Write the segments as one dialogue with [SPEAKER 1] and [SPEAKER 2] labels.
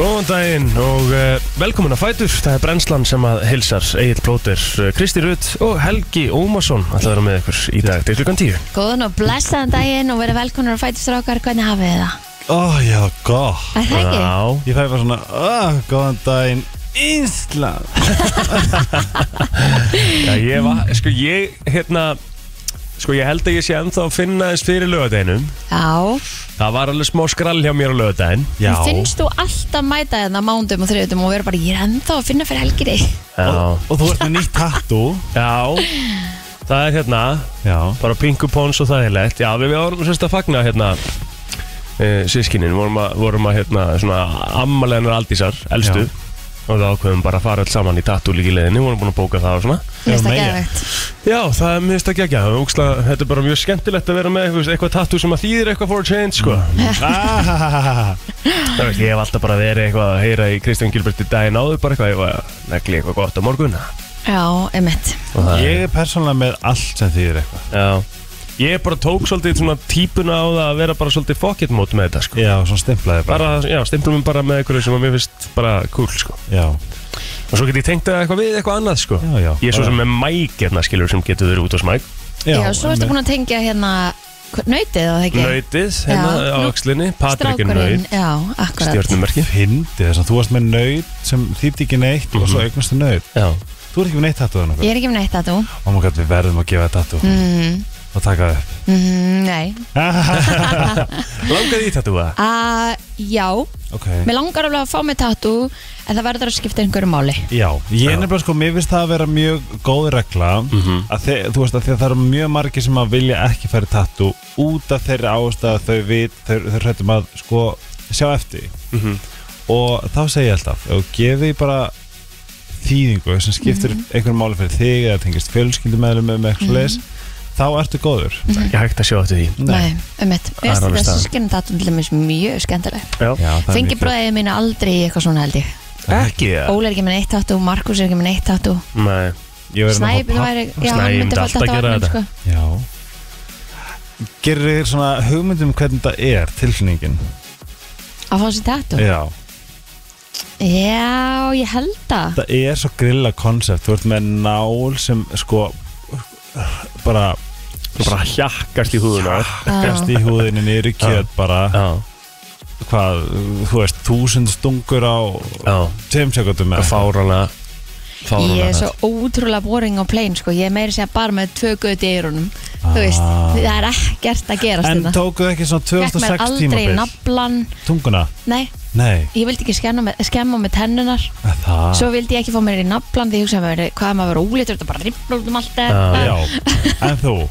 [SPEAKER 1] Góðan daginn og uh, velkomin að Fætur Það er brennslan sem að hilsar Egil Plóter, uh, Kristi Rutt og Helgi Ómarsson Alltaf að vera með ykkur í dag til klukkan tíu
[SPEAKER 2] Góðan og blessaðan daginn og verið velkonar að fætist rákar, hvernig hafið þið það?
[SPEAKER 3] Ó, já, gott
[SPEAKER 2] Er það ekki?
[SPEAKER 1] Já,
[SPEAKER 3] Ég fæði bara svona, ó, góðan daginn Ísland
[SPEAKER 1] já ég, var, sko, ég, hérna, sko, ég held að ég sé ennþá að finna þess fyrir lögadeginum
[SPEAKER 2] Já,
[SPEAKER 1] Það var alveg smá skrall hjá mér á lögadegin
[SPEAKER 3] Já,
[SPEAKER 2] finnst þú alltaf mæta hérna mándum og þriðutum og verið bara, ég er ennþá að finna fyrir helgiri
[SPEAKER 1] Já,
[SPEAKER 3] og þú ert með nýtt tattoo
[SPEAKER 1] já Það er hérna,
[SPEAKER 3] Já,
[SPEAKER 1] bara pingu pons og það er lett Já, við, við vorum semst að fagna hérna e, sískinin, vorum að, vorum að hérna, svona ammaleganar aldísar, elstu
[SPEAKER 3] Já.
[SPEAKER 1] og það ákveðum bara að fara alls saman í tattoo líka í leiðinni, vorum búin að bóka það og svona
[SPEAKER 3] Já,
[SPEAKER 2] Mista
[SPEAKER 3] meira.
[SPEAKER 2] geðvegt
[SPEAKER 1] Já, það er mist ekki ekki, það er úksla, þetta er bara mjög skemmtilegt að vera með eitthvað, eitthvað tattoo sem að þýðir eitthvað for a change, sko
[SPEAKER 3] Ah,
[SPEAKER 1] Það veist, ég hef alltaf bara verið eitthvað að heyra í Kristján Gilberti daginn áður bara eitthvað, ég var að negli eitthvað gott á morgun
[SPEAKER 2] Já, einmitt
[SPEAKER 1] Og það er-
[SPEAKER 3] ég er persónulega með allt sem þýðir eitthvað
[SPEAKER 1] Já Ég bara tók svolítið svona típuna á það að vera bara svolítið fokkett mót með þetta sko
[SPEAKER 3] Já, svona stimplaði bara,
[SPEAKER 1] Bara, já, stimplum við bara með einhverju sem að mér finnst bara cool sko
[SPEAKER 3] Já,
[SPEAKER 1] Og svo get ég tengt það eitthvað við eitthvað annað sko
[SPEAKER 3] Já, já.
[SPEAKER 1] Ég er svo sem
[SPEAKER 3] Bara-
[SPEAKER 1] með mæk hérna skilur sem getur verið út á smæk
[SPEAKER 2] Já, svo ertu búin að tengja hérna hva- nautið og það ekki?
[SPEAKER 1] Nautið hérna
[SPEAKER 2] Já.
[SPEAKER 1] á öxlinni, Patrikin
[SPEAKER 2] Strákurinn,
[SPEAKER 1] naut,
[SPEAKER 2] Já, akkurat
[SPEAKER 1] stjórnumerki
[SPEAKER 3] Fyndi þess að þú varst með nöyt sem þýtti ekki neitt og
[SPEAKER 2] Mhm.
[SPEAKER 3] svo eignastu nöyt
[SPEAKER 1] Já,
[SPEAKER 3] Þú ert ekki með neitt tattoo en okkur
[SPEAKER 2] Ég er ekki með neitt að þú
[SPEAKER 3] Ó my god, við verðum að gefa þetta tattoo
[SPEAKER 2] mm,
[SPEAKER 3] og taka það upp
[SPEAKER 2] mm, Nei
[SPEAKER 1] langaði í þetta þú það?
[SPEAKER 2] A, Já,
[SPEAKER 3] Ok
[SPEAKER 2] mér langar alveg að fá mig tattoo en það verður að skipta einhverju máli
[SPEAKER 3] Já, ég
[SPEAKER 1] Já.
[SPEAKER 3] er nefnilega sko, mér finnst það að vera mjög góð regla að þe þú veist að því að það eru mjög margir sem að vilja ekki færi tattu út af þeirri ástæð að þau vit, þau, þau hrættum að sko sjá eftir mm og þá segi ég alltaf, ef þú gefið bara þýðingu sem skiptir einhverjum máli fyrir þig eða tengist fjölskyldumæðlum með eitthvað leis, þá ertu góður
[SPEAKER 2] Mm.
[SPEAKER 1] Ég hægt að sjá þetta því
[SPEAKER 2] Nei, um mitt.
[SPEAKER 1] Það er
[SPEAKER 2] Mér finnst
[SPEAKER 1] alveg
[SPEAKER 2] þessi
[SPEAKER 1] staðan.
[SPEAKER 2] skinnatatun til dæmis mjög skemmtileg.
[SPEAKER 1] Já,
[SPEAKER 3] Já, það er
[SPEAKER 2] Fengi
[SPEAKER 3] mikið-
[SPEAKER 2] bræðið mín aldrei í eitthvað svona held ég.
[SPEAKER 1] ekki það?
[SPEAKER 2] Óli er ekki með neitt tattu, Markus er ekki með neitt tattu.
[SPEAKER 1] Nei,
[SPEAKER 3] Ég verð að fá
[SPEAKER 2] Snæbjörn
[SPEAKER 3] papp-
[SPEAKER 2] væri, já,
[SPEAKER 1] Snæ
[SPEAKER 2] hann
[SPEAKER 1] myndi alltaf
[SPEAKER 2] myndi alltaf
[SPEAKER 1] gera
[SPEAKER 2] gera
[SPEAKER 1] þetta.
[SPEAKER 2] þetta.
[SPEAKER 3] Já Gerir þér svona hugmyndum hvernig það er tilfinningin
[SPEAKER 2] Að fá sér tattu.
[SPEAKER 3] Já
[SPEAKER 2] Já, ég held það.
[SPEAKER 3] Þetta er svo grilla konsept Þú ert með nál sem sko bara
[SPEAKER 1] þú
[SPEAKER 2] sko.
[SPEAKER 1] bara hjakkast í húðuna
[SPEAKER 3] gæst í húðinni niður í kjöt bara
[SPEAKER 1] Já,
[SPEAKER 3] hvað, þú veist, þúsund stungur á
[SPEAKER 1] já,
[SPEAKER 3] tveim sekundum eða
[SPEAKER 1] og fárana Fárana
[SPEAKER 2] Ég er svo ótrúlega boring og plain sko. Ég er meira sér bara með tvö göti í eyrunum. Þú
[SPEAKER 3] Ah.
[SPEAKER 2] veist, það er ekkert að
[SPEAKER 3] eitthvað.
[SPEAKER 2] gerast
[SPEAKER 3] En
[SPEAKER 2] þetta.
[SPEAKER 3] tókuð ekki svona
[SPEAKER 2] Gekk mér
[SPEAKER 3] 2006
[SPEAKER 2] aldrei
[SPEAKER 3] tímabil
[SPEAKER 2] naflan.
[SPEAKER 3] Tunguna?
[SPEAKER 2] Nei,
[SPEAKER 3] Nei,
[SPEAKER 2] ég vildi ekki skemma með, skemma með tennunar.
[SPEAKER 3] það
[SPEAKER 2] Svo vildi ég ekki fá mér í naflan því ég hugsaði með hvað er maður að vera úlitur, þetta bara ripplur út um allt þetta.
[SPEAKER 3] Já, en þú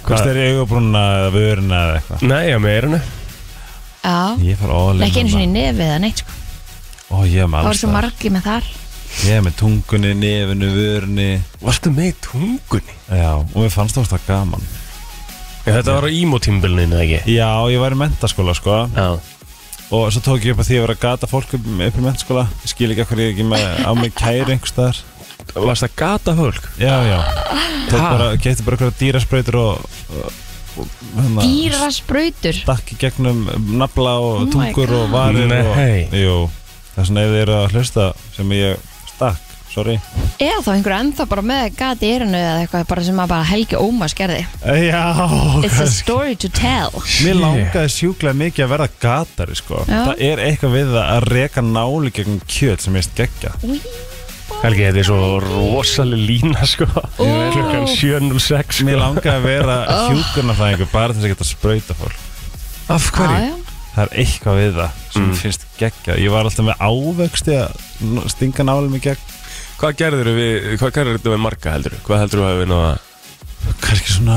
[SPEAKER 3] Hvort er ég augabrúnna eða vöruna eða eitthvað
[SPEAKER 1] Nei, já, meirinu
[SPEAKER 2] Já,
[SPEAKER 3] Ah, Ég far all in
[SPEAKER 2] ekki einu sinni í
[SPEAKER 3] þarna.
[SPEAKER 2] nefið eða neitt sko.
[SPEAKER 3] Ó, ég er
[SPEAKER 2] Það
[SPEAKER 3] með
[SPEAKER 2] var
[SPEAKER 3] alls
[SPEAKER 2] svo
[SPEAKER 3] staðar.
[SPEAKER 2] margi með þar
[SPEAKER 3] Ég er með tungunni, nefinu, vörunni
[SPEAKER 1] Varstu með í tungunni?
[SPEAKER 3] Já, og mér fannst þú það gaman
[SPEAKER 1] Já, þetta var á ímótímbilinu, ekki?
[SPEAKER 3] Já, ég var í mentaskóla sko
[SPEAKER 1] Já
[SPEAKER 3] og svo tók ég upp að því að vera að gata fólk upp upp í mennskóla ég skil ekki okkur ég ekki með á mig kæri einhvers staðar
[SPEAKER 1] Varst að gata fólk?
[SPEAKER 3] já, já tók
[SPEAKER 1] Ha?
[SPEAKER 3] bara, geti bara okkur dýrasprautur og, og, og hérna,
[SPEAKER 2] Dýra sprautur
[SPEAKER 3] stakk í gegnum nafla og
[SPEAKER 2] Oh my
[SPEAKER 3] tungur
[SPEAKER 2] God.
[SPEAKER 3] og varir og,
[SPEAKER 1] Nei.
[SPEAKER 3] jú, það er svona ef þið eru að hlusta sem ég stakk, sorry
[SPEAKER 2] Eða þá einhverju ennþá bara með gati í erinu eða eitthvað bara sem að bara Helgi Ómars gerði
[SPEAKER 3] já,
[SPEAKER 2] It's a
[SPEAKER 3] kannski.
[SPEAKER 2] story to tell
[SPEAKER 3] Mér langaði sjúklega mikið að verða gatari sko.
[SPEAKER 2] Já.
[SPEAKER 3] Það er eitthvað við það að reka náli gegn kjöt sem ég veist geggja
[SPEAKER 2] Új,
[SPEAKER 1] Helgi, þetta er svo rosaleg lína, sko
[SPEAKER 2] Ó.
[SPEAKER 1] Klukkan 7.06,
[SPEAKER 3] Mér
[SPEAKER 1] sko
[SPEAKER 3] langaði að vera hjúkurnafræðingur bara til þess að geta sprauta fólk
[SPEAKER 1] Af
[SPEAKER 2] já,
[SPEAKER 1] hverju?
[SPEAKER 2] já.
[SPEAKER 3] það er eitthvað við það sem
[SPEAKER 1] Mm.
[SPEAKER 3] mm. finnst geggja ég var alltaf með ávöxti að n- stinga nálum í gegn
[SPEAKER 1] Hvað gerður við, hvað gerður við marga, heldur Hvað heldur við að við náða?
[SPEAKER 3] kannski svona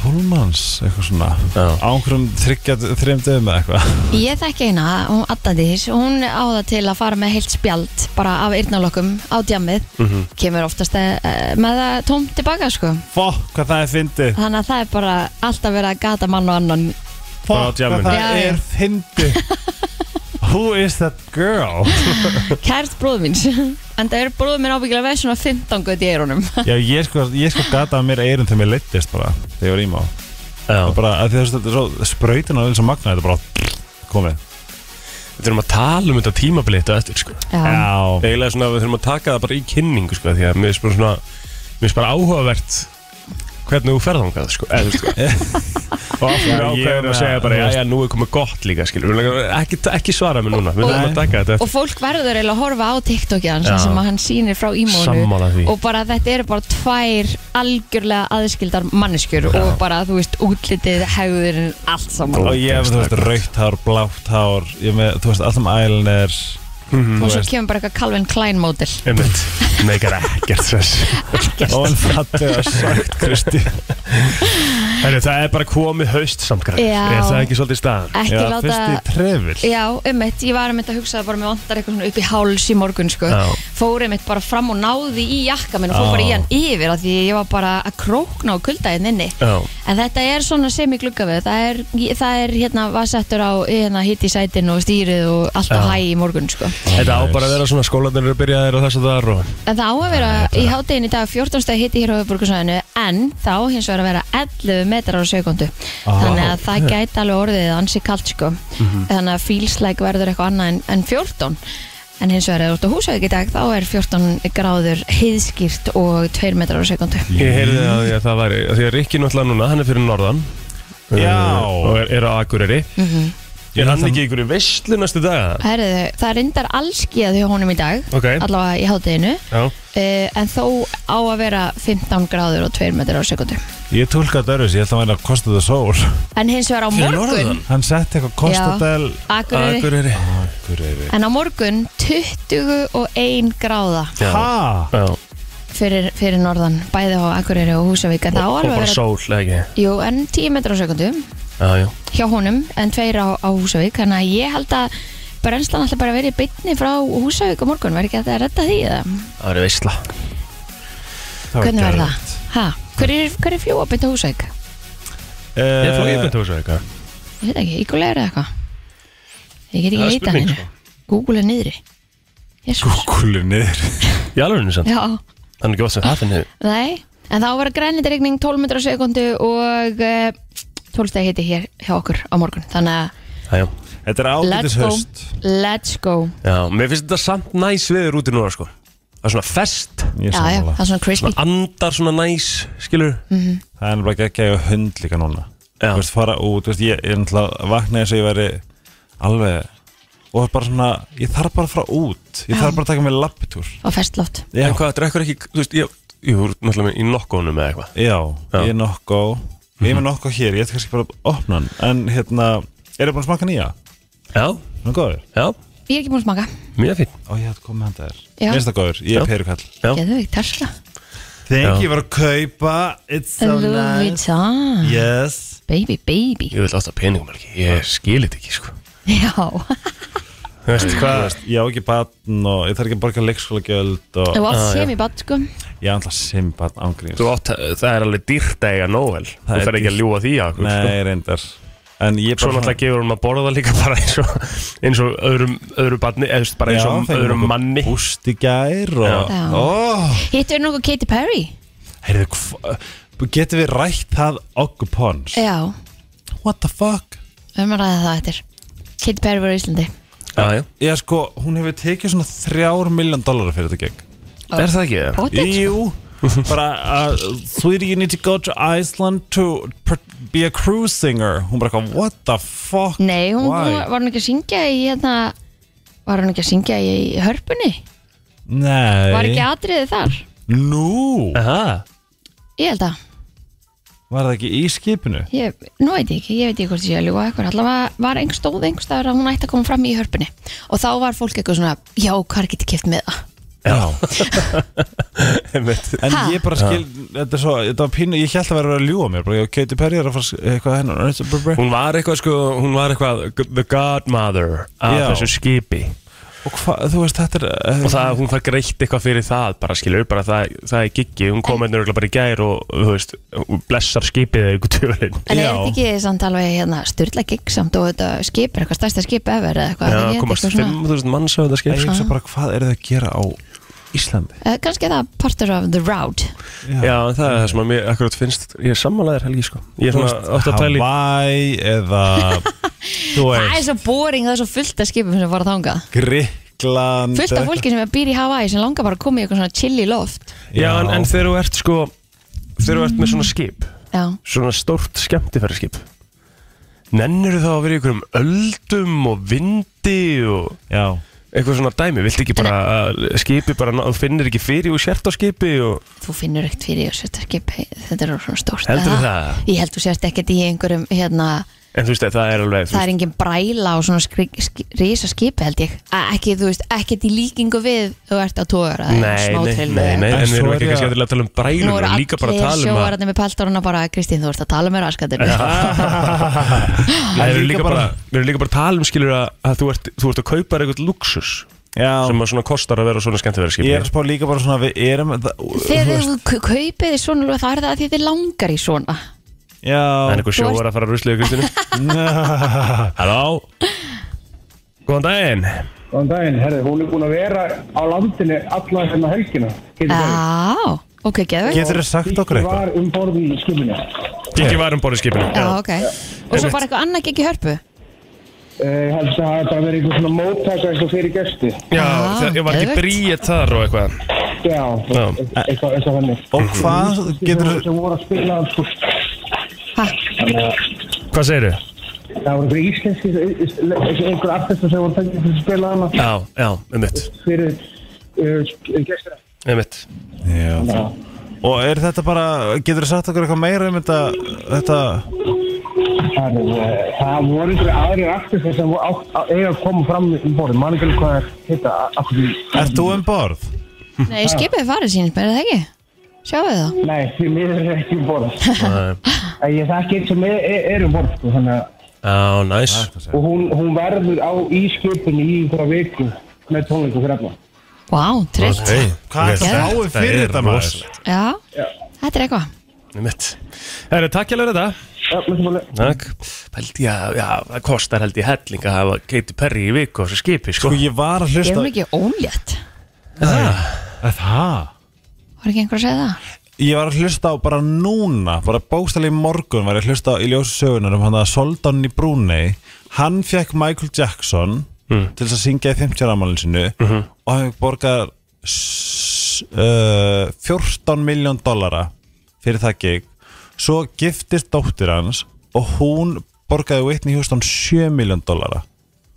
[SPEAKER 3] tólmanns eitthvað svona
[SPEAKER 1] Já.
[SPEAKER 3] á einhverjum þryggja þreim dögum eða eitthvað
[SPEAKER 2] Ég þekki eina, hún Addadís Hún á það til að fara með heilt spjald bara af yrnalokkum á djamið Kemur oftast eh, með það tómt tilbaka sko
[SPEAKER 3] fokk hvað það er fyndið
[SPEAKER 2] Þannig að það er bara alltaf verið að gata mann og annan
[SPEAKER 1] Bara á
[SPEAKER 3] fokk
[SPEAKER 1] djamminu.
[SPEAKER 3] hvað það
[SPEAKER 2] Já, já.
[SPEAKER 3] er fyndið who is that girl
[SPEAKER 2] Kært bróð mín En það er bróð mín ábyggilega veð svona 15 göti í erunum
[SPEAKER 3] já ég sko ég sko gataði mér eirum þegar mér leittist bara þegar ég var ímá
[SPEAKER 1] Já,
[SPEAKER 3] bara að því þú veist þetta er svo sprautin og eins og magna þetta er bara komið
[SPEAKER 1] Við þurfum að tala um þetta tímabilið þetta eftir sko
[SPEAKER 2] Já,
[SPEAKER 3] Já,
[SPEAKER 1] Eiginlega svona við þurfum að taka það bara í kynningu sko Því að mér finnst bara svona Mér finnst bara áhugavert Hvernig þú ferðangað sko Eða þú veist sko Og af
[SPEAKER 3] Já,
[SPEAKER 1] hverju
[SPEAKER 3] ég
[SPEAKER 1] ákveður að
[SPEAKER 3] meina,
[SPEAKER 1] segja bara
[SPEAKER 3] þú
[SPEAKER 1] Já
[SPEAKER 3] veist.
[SPEAKER 1] já nú er komið gott líka skilur Ekki, ekki svara mér núna Við
[SPEAKER 2] Og-
[SPEAKER 1] þurfum að taka þetta eftir
[SPEAKER 2] og fólk verður eiginlega að horfa á TikTokið hans
[SPEAKER 1] Já.
[SPEAKER 2] sem að hann sýnir frá ímónu
[SPEAKER 1] Sammála því.
[SPEAKER 2] og bara þetta eru bara tvær algjörlega aðskildar manneskjur og bara þú veist útlitið, hegðurinn, allt saman
[SPEAKER 3] og ég hef, þú veist, raukt hár, blátt hár Ég með, þú veist, allum ælner
[SPEAKER 1] Mhm.
[SPEAKER 3] Þú
[SPEAKER 2] og svo
[SPEAKER 3] veist,
[SPEAKER 2] kemur bara eitthvað Calvin Klein mótil
[SPEAKER 1] Einmitt, meikar ekkert sess
[SPEAKER 3] og en fattu að sagt, Kristi
[SPEAKER 1] Herri, það er bara komið haust samt græn
[SPEAKER 2] Já.
[SPEAKER 1] Er það ekki svolítið staðan?
[SPEAKER 2] ekki
[SPEAKER 3] Já,
[SPEAKER 2] láta
[SPEAKER 3] fyrst í trefil
[SPEAKER 2] Já, ummitt, ég var einmitt að hugsa bara mér vantar eitthvað svona upp í háls í morgun sko.
[SPEAKER 1] Já.
[SPEAKER 2] fór einmitt bara fram og náði í jakka minn og fór bara í hann yfir af því ég var bara að krókna á kuldaðin inni
[SPEAKER 1] Já,
[SPEAKER 2] En þetta er svona sem í gluggaveð það er, það er hérna vasettur á hérna, hitt í sætin og stýrið og allt á
[SPEAKER 1] Já.
[SPEAKER 2] hæ í morgun sko.
[SPEAKER 1] þetta á
[SPEAKER 3] nice.
[SPEAKER 1] bara að vera svona skólanir eru byrjaðir og þess að það er og
[SPEAKER 2] En það á að vera í háttegin í dag 14 stæð hitti hér á höfuborgarsvæðinu en þá hins vegar að vera 11 metrar á sekundu
[SPEAKER 1] Ah.
[SPEAKER 2] þannig að það gæti alveg orðið ansi kalt sko
[SPEAKER 1] Mhm.
[SPEAKER 2] þannig að fílslæk verður eitthvað annað en, en 14 en hins vegar að þú ert á húsveik í dag þá er 14 gráður heiðskýrt og 2 metrar á sekundu
[SPEAKER 1] Ég heyrði að, ég, það væri, að því að Rikki náttúrulega núna, hann er fyrir norðan
[SPEAKER 3] Já.
[SPEAKER 1] Uh, Og er, er á Akureyri
[SPEAKER 2] Mhm.
[SPEAKER 1] Er hann ekki ykkur í veistlu næstu daga?
[SPEAKER 2] Herðu, það reyndar allskið hjá honum í dag
[SPEAKER 1] Ok.
[SPEAKER 2] allavega í hátteginu
[SPEAKER 1] Já
[SPEAKER 2] uh, en þó á að vera 15 gráður og 2 metrar á sekundu
[SPEAKER 3] Ég tólka þetta öðruvísi, ég held að hann væri að kosta þetta sól
[SPEAKER 2] en hins vegar á
[SPEAKER 1] Fyrir
[SPEAKER 2] morgun
[SPEAKER 1] norðan?
[SPEAKER 3] Hann sett eitthvað kostadel
[SPEAKER 2] Akureyri,
[SPEAKER 1] Akureyri
[SPEAKER 3] Akureyri
[SPEAKER 2] en á morgun 21 gráða
[SPEAKER 1] Já
[SPEAKER 3] Ha?
[SPEAKER 1] Já,
[SPEAKER 2] fyrir, fyrir norðan bæði á Akureyri og Húsavík en það á
[SPEAKER 1] og
[SPEAKER 2] alveg að
[SPEAKER 1] bara
[SPEAKER 2] vera
[SPEAKER 1] sól, eða ekki
[SPEAKER 2] jú, en 10 metrar á sekundu
[SPEAKER 1] Já, já
[SPEAKER 2] hjá honum en 2 á, á Húsavík þannig að ég held að brennslan alltaf bara verið bytni frá Húsavík á morgun verður ekki hægt að redda því eða
[SPEAKER 1] Það er veistla
[SPEAKER 3] Það
[SPEAKER 2] hvernig verður
[SPEAKER 3] geðveikt.
[SPEAKER 2] það? Ha? Hver er, hver er fljúa bytta Húsavík?
[SPEAKER 1] Ég flóði
[SPEAKER 3] Eh,
[SPEAKER 1] upp þetta hús eða eitthvað
[SPEAKER 2] Ég veit ekki, ígulega er það eitthvað Ég
[SPEAKER 1] Það
[SPEAKER 2] get ekki
[SPEAKER 1] er
[SPEAKER 2] heita
[SPEAKER 1] spurning, sko.
[SPEAKER 2] henni Google er niðri Jesus.
[SPEAKER 3] Kúlu niður
[SPEAKER 1] Í alveg samt
[SPEAKER 2] Já,
[SPEAKER 1] Hann er ekki vatn sem það finnir
[SPEAKER 2] nei En þá var grænlindarigning 12 metrar á sekundu og eh, 12 steg heiti hér hjá okkur á morgun Þannig
[SPEAKER 1] Já, já
[SPEAKER 3] Þetta er
[SPEAKER 2] að let's
[SPEAKER 3] ágætis
[SPEAKER 2] go
[SPEAKER 3] höst
[SPEAKER 2] Let's go
[SPEAKER 1] Já, mér finnst þetta samt næs viður út í núna, sko Það er svona fest
[SPEAKER 3] Ég
[SPEAKER 2] Já, já,
[SPEAKER 3] sammála.
[SPEAKER 2] það er svona crispy
[SPEAKER 1] Svona andar svona næs, skilur
[SPEAKER 3] Það er náttúrulega ekki að ég hund líka núna
[SPEAKER 1] Já.
[SPEAKER 3] Þú veist, fara út, þú veist, ég ég er náttúrulega vaknaði eins og ég væri alveg og bara svona, ég þarf bara að fara út ég þarf bara að taka mig lappitúr
[SPEAKER 2] og festlátt
[SPEAKER 3] Já,
[SPEAKER 1] En hvað, drekkur ekki, þú veist, ég Jú, náttúrulega með- í nokkónum eða eitthvað
[SPEAKER 3] já, Mhm.
[SPEAKER 1] Já.
[SPEAKER 3] ég er nokko ég er með nokko hér, ég ætti kannski bara að opna hann en hérna, er ég búin að smaka nýja?
[SPEAKER 1] Já,
[SPEAKER 3] Nú góður?
[SPEAKER 1] já,
[SPEAKER 2] Ég er ekki búin að smaka
[SPEAKER 1] mjög fín
[SPEAKER 3] Ó, ég ætti að koma með hann þær
[SPEAKER 2] Já.
[SPEAKER 3] Minnst það góður, ég
[SPEAKER 1] Já.
[SPEAKER 3] er perukall
[SPEAKER 1] Já.
[SPEAKER 2] Geðu ekki tersla
[SPEAKER 1] Já.
[SPEAKER 3] Þegar ég var að kaupa It's
[SPEAKER 2] Louis Vuitton
[SPEAKER 3] Yes
[SPEAKER 2] Baby, baby
[SPEAKER 1] Ég vil alltaf peningum ekki, ég skil þetta ekki sko
[SPEAKER 2] Já,
[SPEAKER 1] Þú veist
[SPEAKER 3] Þú
[SPEAKER 1] hvað
[SPEAKER 3] veist, Ég á ekki batn og ég þarf ekki að borga leikskólagjöld og
[SPEAKER 2] þú átt
[SPEAKER 1] Ah, já.
[SPEAKER 2] sem í bad sko
[SPEAKER 3] ég er alltaf simbatn ángríns
[SPEAKER 1] Þú átt, það er alveg dýrt að eiga Noel Þú
[SPEAKER 3] er
[SPEAKER 1] þarf ekki að
[SPEAKER 3] dýrt.
[SPEAKER 1] ljúa því að okkur sko.
[SPEAKER 3] Nei, reyndar En ég
[SPEAKER 1] Svo náttúrulega gefur hún að borða líka bara eins og, eins og öðrum, öðru barni eða þú veist, bara eins og öðrum manni
[SPEAKER 3] Búst í gær og
[SPEAKER 2] Já.
[SPEAKER 3] oh,
[SPEAKER 2] Hittu er nokkuð Katy Perry?
[SPEAKER 3] heyrðu, hva- Getum við rætt það okkur pons?
[SPEAKER 2] Já,
[SPEAKER 3] What the fuck?
[SPEAKER 2] við erum Um að ræða það eftir Katy Perry var í Íslandi
[SPEAKER 1] Já, já.
[SPEAKER 3] Já, sko, hún hefur tekið svona þrjár miljón dollara fyrir þetta gegn
[SPEAKER 1] Er það ekki það?
[SPEAKER 2] What the-
[SPEAKER 3] Jú bara, uh, sweetie you need to go to Iceland to per- be a cruise singer hún bara, eitthvað, what the fuck
[SPEAKER 2] Nei, hún,
[SPEAKER 3] Why?
[SPEAKER 2] hún var, var hún ekki að syngja í hérna Var hún ekki að syngja í hörpunni?
[SPEAKER 3] Nei
[SPEAKER 2] Var ekki atriðið þar?
[SPEAKER 3] Nú,
[SPEAKER 1] Aha.
[SPEAKER 2] Ég held að,
[SPEAKER 3] var það ekki í skipinu?
[SPEAKER 2] ég, nú veit ég ekki, ég veit ekki hvort ég sé að ljúga eitthvað Allavega var einhver stóð einhver staðar að hún ætti að koma fram í hörpunni Og þá var fólk eitthvað svona, já, hvað er getið kipt með það?
[SPEAKER 3] Já
[SPEAKER 1] Einmitt.
[SPEAKER 3] En
[SPEAKER 2] Ha?
[SPEAKER 3] ég bara skil, þetta er svo, þetta var pínu, ég held að vera að ljúa mér bara, ég, Katy Perry er að fara að sk- eitthvað hennar
[SPEAKER 1] Hún var eitthvað sko, hún var eitthvað the godmother af
[SPEAKER 3] Já.
[SPEAKER 1] þessu skipi
[SPEAKER 3] og hvað, þú veist, þetta er eh,
[SPEAKER 1] og það, hún fær greitt eitthvað fyrir það bara skilur, bara það, það er giggi hún kom einnig bara í gær og þú veist hún blessar skipið eða ykkur tjölin
[SPEAKER 2] En er
[SPEAKER 3] Já.
[SPEAKER 2] þetta ekki samt alveg hérna styrla giggsamt og þetta skip er eitthvað stærsta skip ever eða eitthvað
[SPEAKER 1] Já,
[SPEAKER 2] er þetta ekki
[SPEAKER 1] komast
[SPEAKER 2] eitthvað svona-
[SPEAKER 1] 5.000 manns á þetta
[SPEAKER 3] ég
[SPEAKER 1] skip sko.
[SPEAKER 3] hugsa bara, hvað er það að gera á Íslandi
[SPEAKER 2] Eh, Kannski er það partur af the route
[SPEAKER 1] Já, en það er það sem að mér akkurat finnst Ég er sammálaðir helgi, sko Ég er svona átt að pæli
[SPEAKER 3] Hawaii eða þú
[SPEAKER 2] Það er
[SPEAKER 3] veist,
[SPEAKER 2] svo boring, það er svo fullt af skipum sem fara þangað
[SPEAKER 3] Gríkland
[SPEAKER 2] Fullt af fólki sem er býr í Hawaii sem langar bara að koma í eitthvað svona chilli loft
[SPEAKER 1] Já, en, en þegar þú ert, sko Þegar þú ert með svona skip
[SPEAKER 2] Já,
[SPEAKER 1] Svona stórt skemmtifæraskip Nennir þú þá að vera í einhverjum öldum og vindi og
[SPEAKER 3] Já,
[SPEAKER 1] eitthvað svona dæmi, viltu ekki bara að skipi bara, ná- þú finnir ekki fyrir og sért á skipi og
[SPEAKER 2] þú finnur ekkert fyrir þessu þetta skip Þetta er svona stórt
[SPEAKER 1] heldur
[SPEAKER 2] eða?
[SPEAKER 1] það
[SPEAKER 2] Ég held þú sért ekkert í einhverjum hérna,
[SPEAKER 1] en þú veist að það er alveg þú
[SPEAKER 2] það er engin bræla á svona skri, skri, risa skipi held ég A, ekki, þú veist, ekkert í líkingu við þú ert á tóra
[SPEAKER 1] Nei, nei, nei, nei,
[SPEAKER 3] En
[SPEAKER 1] en við
[SPEAKER 3] svo
[SPEAKER 1] erum
[SPEAKER 3] er
[SPEAKER 1] ekki
[SPEAKER 3] ég-
[SPEAKER 1] kannski endilega að tala um brælur
[SPEAKER 2] Nú
[SPEAKER 1] Við
[SPEAKER 2] eru
[SPEAKER 1] erum líka bara að
[SPEAKER 2] allir
[SPEAKER 1] tala um að
[SPEAKER 2] sjóararnir með peltoruna bara Kristín, þú ert að tala með raskatir
[SPEAKER 1] Nei, Við erum líka
[SPEAKER 3] Líka
[SPEAKER 1] bara
[SPEAKER 3] bara-
[SPEAKER 1] Við erum líka bara að tala um skilur að, að þú, ert, þú ert að kaupa þér eitthvað luxus
[SPEAKER 3] já
[SPEAKER 1] sem að svona kostar að vera á svona skemmtiverið
[SPEAKER 3] Ég er að
[SPEAKER 1] skipi
[SPEAKER 3] spá líka bara svona við erum það,
[SPEAKER 2] Þegar þú k- kaupið þið svona þá er það að þið þið langar í svona
[SPEAKER 1] Það er
[SPEAKER 3] Já
[SPEAKER 1] eitthvað sjóar að fara að rusliða Kristinu Halló Góðan daginn
[SPEAKER 4] Góðan daginn, herði, hún er búin að vera á landinu alla hérna helgina.
[SPEAKER 2] Já, ok, geðvegt
[SPEAKER 3] Getur þið sagt okkur eitthvað?
[SPEAKER 4] Var um borðin í skipinu.
[SPEAKER 1] Kikki var um borðið skipinu
[SPEAKER 2] Já, ok Og svo bara eitthvað annað gekk í hörpu
[SPEAKER 4] Eh, Ég held að það hafi bara verið einhver svona móttaka eitthvað fyrir gesti.
[SPEAKER 1] Já,
[SPEAKER 2] Ah,
[SPEAKER 1] það- ég var ekki
[SPEAKER 2] geðveikt.
[SPEAKER 1] bríið þar og eitthvað
[SPEAKER 4] Já,
[SPEAKER 1] Já.
[SPEAKER 4] eitthvað, eitthvað, eitthvað þannig.
[SPEAKER 3] Og hvað getur
[SPEAKER 4] Sem voru að spila, sko,
[SPEAKER 2] Ha,
[SPEAKER 4] þannig að
[SPEAKER 1] Hvað segirðu?
[SPEAKER 4] það voru einhver eh, íslenski, einhver artistur sem voru fengið til að spila hana
[SPEAKER 1] Já, já, um mitt
[SPEAKER 4] fyrir uh, gestina.
[SPEAKER 1] Um mitt
[SPEAKER 3] Já. Og er þetta bara, getur þið sagt okkur eitthvað meira um þetta, þetta
[SPEAKER 4] Það, uh, það voru einhver aðrir artistur sem voru átt að eiga að koma fram um borðin. Man ekki alveg hvað er hitta, af því.
[SPEAKER 3] Ert þú um borð?
[SPEAKER 2] nei, skipið er farið sínist, er það ekki? Sjáu það?
[SPEAKER 4] Nei, því miður er ekki um borð.
[SPEAKER 1] Æ,
[SPEAKER 4] Að Ég þekki einn sem er, er, er um borð sko, þannig að
[SPEAKER 1] Já, næs
[SPEAKER 4] og hún, hún verður á ískipinu í einhverja viku með tónleikum fyrir alla.
[SPEAKER 2] Vá, trillt
[SPEAKER 1] Hey,
[SPEAKER 3] Hvað er það
[SPEAKER 2] Geðvegt.
[SPEAKER 3] fáið fyrir þetta um maður?
[SPEAKER 2] Já, þetta er eitthvað
[SPEAKER 1] Um mitt Það eru takk hjálfur þetta
[SPEAKER 4] Já, með sem alveg.
[SPEAKER 1] Takk. Held ég að, já, það kostar held ég helling að hafa Katy Perry í viku á þessu skipi, sko.
[SPEAKER 3] Sko ég var að
[SPEAKER 2] Ég er
[SPEAKER 3] hlusta
[SPEAKER 2] mikið ólétt
[SPEAKER 3] Er Það?
[SPEAKER 2] Var ekki einhver að segja það?
[SPEAKER 3] Ég var að hlusta á bara núna, bara bókstæli í morgun var ég að hlusta á í ljósu sögunar um hann að Soldan í Brúnei, hann fekk Michael Jackson
[SPEAKER 1] Mm.
[SPEAKER 3] til þess að syngja í 50 ámálinu sinu
[SPEAKER 1] Mhm.
[SPEAKER 3] og hann borgar s- uh, 14 miljón dollara fyrir það gig svo giftist dóttir hans og hún borgaði Whitney Houston 7 miljón dollara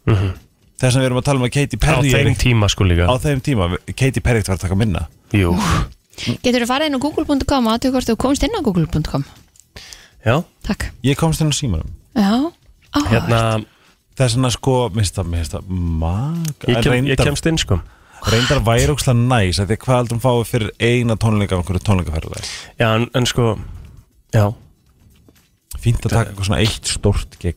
[SPEAKER 3] þess að við erum að tala um að Katy
[SPEAKER 1] Mhm. á
[SPEAKER 3] Perry er
[SPEAKER 1] þeim
[SPEAKER 3] ekki-
[SPEAKER 1] tíma, sko, líka.
[SPEAKER 3] á þeim tíma, Katy Perry var að taka minna
[SPEAKER 1] Jú.
[SPEAKER 2] Getur þú farið inn á google.com og aðtöku hvort þú komst inn á google.com
[SPEAKER 1] Já,
[SPEAKER 2] Takk
[SPEAKER 3] ég komst inn á símanum
[SPEAKER 2] Já, áhugavert.
[SPEAKER 1] hérna,
[SPEAKER 3] Það er svona sko, minnst það, minnst það, maga,
[SPEAKER 1] ég, kem, ég
[SPEAKER 3] reyndar,
[SPEAKER 1] kemst inn, sko.
[SPEAKER 3] reyndar værókslega næs, af því að hvað heldur hún fáið fyrir eina tónleika af einhverju tónleikaferðilega?
[SPEAKER 1] Já, en, en sko, já.
[SPEAKER 3] Fínt að taka eitthvað svona eitt stórt gig.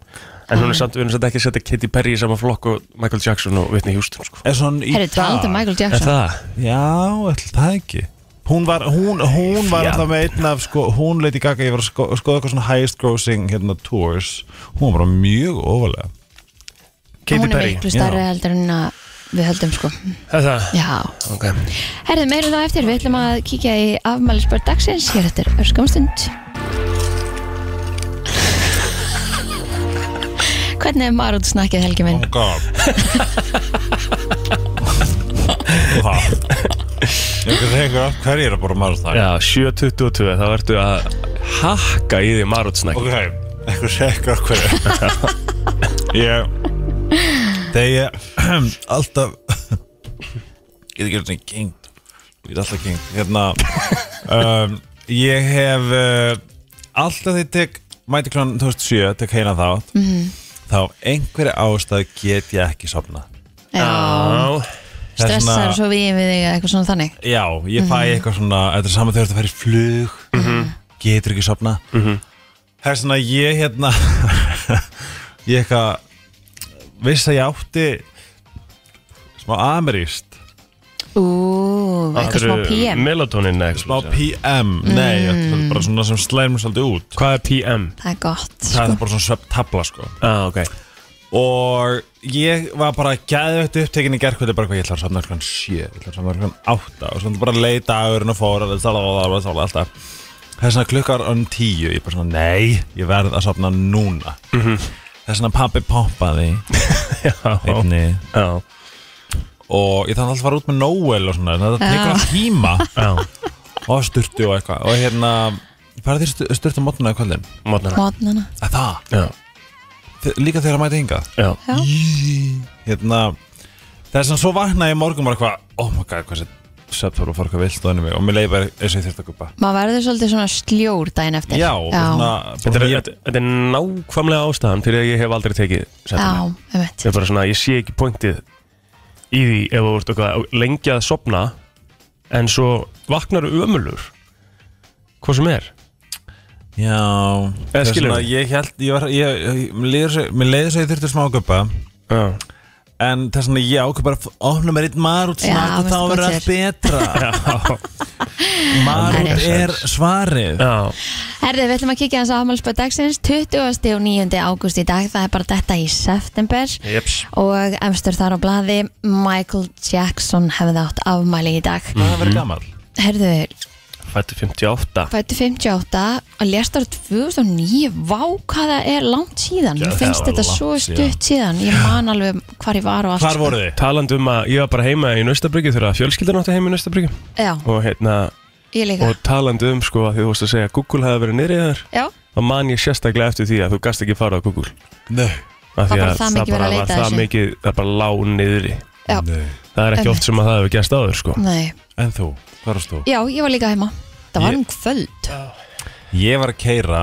[SPEAKER 1] En hún er samt, við erum samt ekki að setja Katy Perry í sama flokk og Michael Jackson og Whitney Houston, sko.
[SPEAKER 3] Er svona í
[SPEAKER 2] Herru, talandi um Michael
[SPEAKER 1] Er
[SPEAKER 2] Jackson
[SPEAKER 1] það?
[SPEAKER 3] Já, ætli það ekki. Hún var, hún, hún var
[SPEAKER 1] Já.
[SPEAKER 3] alltaf með einn af, sko, hún leiti gaga, ég var að sko, skoða eitthvað svona highest grossing, hérna, tours. Hún var bara mjög ofalega.
[SPEAKER 1] Katy
[SPEAKER 2] Hún er
[SPEAKER 1] Perry.
[SPEAKER 2] miklu starri heldur en að við höldum sko
[SPEAKER 1] Er það?
[SPEAKER 2] Já,
[SPEAKER 1] Ok.
[SPEAKER 2] herðu meirum það eftir Við ætlum að kíkja í afmælisbörn dagsins Hér eftir örskamstund Hvernig er maður út snakkið helgi minn?
[SPEAKER 3] Oh god. Hvað? Ég veit ekki af hverju er að bora maður það.
[SPEAKER 1] Já, 7.22, þá ertu að hakka í því marótsnæk.
[SPEAKER 3] Ok, eitthvað sekkur okkur Ég Þegar ég alltaf Ég er ekki alltaf kengt Ég er alltaf kengt Hérna um, Ég hef uh, Alltaf þegar ég tek Mæti klán 2007, tek heina þátt -hmm. Þá einhverja ástæð get ég ekki sofna
[SPEAKER 2] Já, stressar svo við við þig eða eitthvað svona þannig
[SPEAKER 3] Já, ég fæ eitthvað svona Þetta er saman þegar þetta fer í flug Getur ekki sopna Það er svona ég hérna Ég eitthvað Viss að ég átti Smá ameríst
[SPEAKER 2] Ú, eitthvað smá PM
[SPEAKER 1] Melatonin, eða
[SPEAKER 3] Smá
[SPEAKER 1] eitthvað.
[SPEAKER 3] PM Nei, þetta er bara svona sem slæmur svolítið út
[SPEAKER 1] Hvað er PM?
[SPEAKER 2] Það er gott
[SPEAKER 3] Það er bara svona söptabla sko
[SPEAKER 1] Ah, ok.
[SPEAKER 3] og ég var bara gæðvegt upptekinn í gerkvöldi bara hvað ég ætla að samna klokkan 7 ég ætla að samna klokkan 8 og svona bara leið dagurinn og fóra og það var það alltaf það er svona klukkar um 10 ég bara svona nei, ég verð að samna núna það er svona pappi poppaði
[SPEAKER 1] Já,
[SPEAKER 3] einni
[SPEAKER 1] já,
[SPEAKER 3] og ég þannig alltaf að fara út með Noel og svona það tekur að tíma
[SPEAKER 1] já
[SPEAKER 3] og styrtu og eitthvað og hérna fara þér stu- styrtu mótnuna í kvöldin
[SPEAKER 1] Mótnana
[SPEAKER 2] Mótnana
[SPEAKER 3] að það,
[SPEAKER 1] Já,
[SPEAKER 3] Þe- líka þegar að mæta hingað
[SPEAKER 1] já
[SPEAKER 2] Já,
[SPEAKER 3] hérna það er svona svo vaknaði ég í morgun bara eitthvað oh my god hvað sér svefnfóru og fór eitthvað vilt og henni mig og mér leiði bara eins og ég þurfti að guppa
[SPEAKER 2] maður verður svolítið svona sljór daginn eftir
[SPEAKER 3] já, og svona
[SPEAKER 1] Þetta er,
[SPEAKER 3] bara-
[SPEAKER 1] þetta- þetta er nákvæmlega ástæðan fyrir að ég hef aldrei tekið sætuna.
[SPEAKER 2] Já,
[SPEAKER 1] Ég
[SPEAKER 2] einmitt
[SPEAKER 1] er bara svona, ég sé ekki pointið í því ef þú ert eitthvað lengi að sopna en svo vaknar ömulur hvað sem er
[SPEAKER 3] já það er
[SPEAKER 1] skilurðu?
[SPEAKER 3] svona ég held ég var, ég, ég, mér líður svo- mér leiði svo ég þurfti smá að guppa
[SPEAKER 1] Já,
[SPEAKER 3] en það er svona ég ákveð bara að opna mér einn marút
[SPEAKER 2] Já,
[SPEAKER 3] snart og
[SPEAKER 2] veistu
[SPEAKER 3] þá
[SPEAKER 2] gott
[SPEAKER 3] verður allt betra marút
[SPEAKER 2] Þannig.
[SPEAKER 3] er svarið
[SPEAKER 1] já,
[SPEAKER 2] Herðið, við ætlum að kíkja hans á afmálspöð dagsins 20. og 9. ágúst í dag það er bara þetta í september
[SPEAKER 1] jeps
[SPEAKER 2] og emstur þar á blaði Michael Jackson hefði átt afmæli í dag
[SPEAKER 3] það verður gammal
[SPEAKER 2] Herðið,
[SPEAKER 1] Fættu 58
[SPEAKER 2] fættu 58 og lést ára 2009 vá hvað það er langt síðan
[SPEAKER 1] Já,
[SPEAKER 2] mér
[SPEAKER 1] það
[SPEAKER 2] finnst
[SPEAKER 1] var
[SPEAKER 2] þetta
[SPEAKER 1] langt
[SPEAKER 2] svo
[SPEAKER 1] síðan.
[SPEAKER 2] stutt síðan ég man alveg hvar ég var og allt sko.
[SPEAKER 3] hvar voru þið?
[SPEAKER 1] Talandi um að ég var bara heima í Naustabryggi þegar að fjölskyldan átti heima í Naustabryggi
[SPEAKER 2] Já,
[SPEAKER 1] og hérna,
[SPEAKER 2] ég líka
[SPEAKER 1] og talandi um sko að því þú vorst að segja að Google hefði verið niðrið þar
[SPEAKER 2] Já,
[SPEAKER 1] þá man ég sérstaklega eftir því að þú gast ekki fara á Google
[SPEAKER 3] Nei.
[SPEAKER 1] af því
[SPEAKER 2] Var bara
[SPEAKER 1] að
[SPEAKER 2] það
[SPEAKER 1] það
[SPEAKER 2] mikið verið
[SPEAKER 1] bara var
[SPEAKER 2] að leita að
[SPEAKER 1] það
[SPEAKER 2] þessu.
[SPEAKER 1] mikið það bara lá niðri
[SPEAKER 2] já,
[SPEAKER 3] Nei.
[SPEAKER 1] það er ekki
[SPEAKER 2] Einmitt.
[SPEAKER 1] oft sem að það hefur gerst áður sko
[SPEAKER 2] nei
[SPEAKER 3] en þú, hvar varst þú?
[SPEAKER 2] Já, ég var líka heima Það var
[SPEAKER 3] Ég-
[SPEAKER 2] um kvöld
[SPEAKER 3] Ég var að keira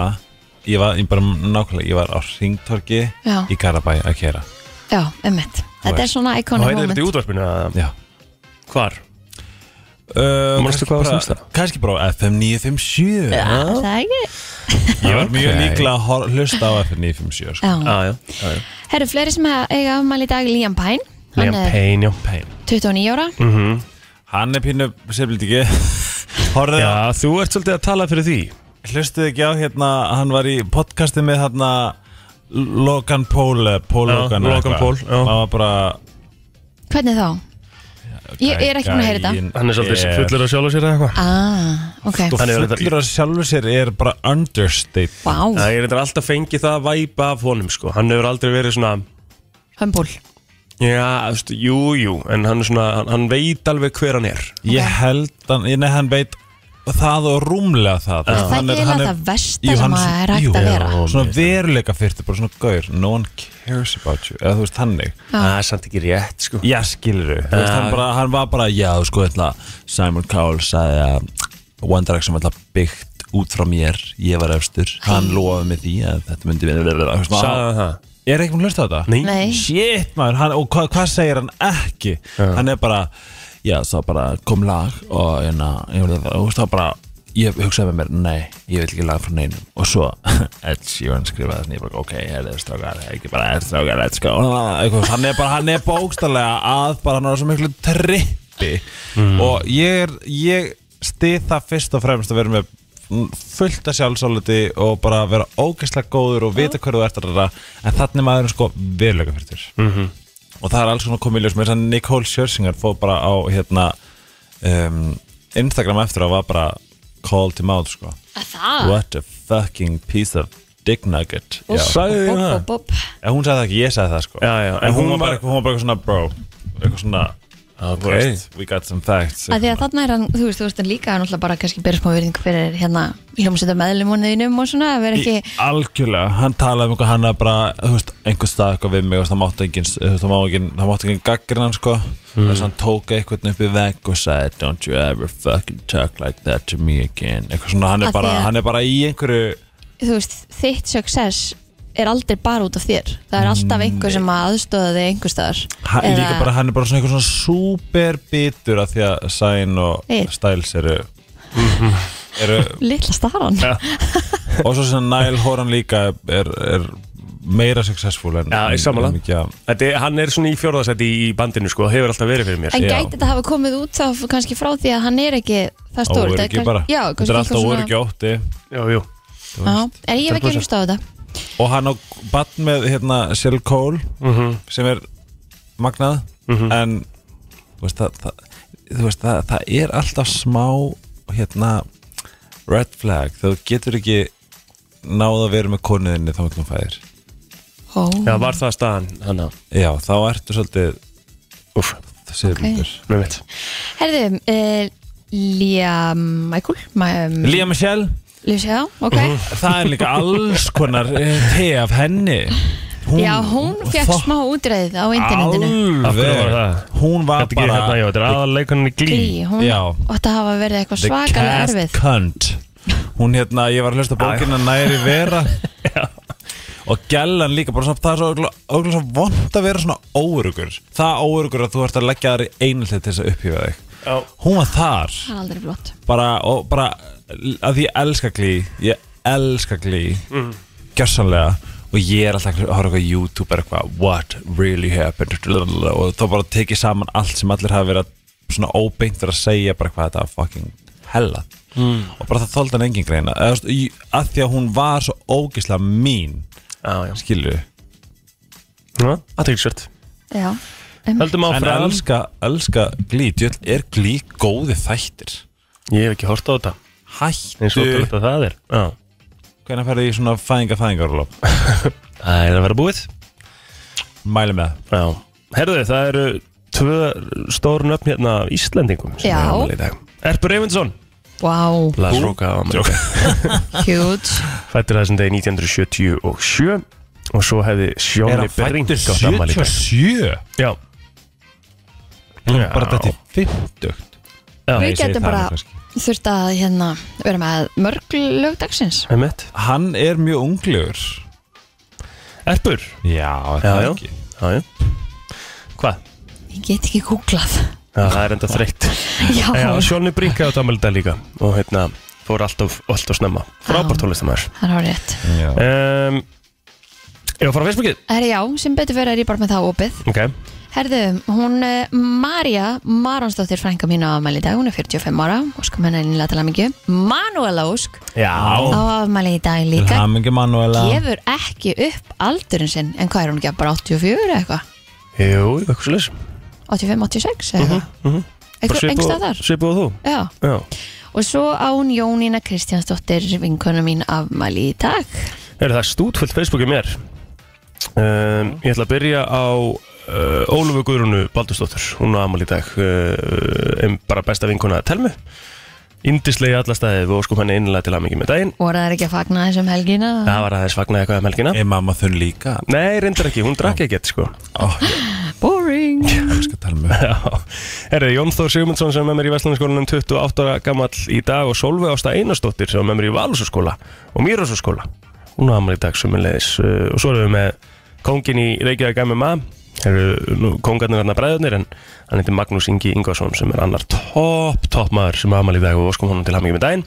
[SPEAKER 3] Ég var ég bara nákvæmlega Ég var á Ringtorki
[SPEAKER 2] Já.
[SPEAKER 3] í Garabæ að keira
[SPEAKER 2] Já, emmitt Þetta er svona
[SPEAKER 1] og
[SPEAKER 2] iconic
[SPEAKER 1] heyrðu þetta í
[SPEAKER 2] moment
[SPEAKER 1] útvarpinu að
[SPEAKER 3] Já
[SPEAKER 1] hvar?
[SPEAKER 3] uh,
[SPEAKER 1] Manstu hvað var
[SPEAKER 3] bara,
[SPEAKER 1] semst það?
[SPEAKER 3] kannski bara á FM 957
[SPEAKER 2] Já, Það er ekki
[SPEAKER 3] Ég var mjög
[SPEAKER 1] Ok.
[SPEAKER 3] líklega að hor- hlusta á FM 957 sko.
[SPEAKER 2] Já,
[SPEAKER 1] Ah, Já, já, já, já.
[SPEAKER 2] herru, fleiri sem hafa- eiga afmæli í dag Liam Payne
[SPEAKER 1] Liam
[SPEAKER 2] Hann er
[SPEAKER 1] Payne, já
[SPEAKER 2] 29 ára
[SPEAKER 1] Mhm.
[SPEAKER 3] Hann er pínu Sefnilt ekki Horfðu
[SPEAKER 1] Já, þú ert svolítið að tala fyrir því
[SPEAKER 3] Hlustuðu ekki á hérna Hann var í podcasti með hérna Logan Paul eh, Paul
[SPEAKER 1] Já,
[SPEAKER 3] Logan
[SPEAKER 1] Logan Paul, já.
[SPEAKER 3] Það var bara
[SPEAKER 2] Hvernig þá? Ég- ég er ekki búin að heyra þetta.
[SPEAKER 3] Gæinn
[SPEAKER 1] Hann er svolítið
[SPEAKER 3] er-
[SPEAKER 1] fullur á sjálf og sér eða eitthvað
[SPEAKER 2] Ah, ok
[SPEAKER 3] Og
[SPEAKER 1] Hann er reyndar-
[SPEAKER 3] fullur af sjálfu sér er bara understate
[SPEAKER 2] Vá,
[SPEAKER 1] Það er reyndar alltaf fengið það að væpa af honum sko Hann hefur aldrei verið svona
[SPEAKER 2] hömbúl
[SPEAKER 1] Já, þú veist, jú, jú En hann, er svona, hann, hann veit alveg hver hann er
[SPEAKER 3] Ég held hann, ég nei, hann veit það og rúmlega það
[SPEAKER 2] Það er ekki eiginlega það versta sem að er hægt að vera.
[SPEAKER 3] Svona veruleika fyrtu, bara svona gaur No one cares about you, eða þú veist þannig
[SPEAKER 1] Það er samt ekki rétt sko
[SPEAKER 3] Já, skilur þú veist,
[SPEAKER 1] Já.
[SPEAKER 3] hann, bara, hann var bara, já, sko, ætla, Simon Cowell sagði að One Direction var alltaf byggt út frá mér Ég var efstur, hann lofaði með því að þetta myndi við
[SPEAKER 1] Sagði hann það?
[SPEAKER 3] Ég er ekki múin að hlusta á þetta
[SPEAKER 1] Nei,
[SPEAKER 2] Nei,
[SPEAKER 3] shit maður, hann, og hvað hva segir hann ekki hann er bara já, svo bara kom lag og hérna, ég veit það, þú veist það bara ég hugsaði með mér, nei, ég vil ekki lag frá neinum og svo, Ed Sheeran skrifaði þannig, ég bara, ok, herðu strákar ekki bara, herðu strákar, let's go Eitthvað, hann er bara, hann er bókstarlega að bara hann er á svo miklu trippi og ég er, ég stið það fyrst og fremst að vera með fullt af sjálfsáleti og bara vera ógeðslega góður og vita hverju þú ert að ræða en þannig maður er sko veruleika fyrir þér og það er alls svona komið í ljós með þess að Nicole Scherzinger fóð bara á hérna um, Instagram eftir að var bara call to mouth sko
[SPEAKER 2] að
[SPEAKER 1] Ah.
[SPEAKER 2] það
[SPEAKER 3] what a fucking piece of dick nugget
[SPEAKER 2] Úff,
[SPEAKER 3] Já.
[SPEAKER 1] Sagði
[SPEAKER 2] úff,
[SPEAKER 1] ég það?
[SPEAKER 2] úff, úff.
[SPEAKER 3] En hún sagði það ekki, ég sagði það sko
[SPEAKER 1] Já, já, en
[SPEAKER 3] en hún,
[SPEAKER 1] hún
[SPEAKER 3] var bara,
[SPEAKER 1] var-
[SPEAKER 3] hún var bara eitthvað svona bro eitthvað svona þú veist, we got some facts
[SPEAKER 2] Að því að þarna er hann, þú veist, þú veist hann líka hann alltaf bara kannski byrja smá virðing fyrir hérna hljómsveitar meðlumunniðinum og svona að vera
[SPEAKER 3] Í-
[SPEAKER 2] ekki
[SPEAKER 3] algjörlega, hann talaði um eitthvað hann að bara, þú veist, einhver stað eitthvað við mig og það mátti engin, þú veist, það mátti engin það mátti engin gaggrinn hann sko
[SPEAKER 2] Hmm.
[SPEAKER 3] þess að hann tók eitthvað upp í vegg og sagði don't you ever fucking talk like that to me again eitthvað svona, hann
[SPEAKER 2] Af
[SPEAKER 3] er
[SPEAKER 2] því
[SPEAKER 3] bara,
[SPEAKER 2] að-
[SPEAKER 3] hann er bara í einhverju
[SPEAKER 2] þú veist, þitt success er aldrei bara út af þér það er alltaf einhver sem að aðstóða þig einhver staðar
[SPEAKER 3] hann, Mm. líka bara, hann er bara svona eitthvað svona super bitur af því að Sain og
[SPEAKER 2] Eir.
[SPEAKER 3] Styles eru
[SPEAKER 2] Mhm.
[SPEAKER 3] eru,
[SPEAKER 2] litla staran já,
[SPEAKER 3] og svo sem Niall Horan líka er, er meira successful en,
[SPEAKER 1] Já, Mm. ég sammála.
[SPEAKER 3] en mikið að-
[SPEAKER 1] Þetta er, hann er svona í fjórðasæti í bandinu sko, hefur alltaf verið fyrir mér
[SPEAKER 2] En
[SPEAKER 3] Já.
[SPEAKER 2] gæti þetta hafa komið út þá f- kannski frá því að hann er ekki það stór
[SPEAKER 3] Óöryggi bara
[SPEAKER 2] Já,
[SPEAKER 3] þetta er alltaf
[SPEAKER 2] eitthvað
[SPEAKER 3] óöryggi ótti
[SPEAKER 1] Jú, jú
[SPEAKER 2] Já, en ég hef ekki hlusta á þetta
[SPEAKER 3] og hann á bann með hérna Sel Cole
[SPEAKER 1] Mhm.
[SPEAKER 3] sem er magnað en þú veist, það, það, þú veist það, það er alltaf smá hérna red flag þegar þú getur ekki náð að vera með konuðinni þá ekki hún fæðir
[SPEAKER 2] Ó,
[SPEAKER 1] Já, var það staðan hann að
[SPEAKER 3] já þá ertu svolítið
[SPEAKER 1] Úf,
[SPEAKER 3] það séður
[SPEAKER 2] Ok.
[SPEAKER 3] okay.
[SPEAKER 1] með mitt
[SPEAKER 2] Herðu, uh, Lía Michael um,
[SPEAKER 3] Lía Mhm. Michelle
[SPEAKER 2] Lía, ok
[SPEAKER 3] það er líka alls konar eh, te af henni hún,
[SPEAKER 2] Já, hún fekk
[SPEAKER 3] Fuck,
[SPEAKER 2] smá útreið á internetinu
[SPEAKER 1] Af hverju var
[SPEAKER 3] alveg
[SPEAKER 1] það?
[SPEAKER 3] hún var
[SPEAKER 1] Þetta ekki hérna, já,
[SPEAKER 3] bara
[SPEAKER 1] þetta er aðalegunin í glí
[SPEAKER 2] Lí, hún
[SPEAKER 3] Já.
[SPEAKER 2] átti að hafa verið eitthvað
[SPEAKER 3] the
[SPEAKER 2] svakalega
[SPEAKER 3] cast
[SPEAKER 2] erfið
[SPEAKER 3] cunt hún hérna, ég var að hlusta á bókina næri vera og gælan líka bara samt það er svo örugglega- örugglega svo vond að vera svona óurugur það óurugur að þú ert að leggja þar í einhaldið til þess að upphýfa þig
[SPEAKER 1] Já.
[SPEAKER 3] hún var þar
[SPEAKER 2] Það er aldrei flott
[SPEAKER 3] bara, og bara að ég elska glý ég elska glý mm. gjörsanlega og ég er alltaf að horfa eitthvað á YouTube er eitthvað what really happened blablabla, og þá bara tekið saman allt sem allir hafa verið að- svona óbeint verið að segja bara hvað þetta var fucking hella mm. og bara það þóldi hann engin greina Eða, þú veist, í- að því að hún var svo ógislega mín
[SPEAKER 1] Já, já Mm.
[SPEAKER 3] skilju,
[SPEAKER 1] Já, Athyglisvert
[SPEAKER 2] Já, um,
[SPEAKER 1] Höldum
[SPEAKER 3] en
[SPEAKER 1] áfram
[SPEAKER 3] elska, elska glý djöld, er glý góði þættir
[SPEAKER 1] Ég hef ekki hort á þetta eins og
[SPEAKER 3] hættu
[SPEAKER 1] þetta það er Já.
[SPEAKER 3] hvernig færði í svona fæðinga fæðingarlop
[SPEAKER 1] Það er að vera búið
[SPEAKER 3] Mæli með
[SPEAKER 1] Já. Herðu, það eru tvö stóru nöfn hérna af Íslendingum sem
[SPEAKER 2] Já.
[SPEAKER 1] eru afmæli í dag. Erpur Eyvindsson
[SPEAKER 2] wow,
[SPEAKER 1] Lars Róka
[SPEAKER 2] huge
[SPEAKER 1] Fættur þessum degi 1977 og svo hefði Sjóni Berring átt afmæli í dag. Já,
[SPEAKER 3] Hún
[SPEAKER 1] Já.
[SPEAKER 3] bara þetta er 50
[SPEAKER 1] Já,
[SPEAKER 2] Við
[SPEAKER 3] ég segi
[SPEAKER 2] getum
[SPEAKER 3] það
[SPEAKER 2] bara
[SPEAKER 3] nú kannski.
[SPEAKER 2] þurft að hérna, vera með mörg lögdagsins
[SPEAKER 1] einmitt
[SPEAKER 3] Hann er mjög unglegur
[SPEAKER 1] Erpur
[SPEAKER 3] Já,
[SPEAKER 1] Já,
[SPEAKER 3] það
[SPEAKER 1] já.
[SPEAKER 3] ekki
[SPEAKER 1] Já, já Hvað?
[SPEAKER 2] Ég get ekki googlað
[SPEAKER 1] Já, það er enda þreytt
[SPEAKER 2] Já,
[SPEAKER 1] Já, Sjóni Brink átt afmæli í dag líka og hérna fór alltaf, alltaf snemma
[SPEAKER 2] Já.
[SPEAKER 1] Frábært tólistamæður
[SPEAKER 2] það er rétt
[SPEAKER 3] Já.
[SPEAKER 1] um, Ég var að fara á Facebookið
[SPEAKER 2] Herri, já, sem betur fyrir er ég bara með það opið
[SPEAKER 1] Ok,
[SPEAKER 2] Herðu, hún eh, Marja Maronsdóttir frænka mín á afmæli í dag, hún er 45 ára óskum henni einlega til hamingju Manuela Ósk
[SPEAKER 1] já
[SPEAKER 2] á afmæli í dag
[SPEAKER 3] Til
[SPEAKER 2] líka
[SPEAKER 3] hamingi Manuela
[SPEAKER 2] gefur ekki upp aldurinn sinn en hvað er hún ekki bara 84 eða eitthvað
[SPEAKER 1] Jú, eitthvað svo leys
[SPEAKER 2] 85, 86 eða eitthvað eitthvað engst að þar
[SPEAKER 1] Svipu og þú
[SPEAKER 2] Já.
[SPEAKER 1] Já
[SPEAKER 2] og svo án Jónína Kristjánsdóttir vinkona mín afmæli í dag
[SPEAKER 1] Eru það stútfullt Facebookið mér um, Ég ætla að byrja á uh, Ólöfu Guðrúnu Baldursdóttur Hún á amal í dag uh, um, Bara besta vinkona að telmu Indislega í alla staði Við óskum henni innlega til að mikið með daginn
[SPEAKER 2] voru það ekki að fagna þessum helgina
[SPEAKER 1] Það var aðeins fagnaði eitthvað um helgina
[SPEAKER 3] Er mamma þunn líka?
[SPEAKER 1] Nei, reyndar ekki, hún drakk ekkert sko
[SPEAKER 3] Ó, ég
[SPEAKER 2] boring
[SPEAKER 3] elska að tala um með
[SPEAKER 1] Herri, Jón Þór Sigmundsson sem er með mér í Vestlandskólanum 28 ára gamall í dag og Solveig Ásta Einarsdóttir sem er með mér í Valúsaskóla og Mýrasaskóla hún á amal í dag sömulegis og svo erum við með kongin í Reykjavík MMA Herru, nú kongarnir hann að bræðunir en hann heitir Magnús Ingi Ingvarsson sem er annar topp, topp maður sem á amal í dag og óskum honum til hamingi með daginn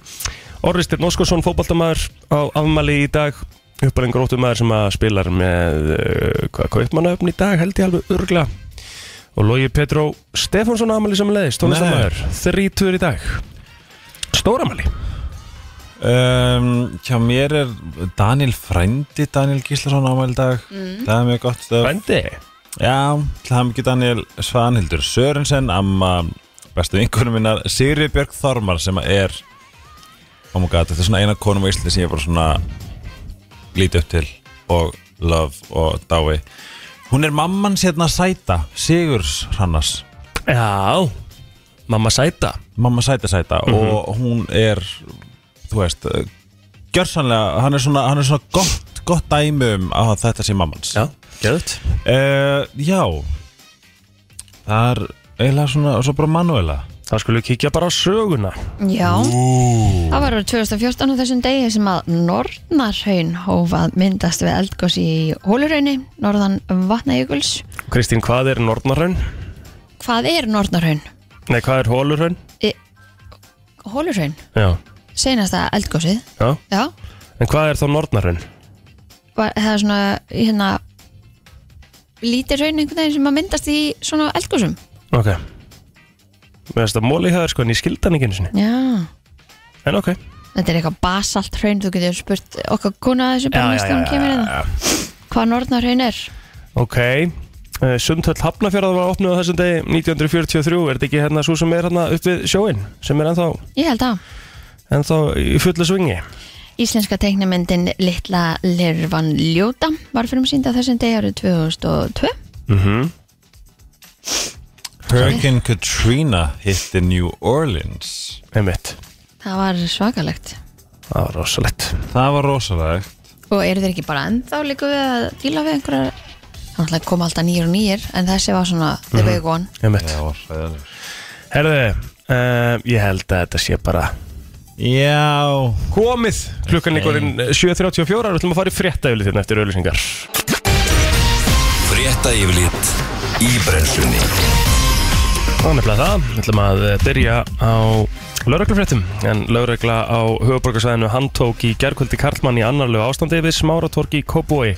[SPEAKER 1] Orristir Nóskarsson, fótballtamaður á afmæli í dag uppalinn gróttumaður sem að spilar með uh, hvað kaupmannöfn í dag held ég alveg örgla og Lógi Petró Stefánsson afmæli sem leiðist, tónlistamæður þrítur í dag stóramæli
[SPEAKER 3] um, Hjá mér er Daniel Frændi Daniel Gíslason ámæli dag
[SPEAKER 2] Mm.
[SPEAKER 3] Það er mjög gott stöf
[SPEAKER 1] Bændi
[SPEAKER 3] Já, til hamingi Daniel Svanhildur Sörensen Amma bestu vinkunum minnar Sigri Björg Þormar sem er Oh my god, þetta er svona eina konum á Íslandi sem ég bara svona lítið upp til og love og dái Hún er mamman sérna Sæta Sigurs Hannas
[SPEAKER 1] Já, mamma sæta
[SPEAKER 3] Mamma Sæta Sæta og hún er þú veist gjörsanlega, hann er svona, hann er svona gott, gott dæmi um að þetta sé mammans
[SPEAKER 1] Já, geðut
[SPEAKER 3] Uh, já Það er eiginlega svona og svo bara manuela
[SPEAKER 1] Þá skulum við kíkja bara á söguna
[SPEAKER 2] Já, það var árið 2014 á þessum degi sem að Nornarhaun hófað myndast við eldgós í Hólurhaunni, norðan Vatnajökuls.
[SPEAKER 1] Kristín, hvað er Nornarhaun?
[SPEAKER 2] Hvað er Nornarhaun?
[SPEAKER 1] Nei, hvað er Hólurhaun?
[SPEAKER 2] Hólurhaun,
[SPEAKER 1] Já,
[SPEAKER 2] senasta eldgósið,
[SPEAKER 1] já
[SPEAKER 2] já,
[SPEAKER 1] En hvað er þá Nornarhaun?
[SPEAKER 2] var, það er svona hérna lítið raun einhvern veginn sem að myndast í svona eldgósum.
[SPEAKER 1] Ok Mér finnst að móli í höður sko en ég skildi hann ekki einu sinni
[SPEAKER 2] Já,
[SPEAKER 1] En ok,
[SPEAKER 2] Þetta er eitthvað basalt hraun, þú getur spurt okkar kuna þessu bara næst þegar hún kemur hérna. Hvað nornar hraun er?
[SPEAKER 1] Ok uh, Sundhöll Hafnafjörðar var opnuð á þessum degi 1943, er þetta ekki hérna svo sem er hérna upp við sjóin, sem er ennþá,
[SPEAKER 2] Ég held að.
[SPEAKER 1] ennþá í fullu svingi
[SPEAKER 2] Íslenska teiknamyndin Littla Lirvan Ljóta var fyrir sínd á þessum degi árið 2002.
[SPEAKER 1] mm -hmm.
[SPEAKER 3] Hurricane Katrina hitti New Orleans
[SPEAKER 1] Einmitt,
[SPEAKER 2] Það var svakalegt.
[SPEAKER 1] það var rosalegt
[SPEAKER 3] Það var rosalegt
[SPEAKER 2] Og eru þeir ekki bara ennþá líka við að díla við einhverjar? Það náttúrulega koma alltaf nýjir og nýjir, en þessi var svona the big one.
[SPEAKER 1] Einmitt,
[SPEAKER 3] Það var hræðilegur
[SPEAKER 1] herðu uh, Ég held að þetta sé bara
[SPEAKER 3] Já
[SPEAKER 1] komið Klukkan ykkur 7.34 Við ætlum að fara í frétta yfir þetta eftir auðlýsingar
[SPEAKER 5] Frétta yfirlit í brennslunni
[SPEAKER 1] Það er nefnilega það, við ætlum að eh, byrja á lauruglufréttum en laurugla á höfuborgarsæðinu handtók í gerkvöldi Karlmann í annarlegu ástandi við smáratorki í Kóboi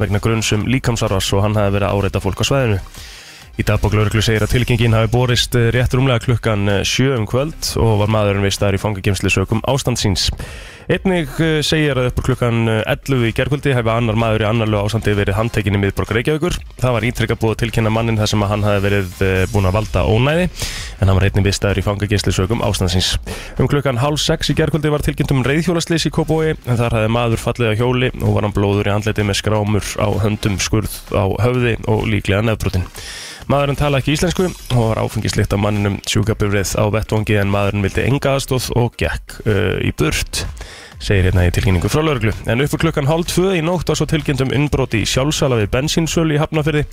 [SPEAKER 1] vegna grunnsum líkamsarvars og hann hafi verið að áreita fólk á svæðinu. Í dagbók lauruglu segir að tilkynningin hafi borist eh, rétt rúmlega klukkan eh, sjö um kvöld og var maðurinn vistaður í fangagemsli sökum ástandsins. Einnig eh, segir að upp úr klukkan eh, 11 í gerkvöldi hefði annar maður í annarlu ásandi verið handtekinn í miðborg Reykjavíkur. Það var ítrekka búið að tilkynna mannin þar sem að hann hafi verið eh, búinn að valda ónæði en hann var einnig vistaður í fangageisli sögum ástandsins. Um klukkan hálf 6 í gerkvöldi var tilkynnt um reyðhjólaslis í Kópói en þar hefði maður fallið á hjóli og var hann blóður í andliti með skrámur á höndum skurð á höfði og líklega nefbrotin. Maðurinn tala ekki íslensku og var áfengislikt á manninum sjúkabifrið á vettvangi en maðurinn vildi enga aðstóð og gekk uh, í burt segir hérna í tilkynningu frá lauruglu. En upp úr klukkan hálf tvö í nótt var svo tilkynnt um innbroti í sjálfsala við bensínsölu í Hafnafyrði.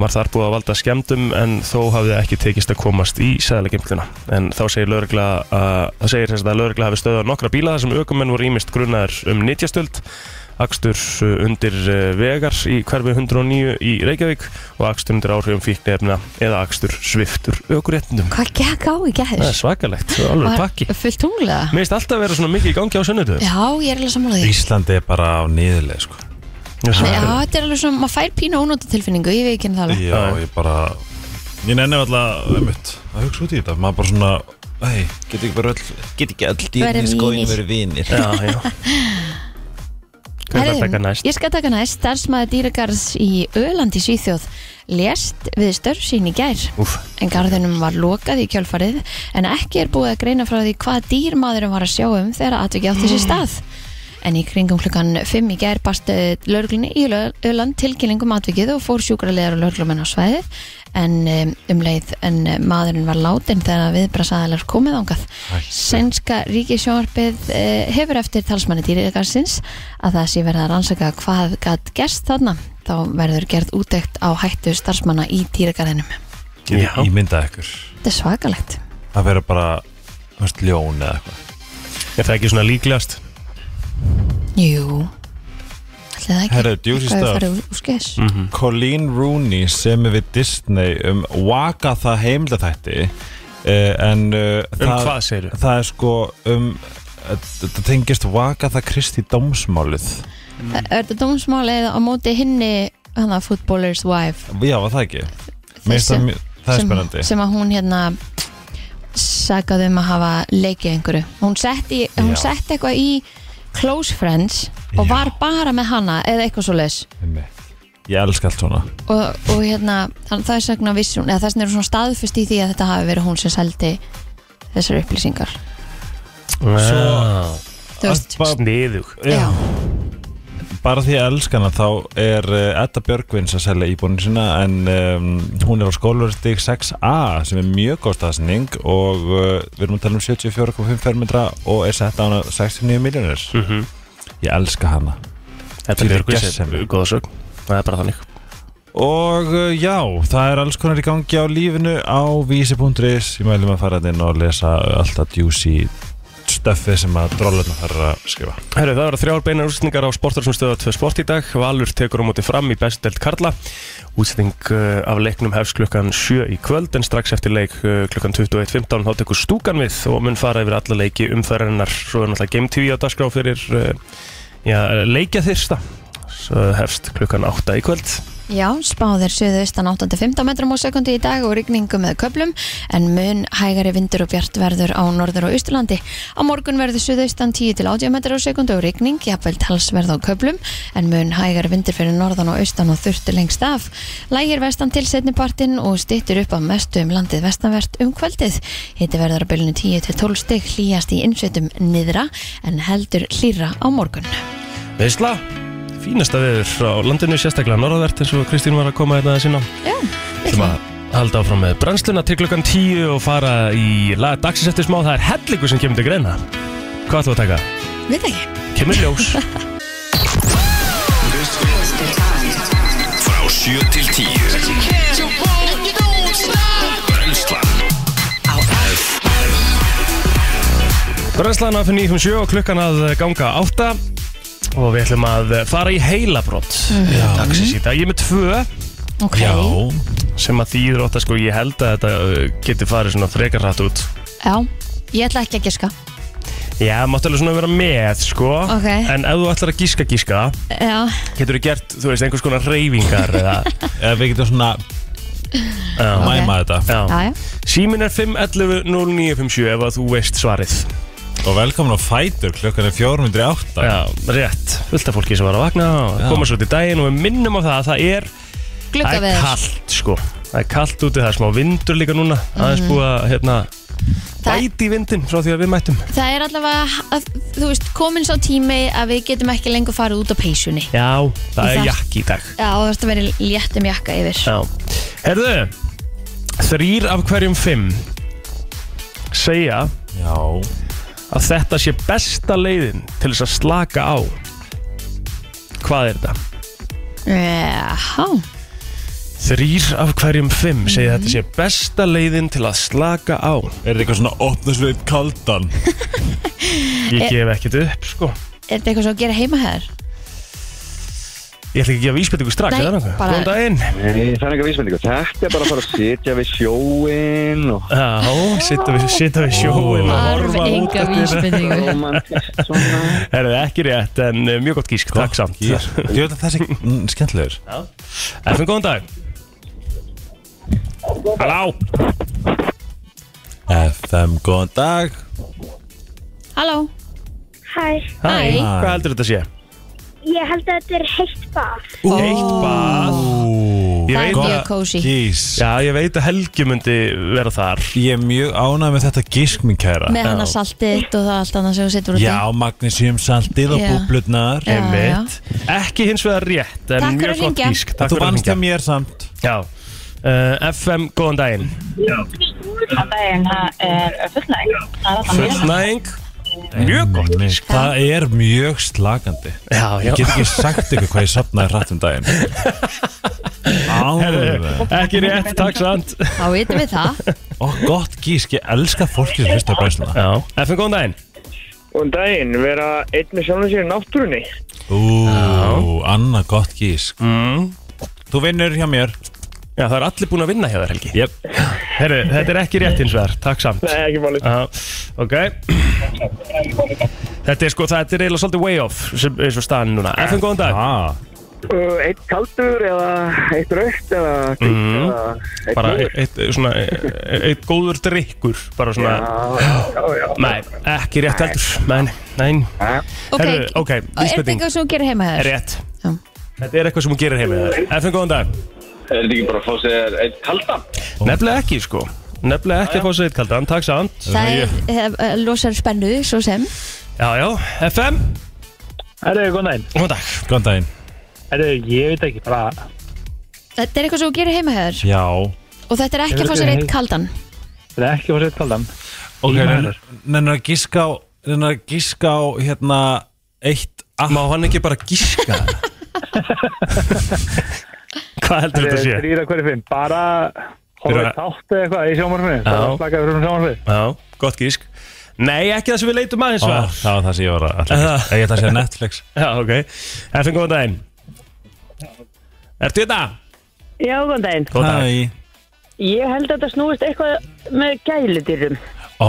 [SPEAKER 1] Var þar búið að valda skemmtum en þó hafði ekki tekist að komast í sæðalegimtluna. En þá segir laurugla að, það segir þess að laurugla hafi stöðað nokkra bíla þar sem aukumenn voru ímist grunnar um nýtjastöld, akstur uh, undir uh, vegar í hverfi 109 í Reykjavík og akstur undir áhrifum fíknefna eða akstur sviftur aukuréttundum.
[SPEAKER 2] Hvað gekk á í gæður?
[SPEAKER 1] Það er svakalegt, það er alveg pakki.
[SPEAKER 2] Var fullt tunglega?
[SPEAKER 1] Mér finnst alltaf að vera svona mikið í gangi á sunnudöðum.
[SPEAKER 2] Já, ég er alveg samanlega því.
[SPEAKER 3] Íslandi er bara á niðurlega sko
[SPEAKER 1] Já,
[SPEAKER 2] Já, þetta er alveg svona, maður fær pínu ónóta tilfinningu, ég veit ekki það alveg.
[SPEAKER 3] Já, ég bara Ég nenni alltaf, einmitt, að hugsa út í þetta Maður bara svona, ei, get ekki bara öll Get ekki öll dýrin
[SPEAKER 2] Verið
[SPEAKER 3] í skóinu
[SPEAKER 2] vinir.
[SPEAKER 3] verið vinir
[SPEAKER 1] já, já. Hvað er það að
[SPEAKER 2] Herðu,
[SPEAKER 1] taka næst?
[SPEAKER 2] Ég skal taka næst starfsmæði dýragarðs í Ölandi Svíþjóð lést við störf sín í gær
[SPEAKER 1] Úf,
[SPEAKER 2] en garðinum var lokað í kjölfarið en ekki er búið að greina frá því hvað dýr maðurinn var að sjá um þegar atvekja átti sér stað en í kringum klukkan 5 í gær bast löglinni í Lö- Öland tilkynningum atvikið og fór sjúkralegar og löglumenn á svæðið en um, um leið en eh, maðurinn var látin þegar viðbrasaðalar komið ángað Sænska ríkisjónarpið eh, hefur eftir talsmanni dýrgarsins að það sé verið að rannsaka hvað gætt gerst þarna þá verður gerð útdekt á hættu starfsmanna í dýrgarðinum
[SPEAKER 3] Ég
[SPEAKER 1] Já.
[SPEAKER 3] ímynda ykkur
[SPEAKER 2] Þetta er svakalegt.
[SPEAKER 3] Að vera bara, þú veist, ljón eða eitthvað
[SPEAKER 1] er það ekki svona líklegast?
[SPEAKER 2] Jú. Ætli það ekki.
[SPEAKER 3] Herra, djúsi
[SPEAKER 2] Hvað
[SPEAKER 3] stöf.
[SPEAKER 2] er farið úr skess?
[SPEAKER 3] Colleen Rooney sem er við Disney um Waka það heimildathætti uh, En uh,
[SPEAKER 1] Um hvað segirðu?
[SPEAKER 3] Það er sko um Það tengist Waka það Kristi dómsmálið
[SPEAKER 2] Er þetta dómsmálið á móti hinni hana footballer's wife
[SPEAKER 3] Já, var það ekki? Mér
[SPEAKER 2] Þessi
[SPEAKER 3] finnst það mjög- Það er
[SPEAKER 2] sem,
[SPEAKER 3] spennandi
[SPEAKER 2] sem að hún hérna sagaði um að hafa leikið einhverju. Hún setti, hún
[SPEAKER 3] Já.
[SPEAKER 2] setti eitthvað í close friends og
[SPEAKER 3] Já.
[SPEAKER 2] var bara með hana eða eitthvað svo leis
[SPEAKER 3] Einmitt. Ég elska allt svona
[SPEAKER 2] og, og hérna, þannig það er sagna vissi hún, eða þess vegna er hún svona staðfust í því að þetta hafi verið hún sem seldi þessar upplýsingar
[SPEAKER 1] Svo Ah,
[SPEAKER 2] þú veist,
[SPEAKER 3] Bara-
[SPEAKER 1] Sniðug
[SPEAKER 2] já,
[SPEAKER 3] Bara því að ég elska hana þá er eh, Edda Björgvins að selja íbúinu sína en um, hún er á skólarstík 6A sem er mjög góð staðsending og uh, við erum að tala um 74,5 fermetra og er sett á hana 69 miljónir Ég elska hana
[SPEAKER 1] Þetta
[SPEAKER 3] Fyrir
[SPEAKER 1] er
[SPEAKER 3] gessemi.
[SPEAKER 1] Björgvins Góða sög Það er bara þannig
[SPEAKER 3] Og uh, já, það er alls konar í gangi á lífinu á vísi.is Ég mælum að fara þarna inn og lesa alltaf juicy stöfið sem að drólurna þarf að skrifa
[SPEAKER 1] Herru, það eru þrjár beinar útsendingar á sportar sem stöða tvö sport í dag Valur tekur á móti fram í bestdelt Karla Útsending uh, af leiknum hefst klukkan 7 í kvöld en strax eftir leik uh, klukkan 21.15 þá tekur stúkan við og mun fara yfir alla leiki umferðarinnar svo er náttúrulega Game TV á dagskrá eh, fyrir uh, já, leikja þyrsta hefst klukkan 8 í kvöld
[SPEAKER 2] Já, spáðir suðaustan 8-15 metrum á sekundi í dag og rigningu með köplum en mun hægari vindur og bjart verður á norður og austurlandi. Á morgun verður suðaustan 10-80 metrum á sekundi og rigning, jafnvel talsverð á köplum en mun hægari vindur fyrir norðan og austan og þurfti lengst af. Lægir vestan til setnipartin og stittur upp á mestu um landið vestanvert um kvöldið. Hitti verður að bylnu 10-12 stygg hlýjast í innsveitum niðra en heldur hlýra á morgun.
[SPEAKER 1] Veisla, fínasta veður frá landinu sérstaklega norðvert eins og Kristín var að koma hérna að sinna
[SPEAKER 2] Já,
[SPEAKER 1] sem að halda áfram með brennsluna til klukkan 10 og fara í lag dagsins eftir smá, það er hellingu sem kemur til greina Hvað ætlum við að taka?
[SPEAKER 2] við ekki.
[SPEAKER 1] Kemur í ljós
[SPEAKER 5] Frá 7 til 10 Brennslan
[SPEAKER 1] Brennslan af 9.7 og klukkan að ganga 8 og við ætlum að fara í heilabrott dagsins í dag, ég er með tvö
[SPEAKER 2] Ok,
[SPEAKER 3] Já,
[SPEAKER 1] sem að þýður ótt að sko ég held að þetta uh, geti farið svona frekar hratt út
[SPEAKER 2] Já, ég ætla ekki að giska
[SPEAKER 1] Já, máttu alveg svona vera með sko
[SPEAKER 2] Ok.
[SPEAKER 1] en ef þú ætlar að gíska gíska
[SPEAKER 2] Já,
[SPEAKER 1] getur þú gert, þú veist, einhvers konar reyfingar eða,
[SPEAKER 3] eða við getum svona
[SPEAKER 1] já,
[SPEAKER 3] mæma þetta
[SPEAKER 1] já.
[SPEAKER 2] já, já
[SPEAKER 1] Símin er 511 0957 ef að þú veist svarið
[SPEAKER 3] Og velkomin á Fætur, klukkan er 408
[SPEAKER 1] Já, rétt, fullt af fólki sem var að vakna og
[SPEAKER 3] Já.
[SPEAKER 1] koma svo til daginn og við minnum á það að það er
[SPEAKER 2] Glugga
[SPEAKER 1] Það er kallt sko Það er kallt úti, það er smá vindur líka núna aðeins búið að hérna
[SPEAKER 2] Mm. Það-
[SPEAKER 1] bæti í vindin frá því að við mættum
[SPEAKER 2] Það er allavega, að, þú veist, komin sá tími að við getum ekki lengur farið út á peysunni
[SPEAKER 1] Já, það
[SPEAKER 2] Í
[SPEAKER 1] er
[SPEAKER 2] það-
[SPEAKER 1] jakki í dag
[SPEAKER 2] Já, þú veist að vera í léttum jakka yfir
[SPEAKER 1] Já Herðu, þrýr af hverjum fimm segja
[SPEAKER 3] Já.
[SPEAKER 1] að þetta sé besta leiðin til þess að slaka á Hvað er þetta?
[SPEAKER 2] Já,
[SPEAKER 1] Þrýr af hverjum fimm segja að
[SPEAKER 2] Mhm.
[SPEAKER 1] þetta sé besta leiðin til að slaka á
[SPEAKER 3] Er þetta eitthvað svona opnusveit kaldan?
[SPEAKER 2] Eh.
[SPEAKER 1] Ég gef ekkert upp sko
[SPEAKER 2] er þetta eitthvað svo að gera heima hér?
[SPEAKER 1] Ég ætla ekki að gefa vísbendingu strax
[SPEAKER 2] Nei,
[SPEAKER 1] eða nokkuð.
[SPEAKER 2] bara-
[SPEAKER 1] Góðan daginn
[SPEAKER 6] Nei, það er enga vísmyndingu. Þetta er bara að fara að sitja við sjóin og
[SPEAKER 1] Já, sita við, sita við sjóin og
[SPEAKER 2] Arf
[SPEAKER 1] horfa út
[SPEAKER 2] enga vísbendingu
[SPEAKER 6] romantist svona.
[SPEAKER 1] Er það ekki rétt, en eh, mjög gott gísk, takk samt
[SPEAKER 3] Ég ég veit að þessi mm, skemmtilegur
[SPEAKER 1] FM, góðan dag Halló
[SPEAKER 3] FM, góðan dag
[SPEAKER 2] Halló,
[SPEAKER 7] Hæ,
[SPEAKER 1] Hæ,
[SPEAKER 2] Hæ.
[SPEAKER 1] hvað heldur þetta sé?
[SPEAKER 7] ég held að þetta er heitt bað.
[SPEAKER 1] Eitt bað
[SPEAKER 3] Ú,
[SPEAKER 1] Ah. Ég
[SPEAKER 2] það er
[SPEAKER 1] veit
[SPEAKER 2] mjög
[SPEAKER 1] að,
[SPEAKER 2] kósi
[SPEAKER 3] gís
[SPEAKER 1] já, ég veit að Helgi myndi vera þar
[SPEAKER 3] Ég er mjög ánægð með þetta gísk, minn kæra
[SPEAKER 2] Með hana saltið og það allt annað sem þú setur út í
[SPEAKER 3] Já, magnísjumsaltið og
[SPEAKER 2] Já.
[SPEAKER 3] búblutnar
[SPEAKER 2] Já,
[SPEAKER 1] Einmitt Ekki hins vegar rétt, en
[SPEAKER 2] Takk fyrir
[SPEAKER 1] mjög
[SPEAKER 2] að
[SPEAKER 1] gott
[SPEAKER 2] hringja.
[SPEAKER 1] gísk Takk
[SPEAKER 3] Þú
[SPEAKER 1] fyrir að
[SPEAKER 3] vannst
[SPEAKER 1] hringja
[SPEAKER 3] það mér samt
[SPEAKER 1] Já Uh, FM, góðan daginn
[SPEAKER 8] Það er, það er fullnæg. Það er alltaf mjög.
[SPEAKER 1] Fullnæðing Mjög gott
[SPEAKER 3] Nei, Það er mjög slagandi
[SPEAKER 1] Já, já
[SPEAKER 3] Ég get ekki sagt ykkur hvað ég sapnaði hratt um daginn Alveg
[SPEAKER 1] Ekki rétt, takk samt
[SPEAKER 2] Þá veitum við það
[SPEAKER 3] Og gott gísk, ég elska fólki sem hlusta á brænsluna
[SPEAKER 1] Já, FM, góðan daginn
[SPEAKER 9] Og um daginn vera einn með sjálfum sér í náttúrunni.
[SPEAKER 3] Ú, annað gott gísk
[SPEAKER 1] mm.
[SPEAKER 3] Þú vinnur hjá mér
[SPEAKER 1] Já, það er allir búin að vinna hjá þér, Helgi
[SPEAKER 3] Jep.
[SPEAKER 1] Herru, þetta er ekki rétt hins vegar, takk samt
[SPEAKER 9] Nei, ekki málið.
[SPEAKER 1] Já, ok Þetta er sko, þetta er eiginlega svolítið way off sem, eins og staðan er núna, FM góðan dag
[SPEAKER 3] ah,
[SPEAKER 9] Uh, eitt kaldur eða eitt raukt eða grín
[SPEAKER 5] Mhm.
[SPEAKER 1] Mm.
[SPEAKER 9] eða eitt
[SPEAKER 1] bara
[SPEAKER 9] móður.
[SPEAKER 1] eitt, svona, eitt, eitt góður drikkur bara svona,
[SPEAKER 9] Já, já, já.
[SPEAKER 1] nei, ekki rétt heldur nei, nei,
[SPEAKER 2] Ok,
[SPEAKER 1] Herru, ok,
[SPEAKER 2] er þetta
[SPEAKER 1] vísbending.
[SPEAKER 2] eitthvað sem þú gerir heima hér?
[SPEAKER 1] rétt
[SPEAKER 2] Já.
[SPEAKER 1] Þetta er eitthvað sem hún gerir heima hjá þér. FM góðan dag
[SPEAKER 6] Er þetta ekki bara að fá sér eitt kaldan?
[SPEAKER 1] Nefnilega ekki sko, nefnilega ekki að fá sér eitt kaldan Takk samt,
[SPEAKER 2] Það er, hef- eh, losar spennu, svo sem
[SPEAKER 1] já, já, FM
[SPEAKER 9] Herru, góðan daginn.
[SPEAKER 1] Góðan dag,
[SPEAKER 3] Góðan daginn
[SPEAKER 9] Herru, ég veit ekki bara...
[SPEAKER 2] Þetta er eitthvað sem þú gerir heima hér
[SPEAKER 3] Já
[SPEAKER 2] Og þetta er ekki að fá sér eitt kaldan
[SPEAKER 9] Það er ekki að fara eitt kaldan.
[SPEAKER 3] Ok,
[SPEAKER 9] Ég
[SPEAKER 3] nenn-
[SPEAKER 9] maður.
[SPEAKER 3] nennar að gíska á Nennar að gíska á hérna Eitt app
[SPEAKER 1] má hann ekki bara gíska Hvað heldur þetta sé?
[SPEAKER 9] Þrýra hverju fimm. Bara horfa
[SPEAKER 1] Fyrir
[SPEAKER 9] í þátt eða eitthvað í sjónvarpinu. Það
[SPEAKER 1] Já.
[SPEAKER 9] er slakað fyrir um sjónvarpinu.
[SPEAKER 1] Já, gott gísk Nei, ekki það sem við leitum aðeins
[SPEAKER 3] Ó,
[SPEAKER 1] var
[SPEAKER 3] Ah, Það var það sem ég var að ætla að
[SPEAKER 1] Ah.
[SPEAKER 3] gíska. Ég ætla að segja Netflix
[SPEAKER 1] Já, ok Efinn, góðan daginn Ertu hérna? þetta?
[SPEAKER 8] Já, góðan daginn.
[SPEAKER 1] Góðan daginn
[SPEAKER 3] Hæ
[SPEAKER 8] Ég held að þetta snúist eitthvað með gæludýrum.
[SPEAKER 3] Ó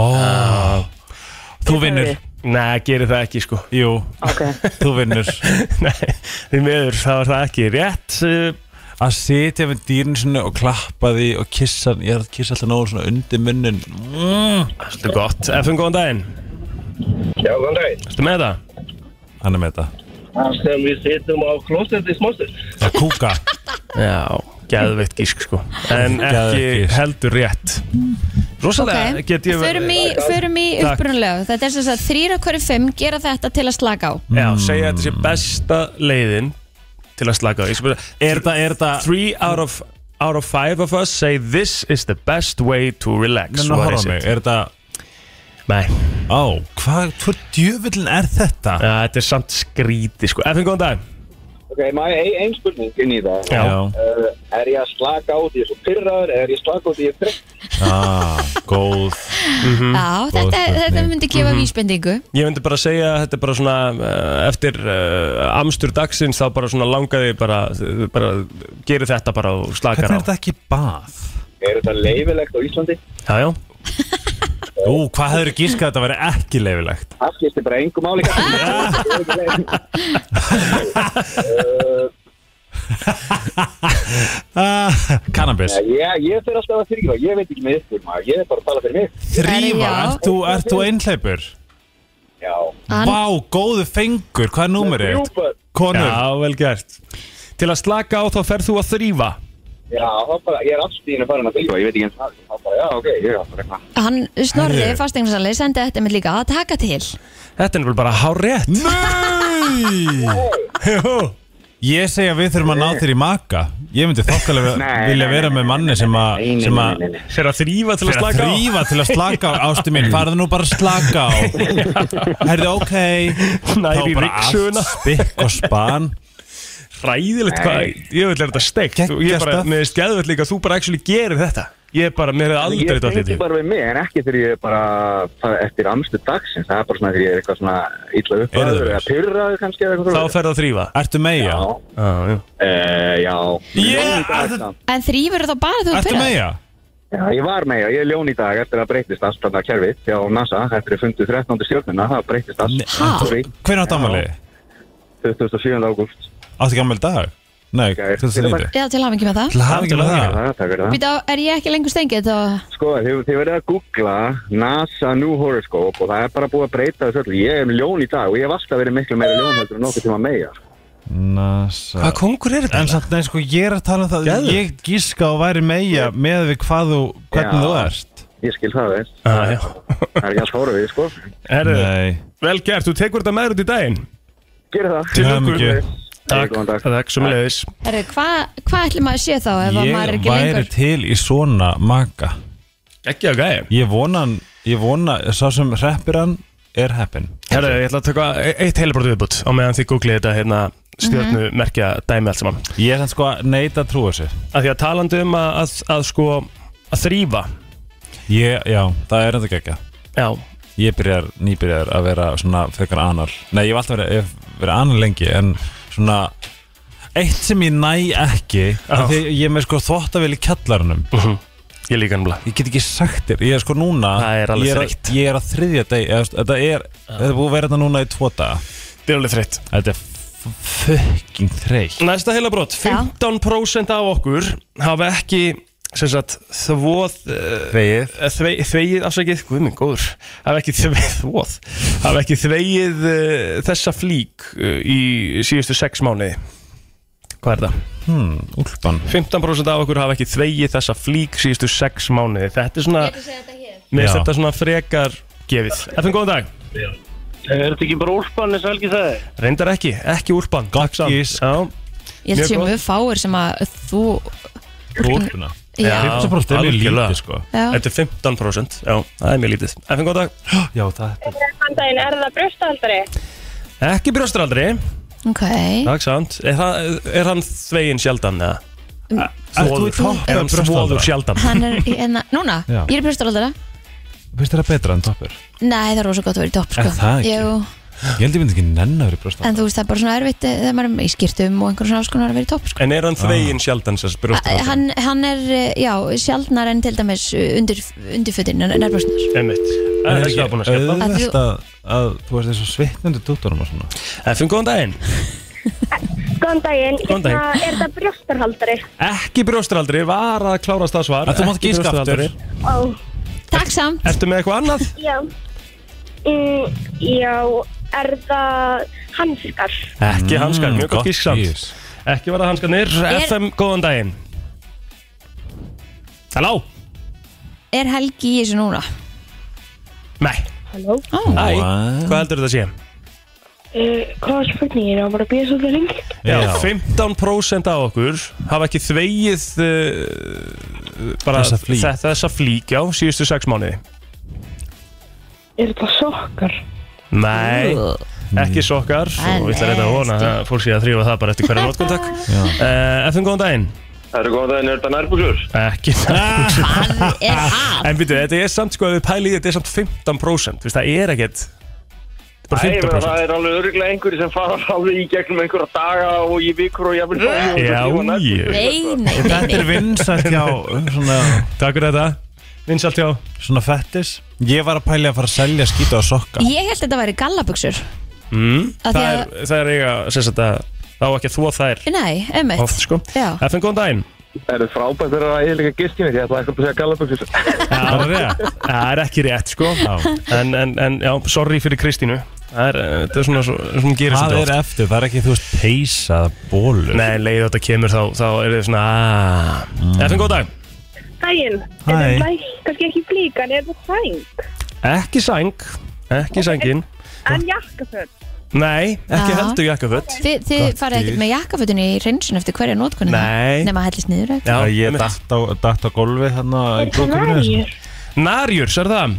[SPEAKER 3] Þú vinnur
[SPEAKER 1] Nei, gerir það ekki sko
[SPEAKER 3] Jú,
[SPEAKER 8] Ok.
[SPEAKER 3] þú vinnur
[SPEAKER 1] Nei, því miður, það var það ekki rétt uh,
[SPEAKER 3] að sitja með dýrin sinni og klappa því og kissa hann, ég er að kissa alltaf nógu svona undir munnin
[SPEAKER 1] Þetta er gott. FN, góðan daginn.
[SPEAKER 9] Já, góðan daginn.
[SPEAKER 1] Ertu með þetta?
[SPEAKER 3] hann er með þetta
[SPEAKER 9] Það sem við setjum á klósett í smóstur.
[SPEAKER 3] að kúka
[SPEAKER 1] Já, geðveitt gísk sko. En
[SPEAKER 3] Geðveikt
[SPEAKER 1] ekki
[SPEAKER 3] gísk.
[SPEAKER 1] heldur rétt. Rosalega
[SPEAKER 2] Ok,
[SPEAKER 1] get ég...
[SPEAKER 2] förum í, förum í
[SPEAKER 1] Takk.
[SPEAKER 2] upprunalega Þetta er sem sagt þrýra hverju fimm gera þetta til að slaka á
[SPEAKER 1] Já, segja að þetta sé besta leiðin til að slaka á. Ég skal bara-
[SPEAKER 3] er þetta, er þetta
[SPEAKER 1] Three out of, out of five of us say this is the best way to relax.
[SPEAKER 3] Nenna,
[SPEAKER 1] What
[SPEAKER 3] horfa
[SPEAKER 1] is
[SPEAKER 3] á mig,
[SPEAKER 1] it?
[SPEAKER 3] er þetta
[SPEAKER 1] Nei,
[SPEAKER 3] á, hvað, hvað djöfullin er þetta
[SPEAKER 1] ja, þetta er samt skríti sko. FN, góðan dag.
[SPEAKER 9] Ok, maður ein, ein spurning inn í það.
[SPEAKER 1] Já.
[SPEAKER 9] Uh, er ég að slaka á því ég er svo pyrraður, er ég að slaka á því ég er þreytt?
[SPEAKER 3] Ah,
[SPEAKER 2] Já,
[SPEAKER 3] góð Mhm. góð
[SPEAKER 2] þetta,
[SPEAKER 3] spurning. Mhm.
[SPEAKER 2] þetta myndi gefa vísbendingu
[SPEAKER 1] Ég myndi bara segja að þetta er bara svona eh, eftir uh, amstur dagsins þá bara svona langaði bara, bara gerir þetta bara og slakar á
[SPEAKER 3] hvernig er þetta ekki bað?
[SPEAKER 9] Er þetta leifilegt á Íslandi?
[SPEAKER 1] Já, já
[SPEAKER 3] Ú, hvað hefur gískað að þetta væri ekki leifilegt?
[SPEAKER 9] Það skiptir bara engum máli kannski.
[SPEAKER 3] Ah, cannabis
[SPEAKER 9] Eh, ég, ég fyrir alltaf að fyrirgefa, ég veit ekki með ykkur maður, ég er bara að tala fyrir mig.
[SPEAKER 3] Þrýfa,
[SPEAKER 2] já.
[SPEAKER 3] ert þú, ert þú einhleipur?
[SPEAKER 9] Já.
[SPEAKER 2] Hann-
[SPEAKER 3] Vá, góðu fengur, hvað er númerið? þitt?
[SPEAKER 9] Rjúpar.
[SPEAKER 3] Konur
[SPEAKER 1] Já, vel gert Til að slaka á þá ferð þú að þrýfa
[SPEAKER 9] Já, þá bara, ég er allt í hennu farin að fyrirgefa, ég veit ekki eins og það. Þá bara, já, ok, ég er alltaf eitthvað.
[SPEAKER 2] Hann snorði
[SPEAKER 3] Herðu.
[SPEAKER 2] fasteignarsali, sendi þetta með líka að taka til
[SPEAKER 1] Þetta er vel bara hár rétt
[SPEAKER 3] Nei Ég segi að við þurfum að ná þér í maka Ég myndi þokkalega
[SPEAKER 9] Nei,
[SPEAKER 3] vilja
[SPEAKER 9] nei,
[SPEAKER 3] vera
[SPEAKER 9] nei,
[SPEAKER 3] með
[SPEAKER 9] nei,
[SPEAKER 3] manni sem að
[SPEAKER 9] Nei, nei,
[SPEAKER 3] sem
[SPEAKER 9] nei,
[SPEAKER 3] að
[SPEAKER 9] nei, nei.
[SPEAKER 1] Fyrir að þrýfa til að
[SPEAKER 3] Fyrir að
[SPEAKER 1] slaka á
[SPEAKER 3] þrýfa til að slaka á Ástu mín, farðu nú bara að slaka á Herðu, ok
[SPEAKER 1] Nær í
[SPEAKER 3] Þá bara
[SPEAKER 1] ryggsöguna.
[SPEAKER 3] allt Spikk og span
[SPEAKER 1] Ræðilegt hvað, ég vil er þetta steikt
[SPEAKER 3] Geggjað
[SPEAKER 1] Og ég bara,
[SPEAKER 3] stöf.
[SPEAKER 1] mér er skeðvöld líka að þú bara actually gerir þetta Ég bara, mér hefði aldrei
[SPEAKER 9] Ég
[SPEAKER 1] þetta allir
[SPEAKER 9] fengi
[SPEAKER 1] til
[SPEAKER 9] bara við mig, en ekki þegar ég er bara það er eftir amstu dagsins, það er bara svona þegar ég er eitthvað svona
[SPEAKER 3] Eru
[SPEAKER 9] illa
[SPEAKER 3] þau
[SPEAKER 9] uppræður eða
[SPEAKER 3] vel?
[SPEAKER 9] pyrraður kannski eða eitthvað
[SPEAKER 1] Þá
[SPEAKER 9] svoleiðis.
[SPEAKER 1] ferð að þrýfa
[SPEAKER 3] Ertu meja?
[SPEAKER 9] Já.
[SPEAKER 1] ah, já.
[SPEAKER 9] Eh, já.
[SPEAKER 3] Ég-
[SPEAKER 9] Ljón í dag
[SPEAKER 3] að-
[SPEAKER 9] samt.
[SPEAKER 2] En þrýfur þá bara þú
[SPEAKER 3] Ertu
[SPEAKER 2] pirraður?
[SPEAKER 3] meja?
[SPEAKER 9] Já, ég var með, já, ég er ljón í dag eftir að breytist aðstæðna kerfið hjá NASA eftir að fundu 13. stjórnina, það breytist
[SPEAKER 2] Ha?
[SPEAKER 9] aðstæðna, sorry,
[SPEAKER 3] Hvernig áttu ammali?
[SPEAKER 9] 27. ágúst.
[SPEAKER 3] Áttu gammal dag? Nei,
[SPEAKER 9] Gær.
[SPEAKER 3] 2009
[SPEAKER 2] Já, til hafingi með það
[SPEAKER 3] Til hafingi með það
[SPEAKER 9] Það er takk fyrir það.
[SPEAKER 2] Býta, er ég ekki lengur stengið þá
[SPEAKER 9] Sko, þið, þið verðið að googla NASA New Horoscope og það er bara búið að breyta þessu öllu. Ég er með ljón í dag og ég hef alltaf verið miklu meira ljón heldur en nokkuð tíma meira. sko.
[SPEAKER 3] NASA
[SPEAKER 1] Hvað kongur er
[SPEAKER 3] En
[SPEAKER 1] þetta?
[SPEAKER 3] samt, nei, sko, ég er að tala um það
[SPEAKER 1] Geðveikt.
[SPEAKER 3] Ég gíska á væri meja með við hvað þú, hvernig
[SPEAKER 9] Já.
[SPEAKER 3] þú ert
[SPEAKER 9] Ég skil það, veist.
[SPEAKER 1] Ah, já.
[SPEAKER 9] Það er ekki alls horfið, sko.
[SPEAKER 1] Herðu,
[SPEAKER 3] Nei
[SPEAKER 1] vel gert, þú tekur þetta meður út í daginn
[SPEAKER 9] Gerið það.
[SPEAKER 1] Til
[SPEAKER 3] Til
[SPEAKER 1] lukku.
[SPEAKER 3] hamingju.
[SPEAKER 9] Takk. Góðan dag.
[SPEAKER 1] Takk, sömulegis
[SPEAKER 2] Herru, hvað hva ætlum maður að sé þá ef að maður er
[SPEAKER 3] Ég
[SPEAKER 2] ekki
[SPEAKER 3] væri
[SPEAKER 2] lengur?
[SPEAKER 3] til í svona maka
[SPEAKER 1] Ekki að gæja
[SPEAKER 3] Ég vona, hann- ég vona, sá sem hreppir hann er heppin
[SPEAKER 1] Herru, ég ætla að taka e- eitt heilabrót viðbútt á meðan þið googlið þetta hérna stjórnu
[SPEAKER 3] Mhm.
[SPEAKER 1] merkja dæmi allt saman
[SPEAKER 3] Ég er hann sko að neita að trúa sér
[SPEAKER 1] að því að talandi um að, að, að sko að þrýfa
[SPEAKER 3] ég, Já, það er enda gegja
[SPEAKER 1] já,
[SPEAKER 3] Ég byrjar, nýbyrjar að vera svona frekar anal Nei, ég hef alltaf verið, ég hef verið anal lengi En svona Eitt sem ég næ ekki
[SPEAKER 1] Já.
[SPEAKER 3] af Því ég er með sko þvottavél í kjallarunum
[SPEAKER 1] ég líka nefnilega
[SPEAKER 3] ég get ekki sagt þér, ég er sko núna
[SPEAKER 1] Það er alveg
[SPEAKER 3] ég að-
[SPEAKER 1] þreytt.
[SPEAKER 3] ég er að þriðja deg, eða, þú veist, þetta er þetta er búið að vera þetta núna í tvo daga
[SPEAKER 1] þetta er alveg þreytt
[SPEAKER 3] þetta er f- fucking þreytt
[SPEAKER 1] næsta heilabrót, 15% af okkur hafa ekki sem sagt þvoð eh,
[SPEAKER 3] þreyð
[SPEAKER 1] eh, þvei- þvegið afsakið, guð minn góður hafa ekki þveið þvoð hafa ekki þvegið uh, þessa flík uh, í síðustu 6 mánuði hvað er það?
[SPEAKER 3] Hmm, úlpan
[SPEAKER 1] 15% af okkur hafa ekki þvegið þessa flík síðustu 6 mánuði. Þetta er svona, mér
[SPEAKER 3] Já.
[SPEAKER 1] finnst þetta svona frekar gefið. Efum góðan dag.
[SPEAKER 9] Er þetta ekki bara úrspann eins og helgi það er?
[SPEAKER 1] Reyndar ekki, ekki úrbann.
[SPEAKER 3] Gott gísk.
[SPEAKER 1] Já,
[SPEAKER 2] Ég held
[SPEAKER 1] Mjög
[SPEAKER 2] sé
[SPEAKER 1] gott.
[SPEAKER 2] mjög fáir sem að þú
[SPEAKER 3] úlpuna
[SPEAKER 1] Já.
[SPEAKER 2] Já,
[SPEAKER 3] 15% er mjög
[SPEAKER 1] algjörlega.
[SPEAKER 3] lítið sko
[SPEAKER 2] já.
[SPEAKER 1] þetta er 15%. Já, það er mjög lítið. Efum góðan dag.
[SPEAKER 3] já, það er
[SPEAKER 8] Handaginn, er það brjóstahaldari?
[SPEAKER 1] Ekki brjóstraldri.
[SPEAKER 2] ok
[SPEAKER 1] Takk samt. Er, það- er hann þvegin sjaldan eða?
[SPEAKER 3] Ert þú í
[SPEAKER 1] Þvoður-
[SPEAKER 3] topp
[SPEAKER 1] Er
[SPEAKER 3] eða
[SPEAKER 1] hann
[SPEAKER 3] brjóstaldra?
[SPEAKER 1] svoður sjaldan?
[SPEAKER 2] Hann er, hérna, núna,
[SPEAKER 3] Já.
[SPEAKER 2] ég er brjóstaraldara
[SPEAKER 3] finnst þér það betra en toppur?
[SPEAKER 2] Nei, það er rosa gott að vera í topp sko.
[SPEAKER 3] Er það ekki?
[SPEAKER 2] Jú,
[SPEAKER 3] ég held ég myndi ekki nenn að vera
[SPEAKER 2] En
[SPEAKER 3] brjóstaldra
[SPEAKER 2] þú veist, það er bara svona erfitt eh, þegar maður er í skýrtum og einhverjum svona áskonar að vera í topp sko. Eh,
[SPEAKER 1] En er
[SPEAKER 3] Ah.
[SPEAKER 1] hann þvegin sjaldan sem brjóstraldri?
[SPEAKER 2] hann, hann er, eh, já, sjaldnar en til dæmis eh, undir, undirfötin en er brjóstnar
[SPEAKER 1] Einmitt.
[SPEAKER 3] En
[SPEAKER 1] Það er
[SPEAKER 3] er
[SPEAKER 1] ekki það búin að
[SPEAKER 3] ekki
[SPEAKER 1] skella.
[SPEAKER 3] auðvelt að, að þú veist þessu svitnandi dúttunum og svona
[SPEAKER 1] Efum góðan daginn.
[SPEAKER 7] Góðan daginn.
[SPEAKER 1] Góðan daginn.
[SPEAKER 7] Hérna, Er þetta brjóstarhaldari?
[SPEAKER 1] Ekki brjóstraldri, var að klárast það svar
[SPEAKER 3] En þú mátt
[SPEAKER 1] Ekki
[SPEAKER 3] giska aftur.
[SPEAKER 1] brjóstraldri.
[SPEAKER 7] Ó,
[SPEAKER 2] Takk samt
[SPEAKER 1] Ertu með eitthvað annað?
[SPEAKER 7] já. Mm, já, er það hanskar?
[SPEAKER 3] Mm,
[SPEAKER 1] Ekki hanskar,
[SPEAKER 3] Hmm,
[SPEAKER 1] mjög gott gísk samt
[SPEAKER 3] gís.
[SPEAKER 1] Ekki var það hanskarnir,
[SPEAKER 2] Er-
[SPEAKER 1] FM, góðan daginn Halló?
[SPEAKER 2] Er Helgi í þessu núna?
[SPEAKER 1] Nei,
[SPEAKER 2] Ó,
[SPEAKER 1] Æ,
[SPEAKER 3] What?
[SPEAKER 1] hvað heldur þetta að sé?
[SPEAKER 7] Uh, hvað er spurningin? Ég var bara að býja svolítið lengi.
[SPEAKER 1] Já,
[SPEAKER 3] Já.
[SPEAKER 1] 15% af okkur hafa ekki þvegið uh, bara
[SPEAKER 3] Þessa flík.
[SPEAKER 1] þe- þessa flík já, síðustu sex mánuði
[SPEAKER 7] Er þetta sokkar?
[SPEAKER 1] Nei, ekki sokkar
[SPEAKER 2] Nei,
[SPEAKER 1] og við ætlum reynda að vona að fólk sé að þrýfa það bara eftir hverja notkuntak uh, FM, góðan daginn
[SPEAKER 9] Það eru góðan daginn, er þetta nærbúsur?
[SPEAKER 1] Ekki
[SPEAKER 2] hvað er að?
[SPEAKER 1] En byrju, þetta er samt sko, ef við pælið, þetta er samt 15% Vist, það er ekkert Þetta er bara
[SPEAKER 9] Nei,
[SPEAKER 1] 15%
[SPEAKER 9] það er alveg öruglega einhverju sem fara alveg í gegnum einhverja daga og í vikur og jafnvel mánuði og
[SPEAKER 1] Já,
[SPEAKER 9] svo lífa
[SPEAKER 1] ég
[SPEAKER 9] nærbúsur.
[SPEAKER 2] Nei, nei, nei,
[SPEAKER 3] Þetta er
[SPEAKER 2] nei.
[SPEAKER 3] vinsætt hjá um, svona,
[SPEAKER 1] Takk fyrir þetta Vinsalt hjá
[SPEAKER 3] svona fettis Ég var að pæli að fara að selja skýta á sokka
[SPEAKER 2] Ég held að þetta væri gallabuxur
[SPEAKER 1] mm.
[SPEAKER 2] Af
[SPEAKER 1] það,
[SPEAKER 2] því að-
[SPEAKER 1] er, það er eiga sem sagt að þá ekki að þvo þær
[SPEAKER 2] Nei, emmitt
[SPEAKER 1] oft sko
[SPEAKER 2] Já.
[SPEAKER 1] FM góðan daginn
[SPEAKER 9] Það eru frábært þegar það er líka gistinni, ég ætla ekki að segja gallaböksis.
[SPEAKER 1] Það er rétt Það er ekki rétt sko en, en, en já, sorry fyrir Kristínu Það er, eh, þetta er svona svo- sem gerir
[SPEAKER 3] Það
[SPEAKER 1] svolítið
[SPEAKER 3] er
[SPEAKER 1] oft
[SPEAKER 3] eftir, það er ekki þú veist peysa bólur
[SPEAKER 1] Nei, leið þetta kemur þá, þá er þið svona aaa. FM góðan dag
[SPEAKER 7] Daginn.
[SPEAKER 3] Hæ.
[SPEAKER 7] Er þetta læk, kannski ekki flíkan, er þetta sæng?
[SPEAKER 1] Ekki sæng Ekki sængin
[SPEAKER 7] En jakkaföld?
[SPEAKER 1] Nei, ekki
[SPEAKER 2] Já.
[SPEAKER 1] heldur jakkaföld
[SPEAKER 2] Þi, Þið farið ekkert með jakkafötunni í reynsun eftir hverja notkunni
[SPEAKER 1] Nei.
[SPEAKER 2] Nefn að hellist niður ekki
[SPEAKER 1] Já,
[SPEAKER 3] Ég
[SPEAKER 1] einmitt.
[SPEAKER 3] datt á, datt á golfi hérna í
[SPEAKER 7] Er þetta
[SPEAKER 3] brúðkaupinu þessu.
[SPEAKER 7] nægjur?
[SPEAKER 1] Narjurs, er það?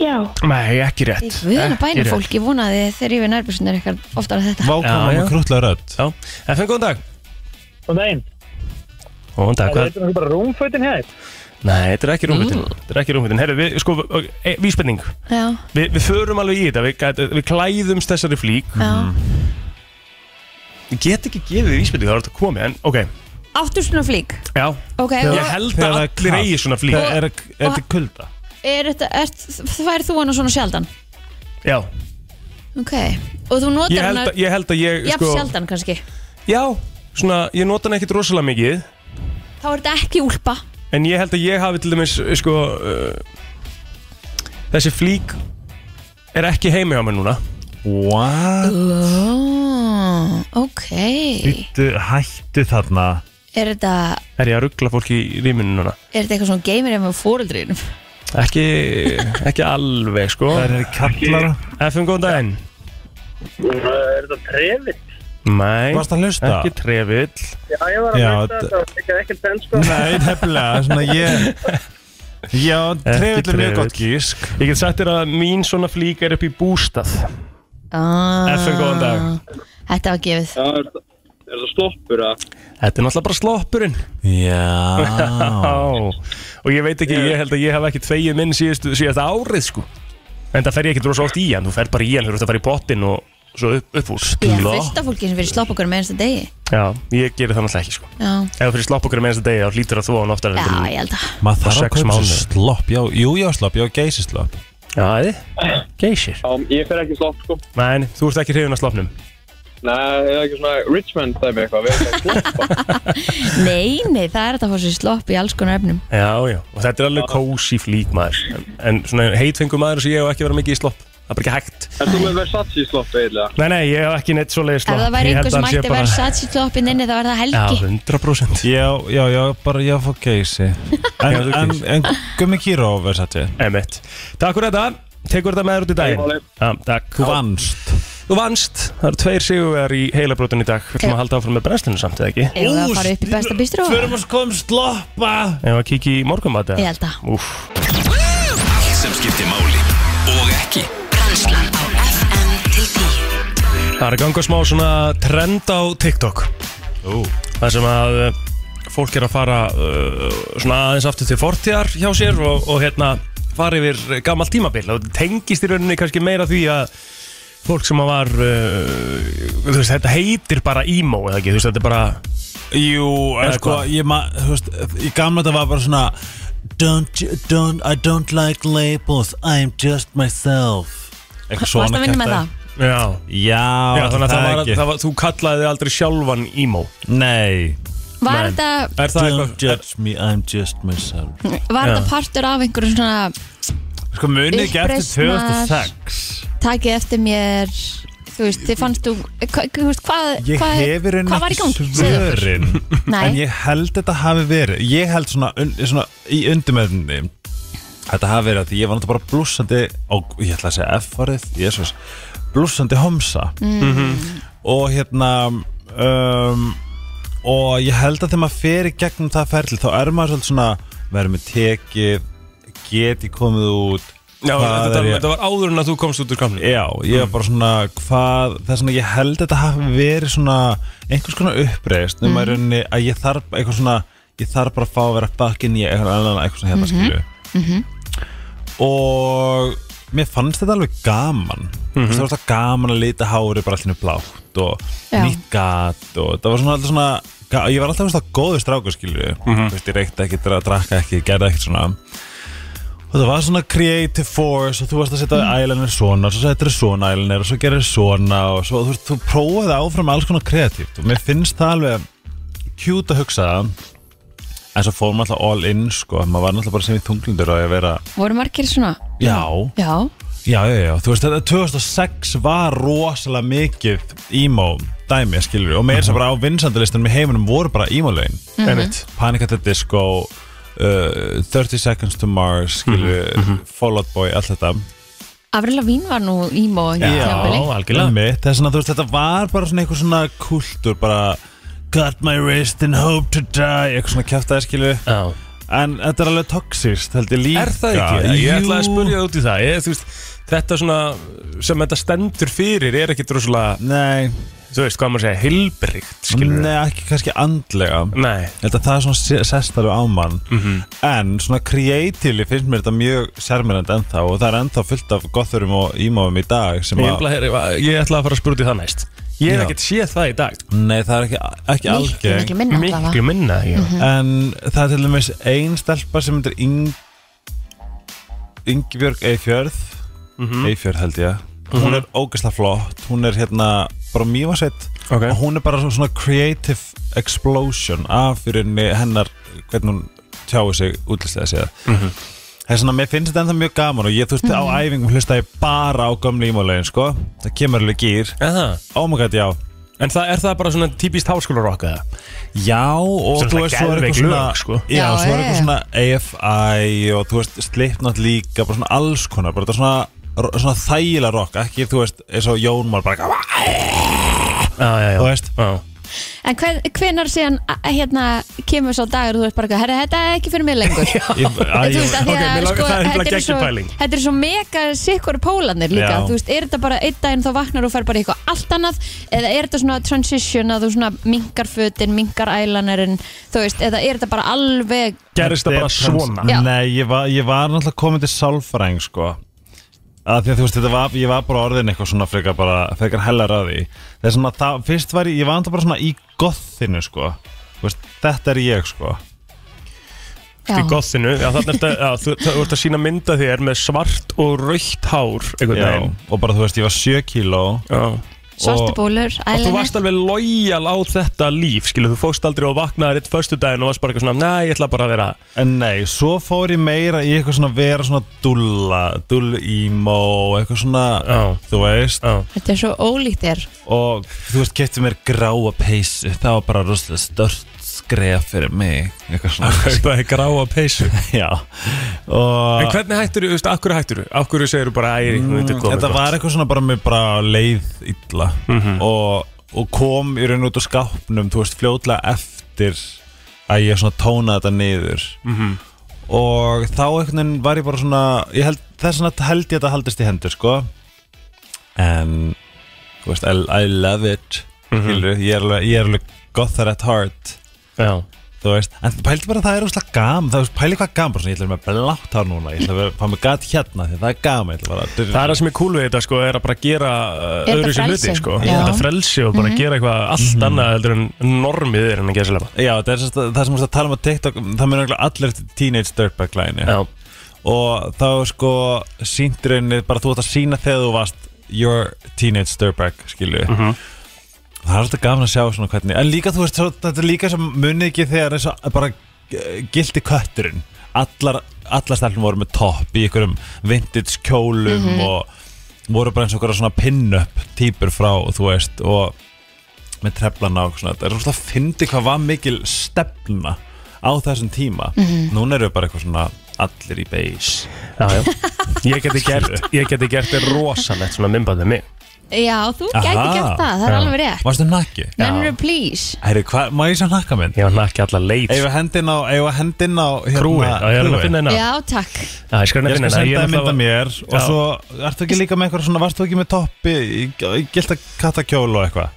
[SPEAKER 7] Já.
[SPEAKER 1] Nei, ekki rétt
[SPEAKER 2] Við erum að
[SPEAKER 1] Ekki
[SPEAKER 2] bæna
[SPEAKER 1] rétt.
[SPEAKER 2] fólk, ég vonaði þegar ég við nærbúsunar eitthvað oftar að þetta
[SPEAKER 3] Vá,
[SPEAKER 1] Já,
[SPEAKER 3] komum
[SPEAKER 1] já.
[SPEAKER 3] við krútlega rödd
[SPEAKER 1] Já, FM góðan dag
[SPEAKER 9] Og nein,
[SPEAKER 1] Góðan dag, hvað?
[SPEAKER 9] þetta bara rúmfötin hér.
[SPEAKER 1] Nei, þetta er
[SPEAKER 2] Mm.
[SPEAKER 1] ekki rúmfittin Þetta er ekki rúmfittin Herru, við, sko, ok, e, víspenning
[SPEAKER 2] Já,
[SPEAKER 1] Vi, Við förum alveg í þetta Við, gæt- við klæðumst þessari flík
[SPEAKER 2] já
[SPEAKER 1] Ég get ekki gefið víspenning Það er þetta komið En, ok,
[SPEAKER 2] Áttu svona flík
[SPEAKER 1] já
[SPEAKER 2] Ok,
[SPEAKER 1] Ég
[SPEAKER 2] og
[SPEAKER 1] held
[SPEAKER 3] Þegar
[SPEAKER 1] að
[SPEAKER 3] það er
[SPEAKER 1] allir
[SPEAKER 3] kalt.
[SPEAKER 1] eigi svona flík
[SPEAKER 3] Þegar Er er þetta kulda?
[SPEAKER 2] er þetta, er, færð þú hana svona sjaldan?
[SPEAKER 1] Já,
[SPEAKER 2] Ok, og þú
[SPEAKER 1] ég
[SPEAKER 2] notar
[SPEAKER 1] held
[SPEAKER 2] hana
[SPEAKER 1] að ég, held að ég
[SPEAKER 2] Jafn
[SPEAKER 1] sko,
[SPEAKER 2] sjaldan kannski
[SPEAKER 1] Já, svona, ég nota hana ekkit rosalega mikið
[SPEAKER 2] Þá er þetta ekki úlpa
[SPEAKER 1] En ég held að ég hafi til dæmis sko, uh, Þessi flík Er ekki heimi á mig núna
[SPEAKER 3] What?
[SPEAKER 2] oh, Ok
[SPEAKER 3] Býttu, hættu þarna
[SPEAKER 2] Er þetta,
[SPEAKER 1] Er ég að ruggla fólki í rýminu núna
[SPEAKER 2] er þetta eitthvað svona geimir ef með fóreldrinum?
[SPEAKER 1] Ekki, ekki alveg sko
[SPEAKER 3] Það er kallara
[SPEAKER 1] FM, góðan daginn
[SPEAKER 9] Er þetta trefið?
[SPEAKER 1] Nei,
[SPEAKER 3] Varst að hlusta?
[SPEAKER 1] ekki trefill
[SPEAKER 9] Já, ég var
[SPEAKER 3] Já,
[SPEAKER 9] hlusta,
[SPEAKER 3] þetta-
[SPEAKER 9] var ekki ekkert benn, sko.
[SPEAKER 3] Nei, nefnilega, svona ég Já, trefill er mjög gott gísk
[SPEAKER 1] Ég get sagt þér að mín svona flík er upp í bústað
[SPEAKER 2] Ah,
[SPEAKER 1] FM, góðan dag.
[SPEAKER 2] Þetta var gefið
[SPEAKER 9] Já, er þetta- er þetta sloppur, að?
[SPEAKER 1] Þetta er náttúrulega bara sloppurinn
[SPEAKER 3] Já
[SPEAKER 1] Á. Og ég veit ekki, ég held að ég hef ekki tvegið minn síðast, síðast árið sko En það fer ég ekki drosa oft í hann, þú fer bara í hann, þú ert að fara í pottin og svo upp, upp úr
[SPEAKER 2] Ég er fullt af fólki sem fyrir slopp okkur með einsta degi
[SPEAKER 1] Já, ég gerir það náttúrulega ekki sko
[SPEAKER 2] Já,
[SPEAKER 1] Ef þú fyrir slopp okkur með einsta degi, þá hlýtur að þú á hann oftar
[SPEAKER 2] já
[SPEAKER 1] heldur en-
[SPEAKER 2] ég held að
[SPEAKER 3] Maður þarf að
[SPEAKER 1] Sex
[SPEAKER 3] kaupa
[SPEAKER 1] mánuði.
[SPEAKER 3] sér slopp, já, jú, já, slopp, já, geysi slopp
[SPEAKER 1] Já, þið? Geysir
[SPEAKER 9] Já, ég fer ekki slopp, sko.
[SPEAKER 1] Nei, þú ert ekki hrifin að sloppnum
[SPEAKER 9] Nei, ég er ekki svona Richmond dæmi eitthvað, við erum ekki sloppa.
[SPEAKER 2] Nei, nei, það er þetta að fá sér slopp í alls konar efnum
[SPEAKER 1] Já, já, og þetta er alveg kósi flík maður En, en svona heitfengu maður sem ég hef ekki verið mikið í slopp Það er bara ekki hægt
[SPEAKER 9] Er þú með Versace slopp eiginlega?
[SPEAKER 1] Nei, nei, ég hef ekki neitt svoleiði
[SPEAKER 2] Ef
[SPEAKER 1] slopp
[SPEAKER 2] það væri
[SPEAKER 1] Ég held
[SPEAKER 2] einhver sem
[SPEAKER 1] að hann sé
[SPEAKER 2] ætti verið satt sér sloppin inni þá er það helgi
[SPEAKER 1] Já, 100%
[SPEAKER 3] Já, já, já, bara já, fór geysi En,
[SPEAKER 1] Já, þú
[SPEAKER 3] en,
[SPEAKER 1] Geysi.
[SPEAKER 3] en Gummi Kíró, verðs að þetta
[SPEAKER 1] Emmett Takk fyrir þetta Tekur þetta með þér út í daginn
[SPEAKER 9] máli.
[SPEAKER 1] Já, takk
[SPEAKER 3] Þú vannst
[SPEAKER 1] Þú vannst Það eru tveir sigurvegar í heilabrótun í dag Við ætlum
[SPEAKER 2] Já.
[SPEAKER 1] að halda áfram með brennslunum samt, eða ekki?
[SPEAKER 2] Ef það fara upp í besta bistró
[SPEAKER 3] Förum að skoðum sloppa
[SPEAKER 1] Ef að kíkja í morgum að
[SPEAKER 2] Ég held að
[SPEAKER 1] Úf,
[SPEAKER 5] Allt sem skiptir máli og ekki
[SPEAKER 10] Brennslan á FM til 10
[SPEAKER 1] það er að ganga smá svona trend á TikTok
[SPEAKER 3] Ú,
[SPEAKER 1] Það sem að uh, fólk er að fara uh, svona aðeins aftur til fortíðar hjá sér og, og hérna fara yfir gammal tímabil og tengist í rauninni kannski meira því að fólk sem að var uh, þú veist, þetta heitir bara emo eða ekki, þú veist, þetta er bara
[SPEAKER 3] Jú, en
[SPEAKER 1] Eða
[SPEAKER 3] sko,
[SPEAKER 1] hvað?
[SPEAKER 3] ég ma, þú veist, í gamla þetta var bara svona Don't, you- don't, I don't like labels, I'm just myself Eitthvað
[SPEAKER 2] Varst að vinna með
[SPEAKER 3] kjaftaði.
[SPEAKER 2] það?
[SPEAKER 1] Já,
[SPEAKER 3] Já,
[SPEAKER 1] Já þannig að það var,
[SPEAKER 3] ekki.
[SPEAKER 1] það var, þú kallaði þig aldrei sjálfan emo
[SPEAKER 3] Nei
[SPEAKER 2] Var
[SPEAKER 1] Nei.
[SPEAKER 2] þetta
[SPEAKER 1] Er það eitthvað?
[SPEAKER 3] judge me, I'm just myself
[SPEAKER 1] Já.
[SPEAKER 2] var þetta partur af einhverjum svona
[SPEAKER 3] Sko munið ekki eftir
[SPEAKER 2] Uppreisnar.
[SPEAKER 3] 2006
[SPEAKER 2] takið eftir mér þú veist, þið fannst þú hva, hva, hvað,
[SPEAKER 3] Ég
[SPEAKER 2] hvað,
[SPEAKER 3] hef í rauninni
[SPEAKER 2] hvað var í gangi?
[SPEAKER 3] ekki
[SPEAKER 2] Segðu okkur.
[SPEAKER 3] svörin
[SPEAKER 2] Nei.
[SPEAKER 3] En ég held þetta hafi verið Ég held svona, un, svona í undumöðinni Þetta hafi verið að því ég var náttúrulega bara blúsandi Og ég ætla að segja F-varðið Jésus Blúsandi homsa Og hérna um, Og ég held að þegar maður fer í gegnum það ferli Þá er maður svolítið svona Verður með tekið Get ég komið út
[SPEAKER 1] Já,
[SPEAKER 3] Hvað
[SPEAKER 1] þetta,
[SPEAKER 3] er ég-
[SPEAKER 1] þetta var áður en að þú komst út úr kamni
[SPEAKER 3] Já, ég var bara svona hvað, það er svona, ég held þetta hafi verið svona einhvers konar uppreist nema í rauninni að ég þarf eitthvað svona ég þarf bara að fá að vera back in í eitthvað annan eitthvað svona hérna skilju og mér fannst þetta alveg gaman það var alltaf gaman að lita hári bara allinu blátt og
[SPEAKER 2] Já.
[SPEAKER 3] nýtt gat og það var svona alltaf svona ga- ég var alltaf svona góður strákur skilju þú veist, ég reykti ekki, dra- drakk ekki, gerði ekkert svona og það var svona creative force og þú varst að setja eyeliner svona svo settir þið svona eyeliner og svo gerir þið svona og svo, þú, veist, þú prófaði áfram alls konar kreatíft og mér finnst það alveg cute að hugsa það en svo fór maður alltaf all in sko maður var náttúrulega bara sem í þunglindur og ég vera
[SPEAKER 2] voru margir svona?
[SPEAKER 3] já,
[SPEAKER 2] já,
[SPEAKER 3] já, já, já, þú veist þetta 2006 var rosalega mikið emo dæmi skilur og
[SPEAKER 1] Mhm.
[SPEAKER 3] meir sem bara á vinsandalistunum í heiminum voru bara emo lögin
[SPEAKER 1] Einmitt.
[SPEAKER 3] Panic at the Disco uh, 30 Seconds to Mars skilur,
[SPEAKER 1] Mhm,
[SPEAKER 3] Fall Out Boy, allt þetta
[SPEAKER 2] Avrila Vín var nú hérna, ímó já,
[SPEAKER 3] Einmitt, það er svona, þú veist, þetta var bara svona einhver svona kultúr bara got my wrist and hope to die eitthvað svona kjæftæði skilu
[SPEAKER 1] Já.
[SPEAKER 3] en þetta er alveg toxist, held ég líka
[SPEAKER 1] Er það ekki? Ég
[SPEAKER 3] Jú.
[SPEAKER 1] ætlaði að spurja út í það ég, þú veist, Þetta svona sem þetta stendur fyrir er ekki droslega,
[SPEAKER 3] Nei,
[SPEAKER 1] þú veist hvað maður segja, hilbrikt skilur
[SPEAKER 3] nei, ekki kannski andlega
[SPEAKER 1] Nei.
[SPEAKER 3] Ég held að það er svona se- sest alveg á mann en svona creatively finnst mér þetta mjög sérmyrrend ennþá og það er ennþá fullt af gothurum og ímáum í dag sem
[SPEAKER 1] Ég,
[SPEAKER 3] að,
[SPEAKER 1] ætla, að- ég ætla að fara að spurja út í það næst Ég hef
[SPEAKER 3] Já.
[SPEAKER 1] ekkert séð það í dag
[SPEAKER 3] nei það er ekki, ekki
[SPEAKER 2] miklu,
[SPEAKER 3] algeng
[SPEAKER 2] miklu minna allavega
[SPEAKER 1] Miklu minna já.
[SPEAKER 3] Mm. En það er til dæmis ein stelpa sem myndir Yng... Yngbjörg Eifjörð Eifjörð held ég Hún er ógeðslega flott Hún er hérna bara mývasett
[SPEAKER 1] Ok.
[SPEAKER 3] Og hún er bara svo- svona creative explosion Af fyrir hennar Hvernig hún tjáu sig útlistlega séð Það er svona, mér finnst þetta ennþá mjög gaman og ég, þú veist, á æfingum hlusta ég bara á gömlu ímálegin, sko. Það kemur alveg gýr.
[SPEAKER 1] Er það?
[SPEAKER 3] Oh my god, já.
[SPEAKER 1] En það, er það bara svona típist háskólarokk eða?
[SPEAKER 3] Já, og
[SPEAKER 1] Sem
[SPEAKER 3] þú
[SPEAKER 1] það
[SPEAKER 3] veist, svo er
[SPEAKER 1] geðveik
[SPEAKER 3] eitthvað svona
[SPEAKER 1] lög, sko.
[SPEAKER 3] Já,
[SPEAKER 2] Já,
[SPEAKER 3] svo er
[SPEAKER 2] já,
[SPEAKER 3] eitthvað
[SPEAKER 2] já.
[SPEAKER 3] svona AFI og þú veist, Slipknot líka bara svona alls konar, bara þetta svona svona þægilega rock, ekki þú veist eins og Jón Már bara eitthvað,
[SPEAKER 1] Já, já, já
[SPEAKER 3] þú veist
[SPEAKER 1] Já.
[SPEAKER 2] en hven, hvenar síðan a- hérna kemur svo dagur þú veist bara herra þetta er ekki fyrir mig lengur
[SPEAKER 3] Ég- æ,
[SPEAKER 2] Þú veist, af því
[SPEAKER 1] Ok,
[SPEAKER 2] að,
[SPEAKER 1] mér langar- það
[SPEAKER 2] sko,
[SPEAKER 1] er
[SPEAKER 2] þetta
[SPEAKER 1] nefnilega
[SPEAKER 2] er svo-
[SPEAKER 1] geggjupæling.
[SPEAKER 2] þetta er svo mega sikkur pólarnir líka
[SPEAKER 3] Já.
[SPEAKER 2] þú veist, er þetta bara einn daginn þá vaknar og fer bara í eitthvað allt annað eða er þetta svona transition að þú svona minkar fötin, minkar ælanarinn þú veist, eða er þetta bara alveg
[SPEAKER 1] Gerist það bara svona?
[SPEAKER 2] Já.
[SPEAKER 3] Nei, ég var, ég var náttúrulega komin til sálfræðing, sko að því að þú veist, þetta var, ég var bara orðin eitthvað svona frekar bara, frekar hellar að því það er svona, það, fyrst var ég, ég var náttúrulega bara svona í gothinu, sko Þú veist, þetta er ég, sko
[SPEAKER 1] í gothinu já, þarna ertu- já, þú, þú ert að sína mynda þér með svart og raukt hár einhvern
[SPEAKER 3] Já,
[SPEAKER 1] veginn
[SPEAKER 3] og bara, þú veist, ég var 7 kíló
[SPEAKER 1] Já.
[SPEAKER 2] svartu bólur,
[SPEAKER 1] og þú
[SPEAKER 2] eyeliner
[SPEAKER 1] varst alveg lojal á þetta líf skilu, þú fókst aldrei og vaknaði eitt förstu daginn og varst bara eitthvað svona, næ, ég ætla bara að vera
[SPEAKER 3] En nei, svo fór ég meira í eitthvað svona vera svona dulla, dull emo, eitthvað svona,
[SPEAKER 1] Já.
[SPEAKER 3] þú veist,
[SPEAKER 1] Já.
[SPEAKER 2] þetta er svo ólíkt þér
[SPEAKER 3] og þú veist, kefti mér gráa peysu, það var bara rosalega stört skref fyrir mig, eitthvað svona,
[SPEAKER 1] kaupaði gráa peysu
[SPEAKER 3] já,
[SPEAKER 1] en
[SPEAKER 3] og
[SPEAKER 1] hvernig hættur þú, veist, akkur hættur þú akkur segir þú bara, æri, þú veitir komið
[SPEAKER 3] þetta var eitthvað svona bara mér bara leið illa
[SPEAKER 1] Mhm.
[SPEAKER 3] og, og kom í raun út úr skápnum, þú veist, fljótlega eftir að ég svona tónaði þetta niður
[SPEAKER 1] Mhm.
[SPEAKER 3] og þá einhvern veginn var ég bara svona ég held, þess vegna held ég að þetta haldist í hendur sko en þú veist, I, I love it mm
[SPEAKER 1] Mhm.
[SPEAKER 3] ég er alveg, ég er alveg gothar at heart
[SPEAKER 1] já.
[SPEAKER 3] þú veist, en pældi bara að það er úrslega gam það er pældi hvað gam, bara svona, ég ætla að vera með blátt hár núna ég ætla að vera- fá mig gat hérna því það er gam ég ætla bara að
[SPEAKER 1] það er það sem er cool við þetta sko, er að bara gera
[SPEAKER 2] Er þetta
[SPEAKER 1] öðru sem
[SPEAKER 2] frelsi?
[SPEAKER 1] hluti sko.
[SPEAKER 2] Já. Mhm.
[SPEAKER 1] þetta frelsi og bara gera eitthvað allt annað heldur en normið er en að gera sérlega
[SPEAKER 3] Já, það er sérst, það sem þú ert að tala um á TikTok það mjög allir eftir teenage dirtbag læni
[SPEAKER 1] já,
[SPEAKER 3] og þá er sko síntrunni bara þú ætti að sína þegar þú varst your teenage dirtbag skilju það er alltaf gaman að sjá svona hvernig en líka þú veist, svo, þetta er líka sem munið ekki þegar eins og bara gildi kötturinn allar, allar stelpum voru með topp í einhverjum vintage kjólum
[SPEAKER 11] Mhm.
[SPEAKER 3] og voru bara eins og einhverja svona pin-up týpur frá, þú veist og með treflan á svona, það er svona að fyndi hvað var mikil stefna á þessum tíma
[SPEAKER 1] Mhm.
[SPEAKER 3] núna eru bara eitthvað svona allir í beis
[SPEAKER 1] já, já. Ég geti gert, ég geti gert þér rosalegt svona mymbandið mig
[SPEAKER 2] Já, þú gæti gert það, það er alveg rétt
[SPEAKER 3] Varstu nakki?
[SPEAKER 2] Nennur please
[SPEAKER 3] Herri, hvað, má ég sem nakka minn?
[SPEAKER 1] Já, nakki alla leit
[SPEAKER 3] Eða hendin á, eða hendin á hérna,
[SPEAKER 1] Krúið, já, ég er alveg að finna hérna
[SPEAKER 2] Já, takk
[SPEAKER 1] Já, ég skal
[SPEAKER 3] Ég
[SPEAKER 1] nefna
[SPEAKER 3] skal
[SPEAKER 1] hérna
[SPEAKER 3] senda það mynda mér og
[SPEAKER 1] Já.
[SPEAKER 3] svo, ertu ekki líka með eitthvað svona, varstu ekki með toppi, gilt að katta kjól og eitthvað?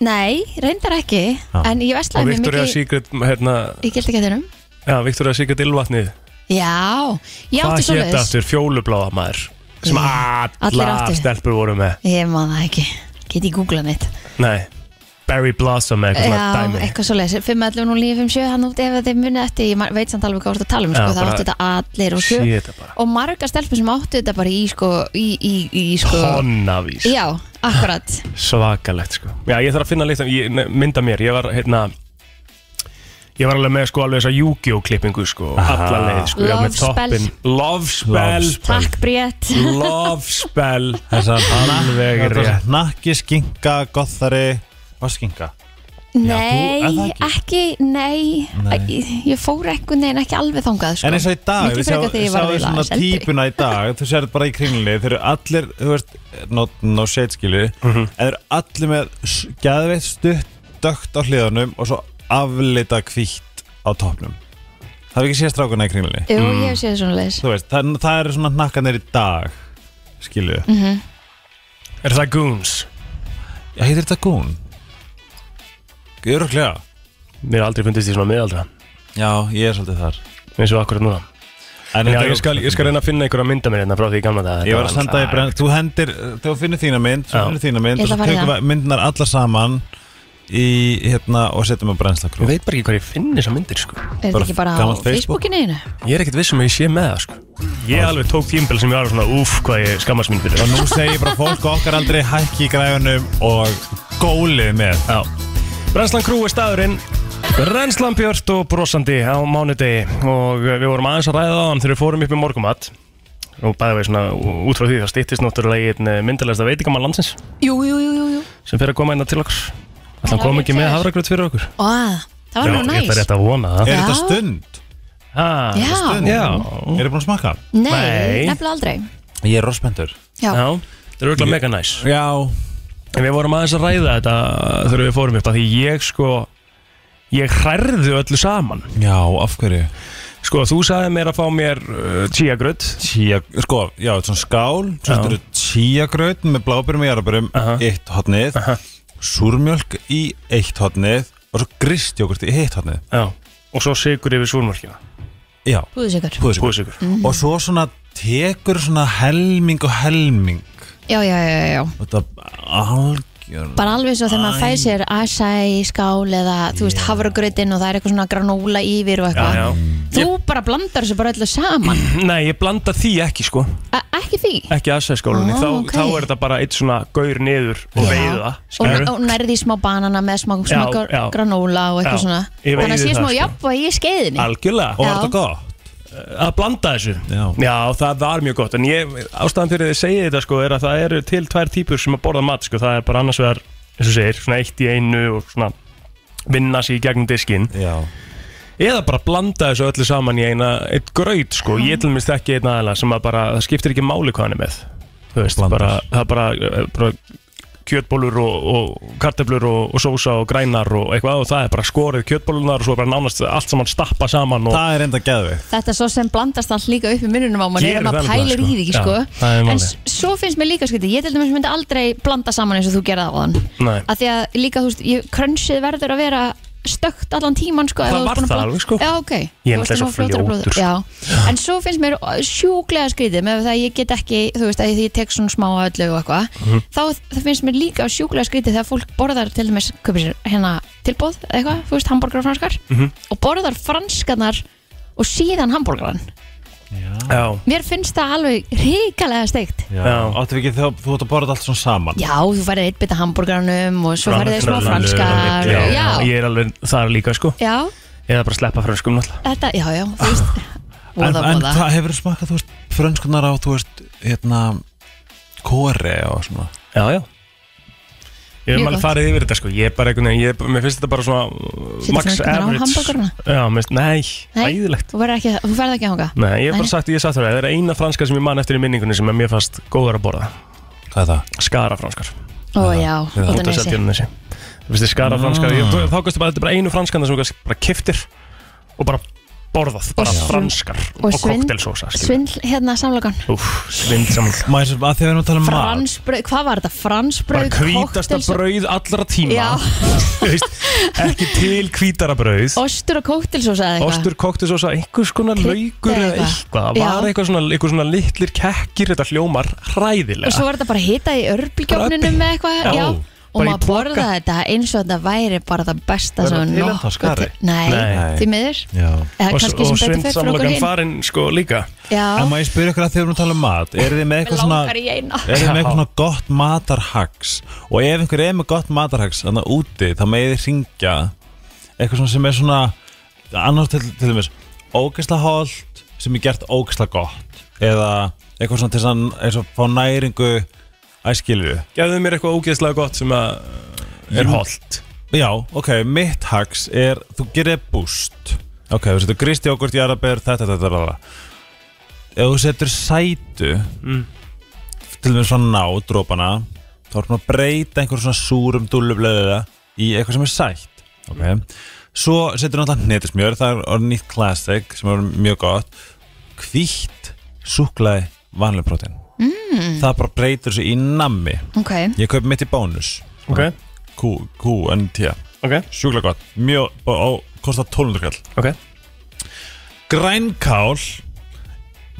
[SPEAKER 2] Nei, reyndar ekki
[SPEAKER 3] Já.
[SPEAKER 2] En ég
[SPEAKER 1] Og
[SPEAKER 2] veslaði mér
[SPEAKER 1] Victoria
[SPEAKER 2] mikið
[SPEAKER 1] Secret, hérna
[SPEAKER 2] Ég gildi ekki þennum
[SPEAKER 1] Já, Victoria Secret Ylvatnið
[SPEAKER 2] Já, ég
[SPEAKER 1] Hvað
[SPEAKER 2] átti svo
[SPEAKER 1] hétt aftur fjólubláða maður Sem
[SPEAKER 2] allir
[SPEAKER 1] allar
[SPEAKER 2] áttu.
[SPEAKER 1] stelpur voru með
[SPEAKER 2] Ég man það ekki, get ég googlað neitt
[SPEAKER 1] Nei, Barry Blossom eða eitthvað svona
[SPEAKER 2] Já,
[SPEAKER 1] dæmi
[SPEAKER 2] eitthvað svo leiðis 511 og 957, hann úti ef þið munið eftir Ég man- veit samt alveg hvað þú ert að tala um,
[SPEAKER 1] Já,
[SPEAKER 2] sko, það
[SPEAKER 1] bara-
[SPEAKER 2] áttu þetta allir og,
[SPEAKER 1] Sé þetta bara.
[SPEAKER 2] og marga stelpur sem áttu þetta bara í, sko, í, í, í, sko
[SPEAKER 1] Tonnavís
[SPEAKER 2] Já, akkurat
[SPEAKER 1] Svakalegt sko Já, ég þarf að finna leitt Mynda mér, ég var hérna Ég var alveg með sko alveg þessa Yu-Gi-Oh klippingu sko Alla leið sko ég var með
[SPEAKER 2] Love spell.
[SPEAKER 1] toppinn. Love spell
[SPEAKER 2] Takk Briett
[SPEAKER 1] Love spell
[SPEAKER 3] Þessar
[SPEAKER 1] alveg rétt.
[SPEAKER 3] Nakki, skinka, gothari, var skinka?
[SPEAKER 2] Nei,
[SPEAKER 3] er það
[SPEAKER 2] ekki? nei,
[SPEAKER 3] Nei.
[SPEAKER 2] Æ, Ég, ég fór einhvern veginn ekki alveg þangað sko.
[SPEAKER 3] En eins og í dag,
[SPEAKER 2] Miklu
[SPEAKER 3] við sjá,
[SPEAKER 2] frekar þegar ég var
[SPEAKER 3] sjáum
[SPEAKER 2] að vila
[SPEAKER 3] svona típuna í dag Þú sér þetta bara í kringlunni Þeir eru allir, þú veist, no, no shade skilju En þeir eru allir með Gæðveitt stutt, dögt á hliðunum Og svo aflita hvítt Á topnum Það hefur ekki séð strákuna í kringlunni
[SPEAKER 2] Jú, ég hef séð svona leis
[SPEAKER 3] Þú veist, það, það eru svona nakkanir í dag Skilju
[SPEAKER 2] Mhm.
[SPEAKER 1] Er það goons?
[SPEAKER 3] Já, heitir þetta goon? Öruglega
[SPEAKER 1] Mér er aldrei fundist því svona miðaldra
[SPEAKER 3] Já, ég er svolítið þar
[SPEAKER 1] eins og akkurat núna Já,
[SPEAKER 3] En þetta er-
[SPEAKER 1] ég skal, ég skal reyna að finna einhverja mynda mér hérna frá því í gamla dag
[SPEAKER 3] Ég var að senda í brenn Þú hendir, þú finnir þína mynd Þú
[SPEAKER 1] Já.
[SPEAKER 3] finnir þína mynd
[SPEAKER 2] Ég
[SPEAKER 3] og
[SPEAKER 2] ætla
[SPEAKER 3] svo
[SPEAKER 2] að fara í
[SPEAKER 3] tekum
[SPEAKER 2] það.
[SPEAKER 3] við myndinar alla saman í, hérna, og setjum á brennslakrú
[SPEAKER 1] Ég veit bara ekki hvað ég finn þessar myndir sko
[SPEAKER 2] Er þetta ekki bara á
[SPEAKER 3] gamalt Facebook.
[SPEAKER 2] Facebookinu einu?
[SPEAKER 1] Ég er ekkert vissum að ég sé með það sko Ég alveg tók tímbil sem ég var svona Úf, hvað ég skammast mín fyrir
[SPEAKER 3] Og nú segir bara fólk okkar aldrei hækki í græðunum og gólið með
[SPEAKER 1] Já Brennslan Crew er staðurinn Brennslan Björt og brosandi á mánudegi og við vorum aðeins að ræða á hann þegar við fórum upp í morgumat og bæði við svona út frá því það styttist náttúrulega í einn myndalegsta veitikamann landsins
[SPEAKER 2] Jú, jú, jú, jú, jú.
[SPEAKER 1] sem fyrir að koma einna til okkur Þannig
[SPEAKER 2] var
[SPEAKER 1] hann kom
[SPEAKER 2] rétt
[SPEAKER 1] ekki
[SPEAKER 2] hjá
[SPEAKER 1] með
[SPEAKER 2] þér.
[SPEAKER 1] hafragröð fyrir okkur
[SPEAKER 2] Á, það var
[SPEAKER 1] Já,
[SPEAKER 2] nú
[SPEAKER 1] Ég
[SPEAKER 2] næs
[SPEAKER 1] ætla rétt að vona það
[SPEAKER 3] Er
[SPEAKER 2] Já.
[SPEAKER 3] þetta stund?
[SPEAKER 1] Ha,
[SPEAKER 3] um
[SPEAKER 2] Já.
[SPEAKER 1] þetta stund. Já.
[SPEAKER 3] Er þið búin að smaka?
[SPEAKER 1] Nei.
[SPEAKER 2] Nei, nefnilega aldrei
[SPEAKER 3] Ég er rospendur
[SPEAKER 2] Já,
[SPEAKER 1] Já, þetta er auðvitað mega næs
[SPEAKER 3] Já
[SPEAKER 1] En við vorum aðeins að ræða þetta þegar við fórum upp að því ég sko ég hrærðu öllu saman
[SPEAKER 3] Já, af hverju?
[SPEAKER 1] Sko, þú sagði mér að fá mér uh, tíagröð
[SPEAKER 3] Tía, sko, já, þetta er svona skál Svo þetta eru tíagraut með blábærum og jarabærum í eitt hotnið Súrmjölk í eitt hotnið Og svo gristjókurt í eitt hotnið
[SPEAKER 1] Já, og svo sigur yfir súrmörkina
[SPEAKER 3] Já,
[SPEAKER 2] búðsikur
[SPEAKER 3] púðsikur
[SPEAKER 1] Búðsigur
[SPEAKER 3] og svo svona tekur svona helming og helming
[SPEAKER 2] Já, já, já, já, já
[SPEAKER 3] og þetta algjör
[SPEAKER 2] Bara alveg svo þegar maður fæ sér acai, skál eða þú veist havragröðin og það er eitthvað svona granóla yfir og eitthvað
[SPEAKER 1] Já, já.
[SPEAKER 2] Þú bara blandar þessu bara öllu saman
[SPEAKER 1] Nei, ég blanda því ekki sko
[SPEAKER 2] A Ekki því
[SPEAKER 1] ekki aðsæðskólinni,
[SPEAKER 2] Ó,
[SPEAKER 1] þá,
[SPEAKER 2] Ah, ok.
[SPEAKER 1] þá er þetta bara eitt svona gaur niður og veiða
[SPEAKER 2] og,
[SPEAKER 1] skilurðu?
[SPEAKER 2] og nærði í smá banana með smá, smá
[SPEAKER 1] Já,
[SPEAKER 2] gr-
[SPEAKER 1] já.
[SPEAKER 2] granóla og eitthvað
[SPEAKER 1] Já,
[SPEAKER 2] svona
[SPEAKER 1] ég veiði
[SPEAKER 2] þannig að sé
[SPEAKER 1] það,
[SPEAKER 2] smá
[SPEAKER 1] sko.
[SPEAKER 2] jafnvægi í skeiðinni
[SPEAKER 1] algjörlega
[SPEAKER 3] og
[SPEAKER 1] og
[SPEAKER 3] var þetta
[SPEAKER 2] Já.
[SPEAKER 3] gott
[SPEAKER 1] að blanda þessu
[SPEAKER 3] Já.
[SPEAKER 1] það var mjög gott en ég, ástæðan fyrir þið segið þetta sko er að það eru til tvær típur sem að borða mat sko, það er bara annars vegar, eins og segir, svona eitt í einu og svona vinna sér í gegnum diskinn
[SPEAKER 3] já,
[SPEAKER 1] eða bara blanda þessu öllu saman í eina eitt gröyt sko, ég til minnst ekki einn aðeina sem að bara, það skiptir ekki máli hvað hann er með þú veist,
[SPEAKER 3] Blandar.
[SPEAKER 1] bara, það er bara, bara kjötbólur og, og kartöflur og, og sósa og grænar og eitthvað og það er bara skorið kjötbólunar og svo er bara nánast allt saman stappa saman og
[SPEAKER 3] það er enda geðvikt
[SPEAKER 2] þetta svo sem blandast allt líka upp í mununum á manni
[SPEAKER 1] Gerir
[SPEAKER 2] ef maður
[SPEAKER 1] það nefnilega, sko.
[SPEAKER 2] pælir í því
[SPEAKER 1] Já,
[SPEAKER 2] sko.
[SPEAKER 1] það er
[SPEAKER 2] en
[SPEAKER 1] málið.
[SPEAKER 2] s- svo finnst mér líka skriti ég til dæmis myndi aldrei blanda saman eins og þú gerði á þann
[SPEAKER 1] Nei.
[SPEAKER 2] að því að líka þú veist ég- crunchið verður að vera stökt allan tíman sko, ef
[SPEAKER 1] Það
[SPEAKER 2] þú ert
[SPEAKER 1] var
[SPEAKER 2] búin að
[SPEAKER 1] það
[SPEAKER 2] blanda-
[SPEAKER 1] alveg, sko.
[SPEAKER 2] já, okay.
[SPEAKER 1] Ég er náttúrulega
[SPEAKER 2] Þú varst
[SPEAKER 1] svo
[SPEAKER 2] nú fljótur að
[SPEAKER 1] fljótur,
[SPEAKER 2] bróður-
[SPEAKER 1] sko.
[SPEAKER 2] já. en svo finnst mér sjúklega skrítið með það að ég get ekki þú veist að því ég tek svona smá af öllu og eitthvað
[SPEAKER 1] Mhm.
[SPEAKER 2] þá það finnst mér líka sjúklega skrítið þegar fólk borðar til dæmis kaupir sér hérna tilbóð eða
[SPEAKER 1] Mhm.
[SPEAKER 2] eitthvað þú veist hambúrgar og franskar og borðar franskanar og síðan hambúrgaran
[SPEAKER 1] Já,
[SPEAKER 2] Mér finnst það alveg ríkalega steikt
[SPEAKER 3] já. Áttu ekki þegar þú ert að borða allt svona saman
[SPEAKER 2] Já, þú færði eitt bita hambúrgaranum og svo færði þið smá franskar
[SPEAKER 1] Já,
[SPEAKER 2] já,
[SPEAKER 1] Ég er alveg þar líka sko
[SPEAKER 2] já,
[SPEAKER 1] Ég er bara að sleppa franskum náttúrulega
[SPEAKER 2] þetta, já, já, þú veist
[SPEAKER 1] Ah.
[SPEAKER 3] En,
[SPEAKER 2] Voða,
[SPEAKER 3] en
[SPEAKER 2] voða
[SPEAKER 3] það hefur smakað, þú veist, frönskunar á, þú veist, hérna, kóri og svona
[SPEAKER 1] Já, já Ég hef
[SPEAKER 2] Mjög
[SPEAKER 1] alveg
[SPEAKER 2] gott.
[SPEAKER 1] farið yfir þetta sko Ég er bara einhvern veginn, ég, er- mér finnst þetta bara svona uh,
[SPEAKER 2] Setur
[SPEAKER 1] Max
[SPEAKER 2] frönskurnar á
[SPEAKER 1] average
[SPEAKER 2] hamborgarana?
[SPEAKER 1] Já, mér finnst, nei,
[SPEAKER 2] Nei,
[SPEAKER 1] æðilegt
[SPEAKER 2] Þú verður ekki, þú ferð ekki hanga
[SPEAKER 1] Nei, ég hef bara sagt, ég hef sagt það Það er eina franska sem ég man eftir í minningunni sem er mér fast góðar að borða
[SPEAKER 3] Hvað er það?
[SPEAKER 1] Skara franskar
[SPEAKER 2] Ó já, út af
[SPEAKER 1] Út af
[SPEAKER 2] nesi
[SPEAKER 1] Seltjarnarnesi Þú veist, skara franskar ég, Þá kosti bara, þetta er bara einu franskan sem þú kannski bara kiftir og bara borðað, bara
[SPEAKER 2] sv-
[SPEAKER 1] franskar og, og
[SPEAKER 2] svind-
[SPEAKER 1] koktelsósa
[SPEAKER 2] Svindl, hérna samlokan
[SPEAKER 1] Úf, svind saman
[SPEAKER 3] Mæsum, að því að við erum að tala um mat
[SPEAKER 2] Fransbrauð, hvað var þetta?
[SPEAKER 1] bara
[SPEAKER 2] Fransbrauð,
[SPEAKER 1] hvítasta
[SPEAKER 2] kokteils-
[SPEAKER 1] brauð allra tíma
[SPEAKER 2] Já.
[SPEAKER 1] Þú veist, ekki til hvítara brauð
[SPEAKER 2] Ostur og kóktelsósa eða eitthvað
[SPEAKER 1] Ostur, koktisósa, einhvers konar
[SPEAKER 2] Krydd
[SPEAKER 1] laukur eða
[SPEAKER 2] eða
[SPEAKER 1] eitthvað
[SPEAKER 2] eitthvað.
[SPEAKER 1] Það var
[SPEAKER 2] Já.
[SPEAKER 1] eitthvað svona, eitthvað svona litlir kekkir Þetta hljómar
[SPEAKER 2] Og svo
[SPEAKER 1] hræðilega
[SPEAKER 2] var þetta bara hita í örbílgjófnunum með eitthvað,
[SPEAKER 1] Já.
[SPEAKER 2] já Og
[SPEAKER 1] Bara í
[SPEAKER 2] maður
[SPEAKER 1] poka.
[SPEAKER 2] borðaði þetta eins og þetta væri bara það besta
[SPEAKER 3] Er
[SPEAKER 2] sem
[SPEAKER 3] það til
[SPEAKER 2] nokkuð
[SPEAKER 3] ennþá skari?
[SPEAKER 2] til- Nei,
[SPEAKER 1] Nei.
[SPEAKER 2] því miður
[SPEAKER 3] Já
[SPEAKER 2] Eða
[SPEAKER 1] Og, s- og
[SPEAKER 2] kannski sem betur fyrir fyrir okkur
[SPEAKER 1] svindsamlokan
[SPEAKER 2] hinn
[SPEAKER 1] farinn sko líka
[SPEAKER 3] En
[SPEAKER 2] Já,
[SPEAKER 3] má ég spyrja ykkur að því að við erum að tala um mat Er þið með
[SPEAKER 2] við
[SPEAKER 3] eitthvað svona
[SPEAKER 2] langar í eina
[SPEAKER 3] Er þið með eitthvað svona gott matarhags Og ef einhver er með gott matarhags Þannig úti, þá megið þið ringja Eitthvað svona sem er svona Annars til, til dæmis Ógæsla holt sem er gert ógæsla gott Eða eitthvað svona til sann Eins og fá næringu Æskilju
[SPEAKER 1] Gefðu mér eitthvað ógeðslega gott sem að eh,
[SPEAKER 2] Mm.
[SPEAKER 1] er
[SPEAKER 3] Jú.
[SPEAKER 1] holdt
[SPEAKER 3] Já, ok, mitt hags er Þú gerir búst Ok, þú setur gristi okkur, jarabér, þetta, þetta, þetta, þetta Ef þú setur sætu Til dæmis svona ná, drópana Þá er hún að breyta einhver svona súrum dúllubleðiða Í eitthvað sem er sætt Ok Svo setur náttúrulega hnetismjör, það er orðið nýtt classic sem er mjög gott Hvítt, súklaði, vanlega prótein mm. Það bara breytur þessu í nammi
[SPEAKER 2] Ok,
[SPEAKER 3] Ég kaupi mitt í bónus
[SPEAKER 1] Ok,
[SPEAKER 3] Q, Q, N, T
[SPEAKER 1] ok,
[SPEAKER 3] Sjúkla gott Mjög, og, og kostar 1200 kall
[SPEAKER 1] ok
[SPEAKER 3] Grænkál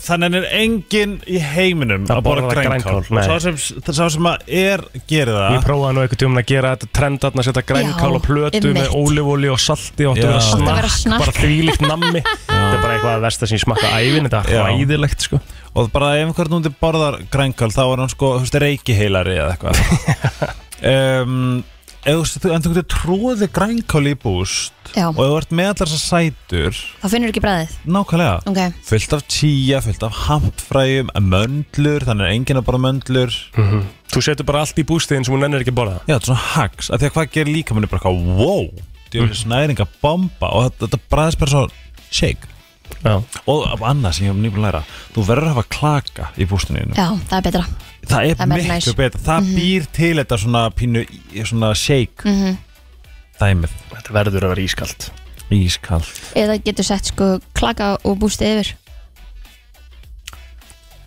[SPEAKER 3] Þannig er enginn í heiminum
[SPEAKER 1] Að
[SPEAKER 3] að borða
[SPEAKER 1] borða
[SPEAKER 3] grænkál,
[SPEAKER 1] grænkál, nei.
[SPEAKER 3] Sá sem, sá sem að er gerir
[SPEAKER 1] Ég
[SPEAKER 3] það
[SPEAKER 1] prófaði nú einhvern tímann að gera þetta trend að setja grænkál
[SPEAKER 2] Já,
[SPEAKER 1] á plötu
[SPEAKER 2] einmitt.
[SPEAKER 1] með ólivóli og salti og
[SPEAKER 3] Já.
[SPEAKER 1] þetta vera
[SPEAKER 3] Átti að
[SPEAKER 2] vera
[SPEAKER 1] snakk,
[SPEAKER 2] snakk.
[SPEAKER 1] bara þvílíkt nammi Þetta er bara eitthvað að versta sem ég smakka ævin Þetta
[SPEAKER 3] Já.
[SPEAKER 1] er hræðilegt sko
[SPEAKER 3] Og bara ef einhvern núndi borðar grænkál Þá er hann sko, þú veist, reikiheilari eða eitthvað um, eð, En þú getur tróði grænkál í búst
[SPEAKER 2] já,
[SPEAKER 3] Og ef þú ert með allar þessar sætur
[SPEAKER 2] þá finnur ekki bræðið
[SPEAKER 3] Nákvæmlega
[SPEAKER 2] Ok,
[SPEAKER 3] Fullt af tíja, fullt af hampfræjum Möndlur, þannig er enginn að borða möndlur
[SPEAKER 1] Hm. Þú setur bara allt í bústiðin sem hún ennir ekki að borða
[SPEAKER 3] Já, þetta er svona hacks, af því að hvað gerir líka manni bara eitthvað, wow, þetta er
[SPEAKER 1] Hm.
[SPEAKER 3] þessi næringa bomba og þetta, þetta bræðist bara svo shake
[SPEAKER 1] Já,
[SPEAKER 3] og af annað sem ég hef nýbúin að læra þú verður að hafa klaka í bústinu þínu.
[SPEAKER 2] já, það er betra
[SPEAKER 3] það er
[SPEAKER 2] það er meira
[SPEAKER 3] miklu
[SPEAKER 2] næs.
[SPEAKER 3] betra, það býr til þetta svona pínu, í- svona shake mm dæmið,
[SPEAKER 1] þetta verður að vera ískalt
[SPEAKER 3] ískall
[SPEAKER 2] Eða getur sett sko klaka og bústið yfir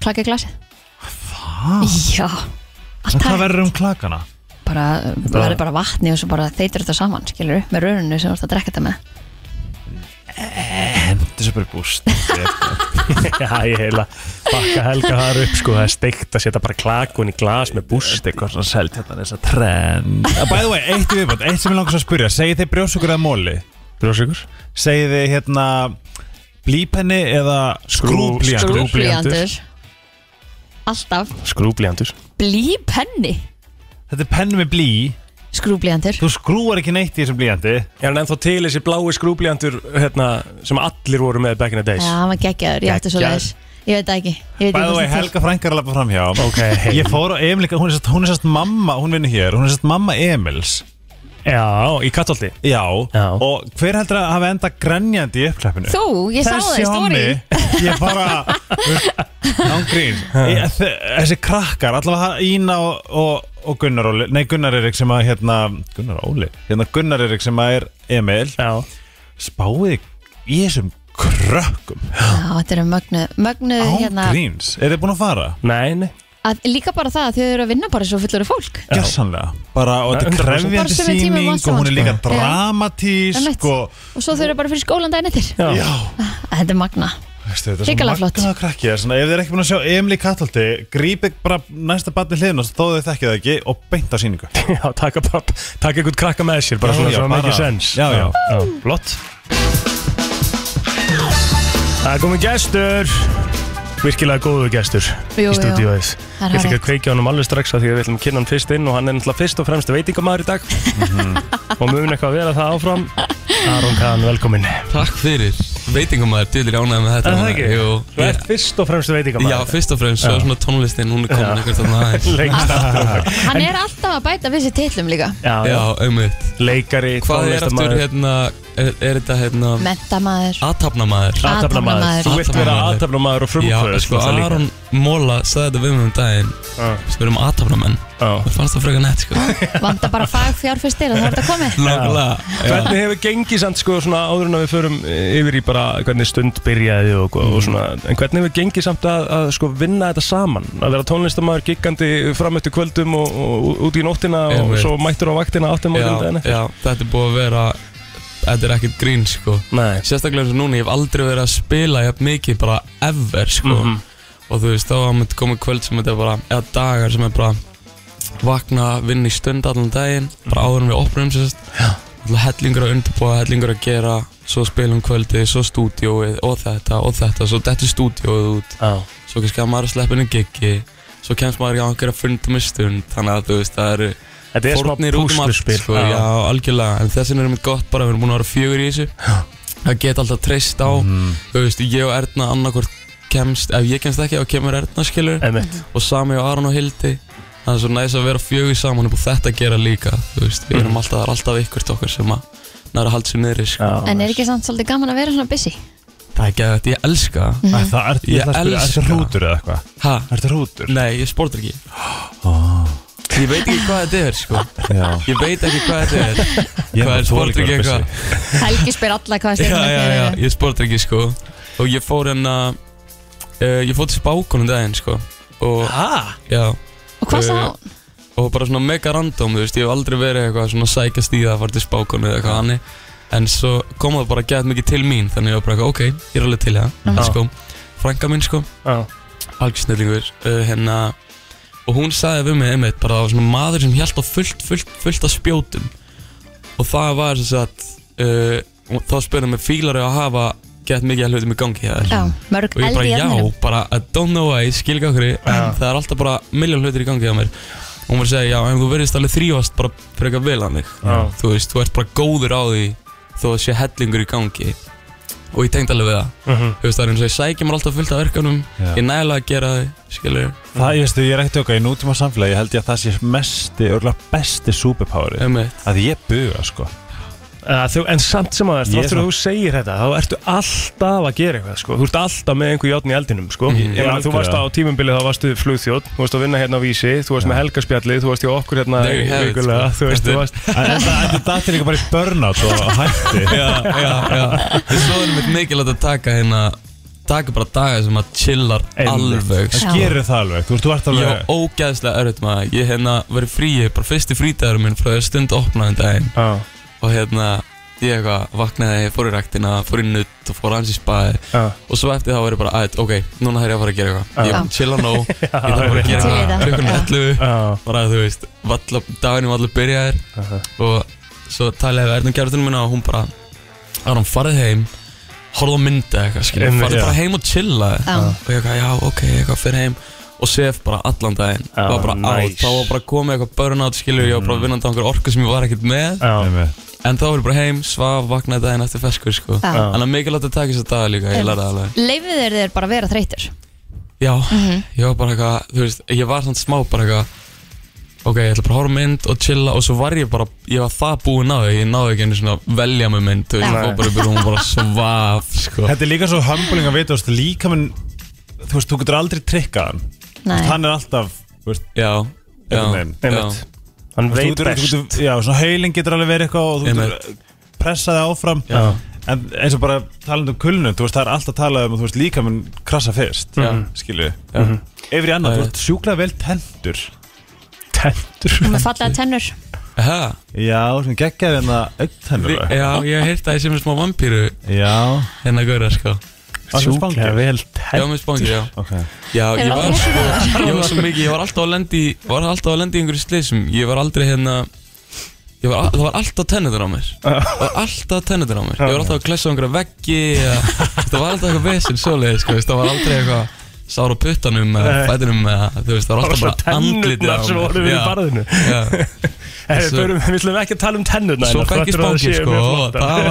[SPEAKER 2] Klaka í glasið Hvað? Já, allt
[SPEAKER 3] hvað
[SPEAKER 2] hægt
[SPEAKER 3] verður um klakana?
[SPEAKER 2] Bara, það verður bara vatni og svo bara þeytir þetta saman, skilur Með rörunu sem þú ert að drekka þetta með
[SPEAKER 3] hendur sér bara í búst
[SPEAKER 1] Já, ég heila bakka Helga þar upp sko, það er steikt að setja bara klakun í glas með búst
[SPEAKER 3] þetta er eitthvað svona selt hérna þess að trend by the way, eitt í viðbútt, eitt sem ég langar svo að spyrja segið þið brjósugur eða móli?
[SPEAKER 1] Brjóðsíkur?
[SPEAKER 3] segið þið hérna blípenni eða skrúblíjantur
[SPEAKER 1] Skrú- Skrúblýantur.
[SPEAKER 2] Alltaf
[SPEAKER 1] Skrúbljandur
[SPEAKER 2] blípenni
[SPEAKER 3] þetta er pennu með blí
[SPEAKER 2] Skrúblíandur
[SPEAKER 3] þú skrúar ekki neitt í þessum blíjandi
[SPEAKER 1] Er hann ennþá til þessi blái skrúbljandur hérna, sem allir voru með back in the
[SPEAKER 2] Já,
[SPEAKER 1] days?
[SPEAKER 2] hann var geggjaður, ég ætti svo
[SPEAKER 1] Geggjaður.
[SPEAKER 2] leis Ég veit það ekki, ég veit
[SPEAKER 3] by
[SPEAKER 2] ekki
[SPEAKER 3] the way,
[SPEAKER 2] hvort það til.
[SPEAKER 3] Helga Frankar er að lappa fram hjá
[SPEAKER 1] Ok,
[SPEAKER 3] ég fór á Emil hún er sérst, hún er sérst mamma, hún vinnur hér hún er sérst mamma Emils
[SPEAKER 1] Já, í kattolti
[SPEAKER 3] já,
[SPEAKER 1] Já.
[SPEAKER 3] og hver heldur að hafa enda grenjandi í uppklappinu?
[SPEAKER 2] Þú, ég sá það í stóri
[SPEAKER 3] hommi, ég bara ángrín þessi krakkar, allavega Ína og, og, og Gunnar Óli nei Gunnar Erik sem að hérna Gunnar Óli, hérna Gunnar Erik sem að er Emil,
[SPEAKER 1] Já,
[SPEAKER 3] spáði í þessum krökkum
[SPEAKER 2] Já, þetta eru mögnu, mögnu hérna
[SPEAKER 3] ángríns, er þið búin að fara?
[SPEAKER 1] nei, nei
[SPEAKER 2] að, Líka bara það að þau eru að vinna bara svo fullur af fólk
[SPEAKER 3] Gjössanlega, bara og þetta er
[SPEAKER 1] 100%.
[SPEAKER 2] Bara
[SPEAKER 3] krefjandi
[SPEAKER 2] sömu tímum
[SPEAKER 3] sýning
[SPEAKER 2] allt
[SPEAKER 3] og hún er
[SPEAKER 2] saman,
[SPEAKER 3] líka
[SPEAKER 2] sko. Já. Einmitt.
[SPEAKER 3] dramatísk og
[SPEAKER 2] Og svo þau eru bara fyrir skólan daginn eftir
[SPEAKER 1] Já,
[SPEAKER 3] já,
[SPEAKER 2] Þetta er magna
[SPEAKER 3] veistu, þetta er svo
[SPEAKER 2] Hrikalega flott.
[SPEAKER 3] magnaða krakki það er svona, ef þið er ekki búin að sjá Emil í Kattaldi grípið bara næsta batni hliðina þó þau þekkið það ekki og beint á sýningu
[SPEAKER 1] já taka, bara, taka einhvern krakka með sér bara
[SPEAKER 3] Já,
[SPEAKER 1] svona
[SPEAKER 3] já,
[SPEAKER 1] sem að
[SPEAKER 3] bara-
[SPEAKER 1] make sense
[SPEAKER 3] Já, já.
[SPEAKER 1] Flott Það er komin gestur Virkilega góður gestur
[SPEAKER 2] Jú, jú.
[SPEAKER 1] í stúdíóið Ég ætla
[SPEAKER 2] Það er
[SPEAKER 1] ekki
[SPEAKER 2] hárrétt.
[SPEAKER 1] að kveikja honum alveg strax af því að við ætlum að kynna hann fyrst inn og hann er náttúrulega fyrst og fremst veitingamæður í dag
[SPEAKER 5] Mhm.
[SPEAKER 1] og mun eitthvað að vera það áfram Aron Kahn, velkomin
[SPEAKER 5] Takk fyrir, veitingamæður, dýlir ánægð með þetta
[SPEAKER 1] Er það
[SPEAKER 5] núna.
[SPEAKER 1] ekki?
[SPEAKER 5] Jú,
[SPEAKER 1] Þú ert fyrst og fremst veitingamaður.
[SPEAKER 5] Já, fyrst og fremst,
[SPEAKER 1] Já.
[SPEAKER 5] svo svona tónlistin, hún er komin
[SPEAKER 1] Já.
[SPEAKER 5] einhvern veginn aðeins
[SPEAKER 1] Lengst aftur
[SPEAKER 2] Hann er alltaf að bæta við sér titlum líka
[SPEAKER 5] Já, auðvitað
[SPEAKER 1] Leikari,
[SPEAKER 5] Hvað er aftur,
[SPEAKER 1] tónlistarmaður.
[SPEAKER 5] hérna, er, er þetta, hérna
[SPEAKER 2] Mentamæður
[SPEAKER 5] Athafnamaður
[SPEAKER 2] Athafnamaður.
[SPEAKER 1] Þú vilt vera athafnamaður og frumkvöðull
[SPEAKER 5] Já, sko,
[SPEAKER 1] náttúrulega líka.
[SPEAKER 5] Aron Móla sagði þetta við mig um daginn Sko, við erum athafnamenn Það fannst það frekar nett, sko
[SPEAKER 2] Vanda bara fagfjárfyrstir og það er þetta komið
[SPEAKER 5] Nákvæmlega.
[SPEAKER 1] Já. Hvernig hefur gengið samt sko svona áður en að við förum yfir í bara hvernig stund byrjaði og,
[SPEAKER 5] Mm.
[SPEAKER 1] og svona en hvernig hefur gengið samt að, að sko vinna þetta saman að vera tónlistamæður giggandi fram eftir kvöldum og, og út í nóttina og
[SPEAKER 5] Einmitt.
[SPEAKER 1] svo mættur á vaktina áttum á
[SPEAKER 5] já,
[SPEAKER 1] kvöldin
[SPEAKER 5] já, þetta er búið að vera Þetta er ekkert grín sko
[SPEAKER 1] Nei.
[SPEAKER 5] Sérstaklega eins og núna, ég hef aldrei verið að spila jafn mikið bara ever sko
[SPEAKER 1] Mhm.
[SPEAKER 5] Og þú veist, þá var myndi komið kvöld sem þetta er bara Eða dagar sem er bara Vakna, vinna í stund allan daginn Bara áður en við opnum sérst Alltaf hellingur að undirbúa, hellingur að gera Svo spilum kvöldið, svo stúdíóið Og þetta og þetta, svo dettur stúdíóið út
[SPEAKER 1] Já.
[SPEAKER 5] Svo kannski að maður sleppinu giggi Svo kemst maður í gangur að funda með stund Þannig að þú veist, það eru
[SPEAKER 1] Þetta er smá
[SPEAKER 5] fórnir út um allt,
[SPEAKER 1] púsluspil,
[SPEAKER 5] sko,
[SPEAKER 1] já.
[SPEAKER 5] já, algjörlega En þessin er mitt gott bara, við erum búin að vera fjögur í þessu Það get alltaf treyst á Þú veist, ég og Erna annarkvort kemst Ef ég kemst ekki, þá kemur Erna skilur
[SPEAKER 1] Einmitt.
[SPEAKER 5] Og sami og Aron og Hildi Það er svo næs að vera fjögur saman upp og þetta að gera líka Þú veist,
[SPEAKER 1] Mhm.
[SPEAKER 5] við erum alltaf, það er alltaf ykkurt okkar sem að Næra halda sér niðri sko.
[SPEAKER 2] En er ekki samt svolítið gaman að vera svona busy?
[SPEAKER 5] Það er ekki að ég elska
[SPEAKER 2] Mhm. Æ,
[SPEAKER 3] það er- ég
[SPEAKER 5] Ég
[SPEAKER 3] ætla að spyrja, ertu
[SPEAKER 5] elska
[SPEAKER 3] hrútur eða eitthvað?
[SPEAKER 5] Hæ?
[SPEAKER 3] Ertu hrútur?
[SPEAKER 5] Nei, ég sportar ekki Ég veit ekki hvað þetta er sko
[SPEAKER 3] Já.
[SPEAKER 5] Ég veit ekki hvað þetta er
[SPEAKER 3] Ég
[SPEAKER 5] Hvað
[SPEAKER 3] bara
[SPEAKER 5] er
[SPEAKER 3] þoli
[SPEAKER 5] sportar
[SPEAKER 3] ekki
[SPEAKER 5] ekki
[SPEAKER 3] að vera
[SPEAKER 5] eitthvað
[SPEAKER 2] Helgi spyr alla hvað
[SPEAKER 5] Já,
[SPEAKER 2] stefnum
[SPEAKER 5] já, já, ég sportar ekki sko Og ég fór hérna uh, Ég fór til spákonum daginn sko Og
[SPEAKER 1] Hæ?
[SPEAKER 5] Já
[SPEAKER 2] Og hvað
[SPEAKER 5] Eh,
[SPEAKER 2] sagði hún?
[SPEAKER 5] Og bara svona mega random, þú veist Ég hef aldrei verið eitthvað svona sækast í það að fara til spákonu eða eitthvað hannig En svo kom það bara að geta mikið til mín Þannig ég var bara eitthvað, ok, ég er alveg til í það
[SPEAKER 1] Mhm.
[SPEAKER 5] Let's go Frænka mín sko
[SPEAKER 1] Já.
[SPEAKER 5] Algjörsnillingur uh, Hérna Og hún sagði við mig einmitt bara Það var svona maður sem held á fullt, fullt, fullt af spjótum Og það var sem sagt uh, og Þá spurðum við fílar eru að hafa Gett mikið að hlutum í gangi hjá þér
[SPEAKER 2] Já, mörg
[SPEAKER 5] og ég bara
[SPEAKER 2] eld í
[SPEAKER 5] já,
[SPEAKER 2] efnum
[SPEAKER 5] bara I don't know why, skil ekki okkur það er alltaf bara miljón hlutir í gangi á mér og hún var að segja, já, en þú verðist alveg þrývast bara frekar vel að mig
[SPEAKER 1] Já.
[SPEAKER 5] þú veist, þú ert bara góður á því þó að sé hellingur í gangi og ég tengd alveg við það
[SPEAKER 1] Mhm.
[SPEAKER 5] þú veist, það er eins og ég sækja mér alltaf fullt af verkanum
[SPEAKER 3] Já.
[SPEAKER 5] ég nægilega að gera þau, skilur
[SPEAKER 3] Það, ég veistu, ég er ekkert okkar í nútíma samfélagi Ég held ég að það sé mesti, örgulega besti superpoweri
[SPEAKER 5] Einmitt.
[SPEAKER 3] Að ég buga, sko
[SPEAKER 1] Að Þú, en samt sem aðeins,
[SPEAKER 3] Ég er
[SPEAKER 1] þáttur að
[SPEAKER 3] samt-
[SPEAKER 1] þú segir þetta þá ertu alltaf að gera eitthvað sko. þú ert alltaf með einhver játn í eldinum sko.
[SPEAKER 3] Mhm.
[SPEAKER 1] ég meina þú
[SPEAKER 3] Algjörlega.
[SPEAKER 1] varst á tímumbili þá varstu flugþjótt, þú varst að vinna hérna á vísi þú varst með helgaspjallið, þú varst í okkur hérna
[SPEAKER 5] There you have it,
[SPEAKER 1] vikulega,
[SPEAKER 5] sko.
[SPEAKER 1] þú veist,
[SPEAKER 5] Þetta
[SPEAKER 1] þú
[SPEAKER 5] er-
[SPEAKER 1] varst
[SPEAKER 3] En Þetta þetta datir líka bara í burnout og hætti
[SPEAKER 5] já, já, já en svo erum við mikilvægt að taka hérna taka bara daga sem að chillar alveg
[SPEAKER 3] Það
[SPEAKER 5] sko.
[SPEAKER 3] gerir það alveg, þú ert- þú ert
[SPEAKER 5] Ég
[SPEAKER 3] alveg
[SPEAKER 5] var ógæðslega örðut maður Ég hérna verið fríi, bara fyrsti frítagur minn frá því að stund opnaði um daginn
[SPEAKER 1] ah.
[SPEAKER 5] Og hérna, ég eitthvað vaknaði, fór í ræktina, fór í nutt og fór hans í spaði
[SPEAKER 1] Já.
[SPEAKER 5] Og svo eftir það var ég bara, að, ok, núna þarf ég að fara að gera eitthvað Ég
[SPEAKER 2] Já.
[SPEAKER 5] er chilla nóg, ég þarf bara að gera
[SPEAKER 1] Já,
[SPEAKER 2] til í
[SPEAKER 5] eitthvað
[SPEAKER 2] þetta.
[SPEAKER 5] Klukkan
[SPEAKER 2] Já.
[SPEAKER 5] 11,
[SPEAKER 1] Já.
[SPEAKER 5] bara þú veist, valla, daginum allir byrjaðir Og svo talaði við Erna Gerðunum minna og hún bara Aron, farið heim, horfðu á myndi eitthvað, skiljum
[SPEAKER 1] Einmitt,
[SPEAKER 5] Farið
[SPEAKER 1] já.
[SPEAKER 5] bara heim og chilla
[SPEAKER 2] Já.
[SPEAKER 5] og ég eitthvað, já, ok, ég eitthvað fyrir heim og sef bara allan daginn
[SPEAKER 1] Já,
[SPEAKER 5] var bara á,
[SPEAKER 1] nice. Mm.
[SPEAKER 5] þá var bara komið eitthvað burnout skilur, ég var bara vinnandi á einhver orku sem ég var ekkert með
[SPEAKER 1] Já.
[SPEAKER 5] en þá var ég bara heim, svaf, vaknaði daginn eftir feskur sko.
[SPEAKER 2] Já.
[SPEAKER 5] þannig að mikilvægt að taka þess að daga líka, ég lærði það alveg
[SPEAKER 2] Leifið þeir þér bara að vera þreytur
[SPEAKER 5] já, ég var bara eitthvað, þú veist, ég var þannig smá bara eitthvað ok, ég ætla bara að horfa á mynd og chilla og svo var ég bara, ég var það búinn á því ég náði ekki einu svona að velja með mynd þú veist,
[SPEAKER 2] Nei.
[SPEAKER 5] ég fór bara upp í rúm og bara svaf sko.
[SPEAKER 3] Þetta er líka svo humbling að vita, þú veist, líka minn Þú veist, þú getur aldrei trikkað hann Þú
[SPEAKER 2] Nei.
[SPEAKER 3] veist, Hann er alltaf, þú veist,
[SPEAKER 5] já, já,
[SPEAKER 3] Einhvern veginn.
[SPEAKER 5] já,
[SPEAKER 1] Einmitt. hann
[SPEAKER 3] Þú
[SPEAKER 1] veit
[SPEAKER 3] getur- þú
[SPEAKER 1] best
[SPEAKER 3] getur- um- Já, svona haulin getur alveg verið eitthvað og þú getur pressað það áfram
[SPEAKER 5] Já.
[SPEAKER 3] En eins og bara talandi um kulnum, þú veist, það er alltaf talað um að þú veist líka mun krasa fyrst,
[SPEAKER 5] Já.
[SPEAKER 3] skilju
[SPEAKER 5] já.
[SPEAKER 3] Yfir í annað,
[SPEAKER 5] Það
[SPEAKER 3] þú
[SPEAKER 5] er
[SPEAKER 3] ert sjúklega vel tendur
[SPEAKER 1] tendur
[SPEAKER 2] og með fallega tennur
[SPEAKER 5] Aha.
[SPEAKER 3] Já, sem geggjaði hérna augntennur
[SPEAKER 5] Þi- Já, ég hef heyrt að ég sé með smá vampíru
[SPEAKER 3] Já,
[SPEAKER 5] hérna góra, sko
[SPEAKER 1] sjúklega vel
[SPEAKER 5] Já,
[SPEAKER 1] tendur
[SPEAKER 5] með spangir, já
[SPEAKER 3] Ok
[SPEAKER 5] Já, ég
[SPEAKER 2] Eru
[SPEAKER 5] var,
[SPEAKER 2] allir
[SPEAKER 5] sko, ég var svo mikið, ég var alltaf að lendi var alltaf að lendi í einhverju slysum Ég var aldrei hérna Ég
[SPEAKER 11] Ég var, það var alltaf tennitur á mér Það var alltaf tennitur á mér Ég var alltaf að klessa á einhverja veggi eða- Það var alltaf eitthvað vesinn svoleiði sko, veist, Það var aldrei eitthvað sár á puttanum eða
[SPEAKER 1] Nei.
[SPEAKER 11] fætinum eða, þú veist, Það var alltaf
[SPEAKER 1] Bara
[SPEAKER 11] bara andlitið
[SPEAKER 1] tennurnar
[SPEAKER 11] á mér
[SPEAKER 1] sem voru við í
[SPEAKER 11] Já.
[SPEAKER 1] barðinu.
[SPEAKER 11] Já.
[SPEAKER 1] Herri,
[SPEAKER 11] Svo-
[SPEAKER 1] förum- Við ætlum ekki að tala um tennurna
[SPEAKER 11] Svo
[SPEAKER 1] hennar,
[SPEAKER 11] fekk ég
[SPEAKER 1] þrátt fyrir að þær
[SPEAKER 11] spangir
[SPEAKER 1] séu
[SPEAKER 11] sko
[SPEAKER 1] mjög
[SPEAKER 11] og
[SPEAKER 1] flottar.
[SPEAKER 11] Það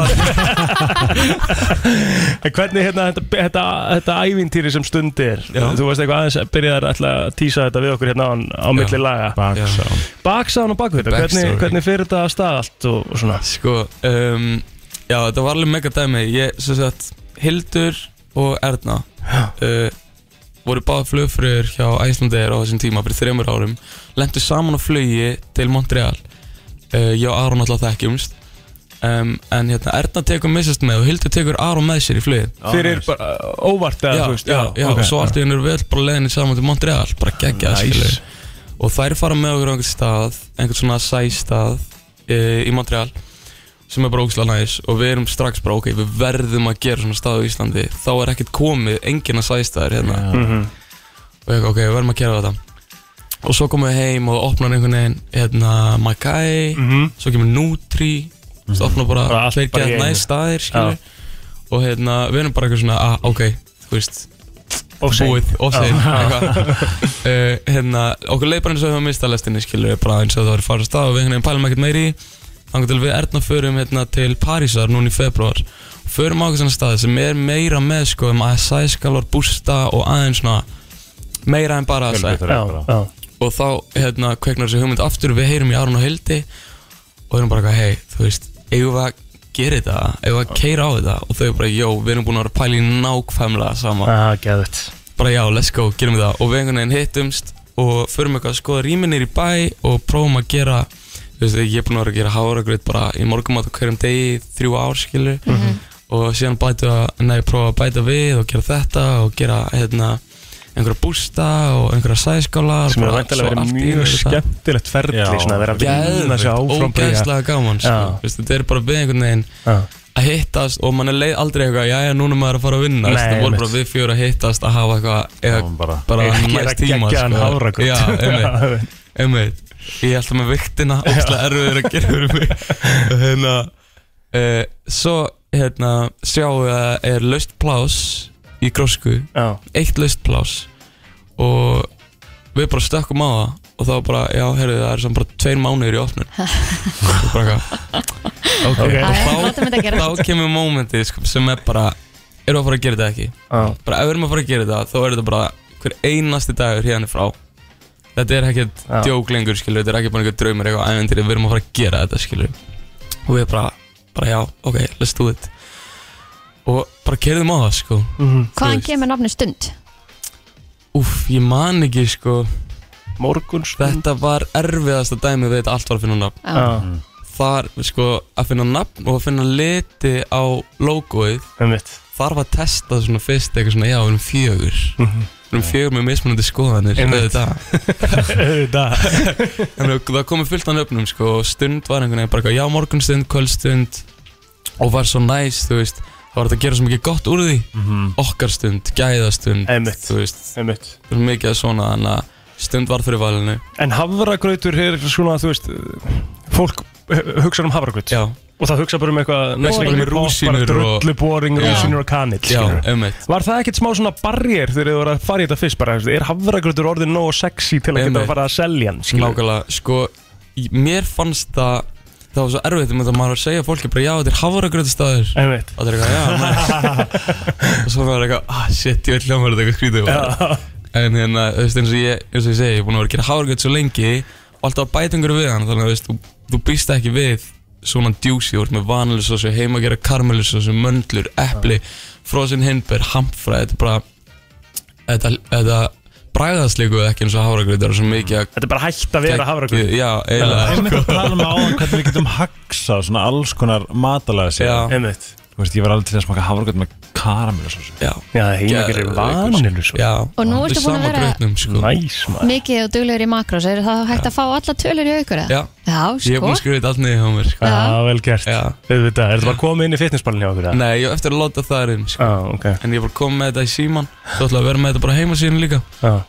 [SPEAKER 11] var
[SPEAKER 1] En Hvernig hérna, þetta, þetta, þetta ævintýri sem stund er Þú veist eitthvað aðeins byrjaðar alltaf að týsa þetta við okkur hérna á, á milli laga
[SPEAKER 11] Baksán
[SPEAKER 1] Baksán og bakvita, hvernig,
[SPEAKER 11] Backstory.
[SPEAKER 1] hvernig fyrir þetta að stað allt og, og svona
[SPEAKER 11] Sko, um, já þetta var alveg mega dæmi Ég, sem sagt, Hildur og Erna uh, voru báða flugfröður hjá Æslandeir á þessum tíma fyrir þreymur árum Lendu saman á flugi til Montreal uh, Ég og Aron alltaf þekkjumst um, En hérna, Erna tekur missast með og Hildur tekur Aron með sér í flugið
[SPEAKER 1] Fyrir bara uh, óvart eða
[SPEAKER 11] já,
[SPEAKER 1] þú veist,
[SPEAKER 11] já, já,
[SPEAKER 1] ok,
[SPEAKER 11] og svo allt í hennu erum við öll bara leðinni saman til Montreal, bara geggjað
[SPEAKER 1] Nice.
[SPEAKER 11] nice. og þær fara með okkur á einhvern stað einhvern svona sæstað e, í Montreal sem er bara ógæslega næs og við erum strax bara ok, við verðum að gera svona stað á Íslandi þá er ekkert komið, enginn að sæstaðir hérna
[SPEAKER 1] Já. Mhm.
[SPEAKER 11] og ég, ok, við verðum að gera þetta og svo komum við heim og opnaði einhvern veginn hérna Magai, svo kemur Nutri mm -hmm. opna
[SPEAKER 1] Mhm. Bara
[SPEAKER 11] bara
[SPEAKER 1] allt
[SPEAKER 11] tveir
[SPEAKER 1] bara í
[SPEAKER 11] gett
[SPEAKER 1] einu.
[SPEAKER 11] næs staðir skilur
[SPEAKER 1] Já.
[SPEAKER 11] og hérna, við erum bara eitthvað svona, ah, ok, þú veist
[SPEAKER 1] Offside.
[SPEAKER 11] búið, offside,
[SPEAKER 1] Já.
[SPEAKER 11] eitthvað uh, hérna, okkur leið bara eins og við höfum mistað lestinni, skilur við bara eins og það var farið af stað og við einhvern veginn pælum ekkert meiri í þangar til við erna förum hérna til Parísar núna í februar förum á eitthvað svona stað sem er meira með sko um að sæskalor, bústa og aðeins svona meira en bara
[SPEAKER 3] Fjölbreyttara,
[SPEAKER 11] Assai.
[SPEAKER 3] Já, bara. já.
[SPEAKER 11] og þá hérna kveiknar þessi hugmynd aftur við heyrum í Aron og Hildi og erum bara eitthvað, hei, þú veist, eigum við að gera þetta, eigum við að keira á þetta og þau bara, jó, við erum búin að vera að pæla í nákvæmlega sama
[SPEAKER 1] Já, geðvægt
[SPEAKER 11] Bara já, let's go, gerum við það og við einhvern veginn hittumst og förum eitthvað að skoða rýminir í bæ og prófum að gera þú veist, ég er búin að vera að gera háragröð bara í morgumat og hverjum degi, þrjú ár skilur og síðan bæta, nei, prófa að bæta við og gera þetta og gera, hérna, einhverja bústa og einhverja sæskálar
[SPEAKER 1] Sem er
[SPEAKER 11] bara
[SPEAKER 1] væntanlega
[SPEAKER 11] svo
[SPEAKER 1] verið
[SPEAKER 11] allt í
[SPEAKER 1] mjög
[SPEAKER 11] einu þetta.
[SPEAKER 1] skemmtilegt ferli,
[SPEAKER 11] Já.
[SPEAKER 1] svona, að vera að vinna sig
[SPEAKER 11] Geðveikt,
[SPEAKER 1] áfram, byrja.
[SPEAKER 11] ógeðslega gaman sko.
[SPEAKER 1] Já.
[SPEAKER 11] Veistu, þetta er bara við einhvern veginn að hittast og mann er leið aldrei eitthvað jæja, núna er maður að fara að vinna
[SPEAKER 1] Nei,
[SPEAKER 11] Veistu, það voru
[SPEAKER 1] einmitt.
[SPEAKER 11] bara við fjóra að hittast að hafa eitthvað eða bara, bara
[SPEAKER 1] Gera
[SPEAKER 11] næst tíma sko.
[SPEAKER 1] geggjaðan hafragraut.
[SPEAKER 11] já, einmitt, einmitt ég held að með viktina ógæslega erfiður hérna, að gera fyrir mig Og hérna uh, svo hérna sjáum við að er laust plás í grósku
[SPEAKER 1] já.
[SPEAKER 11] eitt laust plás og við bara stökkum á það og þá bara, já, heyrðu, það er sem bara tveir mánuðir í opnun og bara eitthvað ok,
[SPEAKER 1] Ok.
[SPEAKER 11] og
[SPEAKER 1] Æ, látum þetta
[SPEAKER 11] þá,
[SPEAKER 1] gerast.
[SPEAKER 11] þá kemur mómentið sko, sem er bara erum við að fara að gera þetta ekki
[SPEAKER 1] Já.
[SPEAKER 11] bara ef við erum að fara að gera þetta, þá er þetta bara hver einasti dagur hérna frá þetta er ekkert
[SPEAKER 1] Já.
[SPEAKER 11] djók lengur, skilur þetta er ekki bara einhver draumur, eitthvað ævendir við erum að fara að gera þetta, skilur og við bara, bara já, ok, let's do it og bara kerðum á það, sko
[SPEAKER 1] Mm.
[SPEAKER 11] Þú
[SPEAKER 2] Hvaðan kemur nafni stund?
[SPEAKER 11] Úf, ég man ekki sko Morguns Þetta var erfiðasta dæmi við þetta allt var að finna nafn
[SPEAKER 2] Já. Já.
[SPEAKER 11] Þar sko að finna nafn og að finna liti á logoið
[SPEAKER 1] Einmitt.
[SPEAKER 11] Þar var testað svona fyrst eitthvað svona já, við erum fjögur
[SPEAKER 1] Mhm.
[SPEAKER 11] Við erum fjögur með mismunandi skoðanir
[SPEAKER 1] Einmitt.
[SPEAKER 11] Auðvitað Þannig að það komið fullt á nöfnum sko og stund var einhvern veginn bara eitthvað já, morgunstund, kvöldstund og var svo næs, þú veist Það var þetta að gera svo mikið gott úr því
[SPEAKER 1] Mhm.
[SPEAKER 11] okkar stund, gæðastund Einmitt. þú veist,
[SPEAKER 1] Einmitt.
[SPEAKER 11] mikið af svona þannig að stund var fyrir valinu
[SPEAKER 1] En hafragrautur er svona, þú veist, fólk hugsa um hafragraut og það hugsa bara um eitthvað
[SPEAKER 11] Bara
[SPEAKER 1] næstum
[SPEAKER 11] með
[SPEAKER 1] eitthvað
[SPEAKER 11] rúsínur
[SPEAKER 1] bara
[SPEAKER 11] og-
[SPEAKER 1] drulluboring,
[SPEAKER 11] Já.
[SPEAKER 1] rúsinur og kanill
[SPEAKER 11] Já,
[SPEAKER 1] skilurðu.
[SPEAKER 11] einmitt.
[SPEAKER 1] Var það ekkert smá svona barrier þegar þið voru að fara í þetta fyrst bara, þú veist, er hafragrautur orðin nógu sexy til að geta
[SPEAKER 11] Einmitt.
[SPEAKER 1] að fara að selja hann skilurðu?
[SPEAKER 11] nákvæmlega, sko í- mér fannst það það var svo erfitt um þetta maður var að segja fólki bara já, þetta er hafragröðustæður
[SPEAKER 1] og
[SPEAKER 11] það er eitthvað, já, næs og svo maður er eitthvað, ah, shit, ég vil hljóma þetta eitthvað skrítið
[SPEAKER 1] Já.
[SPEAKER 11] en hérna, þú veist, eins og ég eins og ég segi, ég er búin að vera að gera hafragröð svo lengi og alltaf að bæta einhverju við hann þannig að, þú veist, þú, þú býst ekki við svona djúsi, þú ert með vanilisósu, heima að gera karmelisósu, möndlur, epli frosin hindber, hamfræð, þetta er bara þetta, þetta bræðast líku ekki eins og hafragröð, það er
[SPEAKER 2] Mm.
[SPEAKER 11] svo mikið að
[SPEAKER 1] Þetta er bara hægt að vera hafragrautur.
[SPEAKER 3] Það
[SPEAKER 11] Já,
[SPEAKER 3] er
[SPEAKER 11] eiginlega
[SPEAKER 3] einmitt að tala um áðan hvernig við getum haksað svona alls konar matalega sér
[SPEAKER 11] Já.
[SPEAKER 1] Einmitt
[SPEAKER 3] Þú veist, ég var alveg til að smaka hafragröð með karamel og svo
[SPEAKER 11] Já,
[SPEAKER 1] já heimagerir vanillu sko.
[SPEAKER 11] Já,
[SPEAKER 2] Og nú ertu búin að vera-
[SPEAKER 11] sko.
[SPEAKER 1] Næs maður
[SPEAKER 2] Mikið og duglur í makrós, er það hægt að fá alla tölur í aukur?
[SPEAKER 11] Já,
[SPEAKER 2] Já,
[SPEAKER 11] ég er
[SPEAKER 2] sko
[SPEAKER 11] búin að skrifa þetta allt niður hjá mér sko.
[SPEAKER 1] Já, vel gert Já. Auðvitað, er þetta bara komið inn í fitnessballin hjá okkur það?
[SPEAKER 11] Nei, ég á eftir að láta það erinn sko.
[SPEAKER 1] ah, okay.
[SPEAKER 11] En ég er bara komið með þetta í síman Þú ætlaði að vera með þetta bara heima síðan líka
[SPEAKER 1] Já.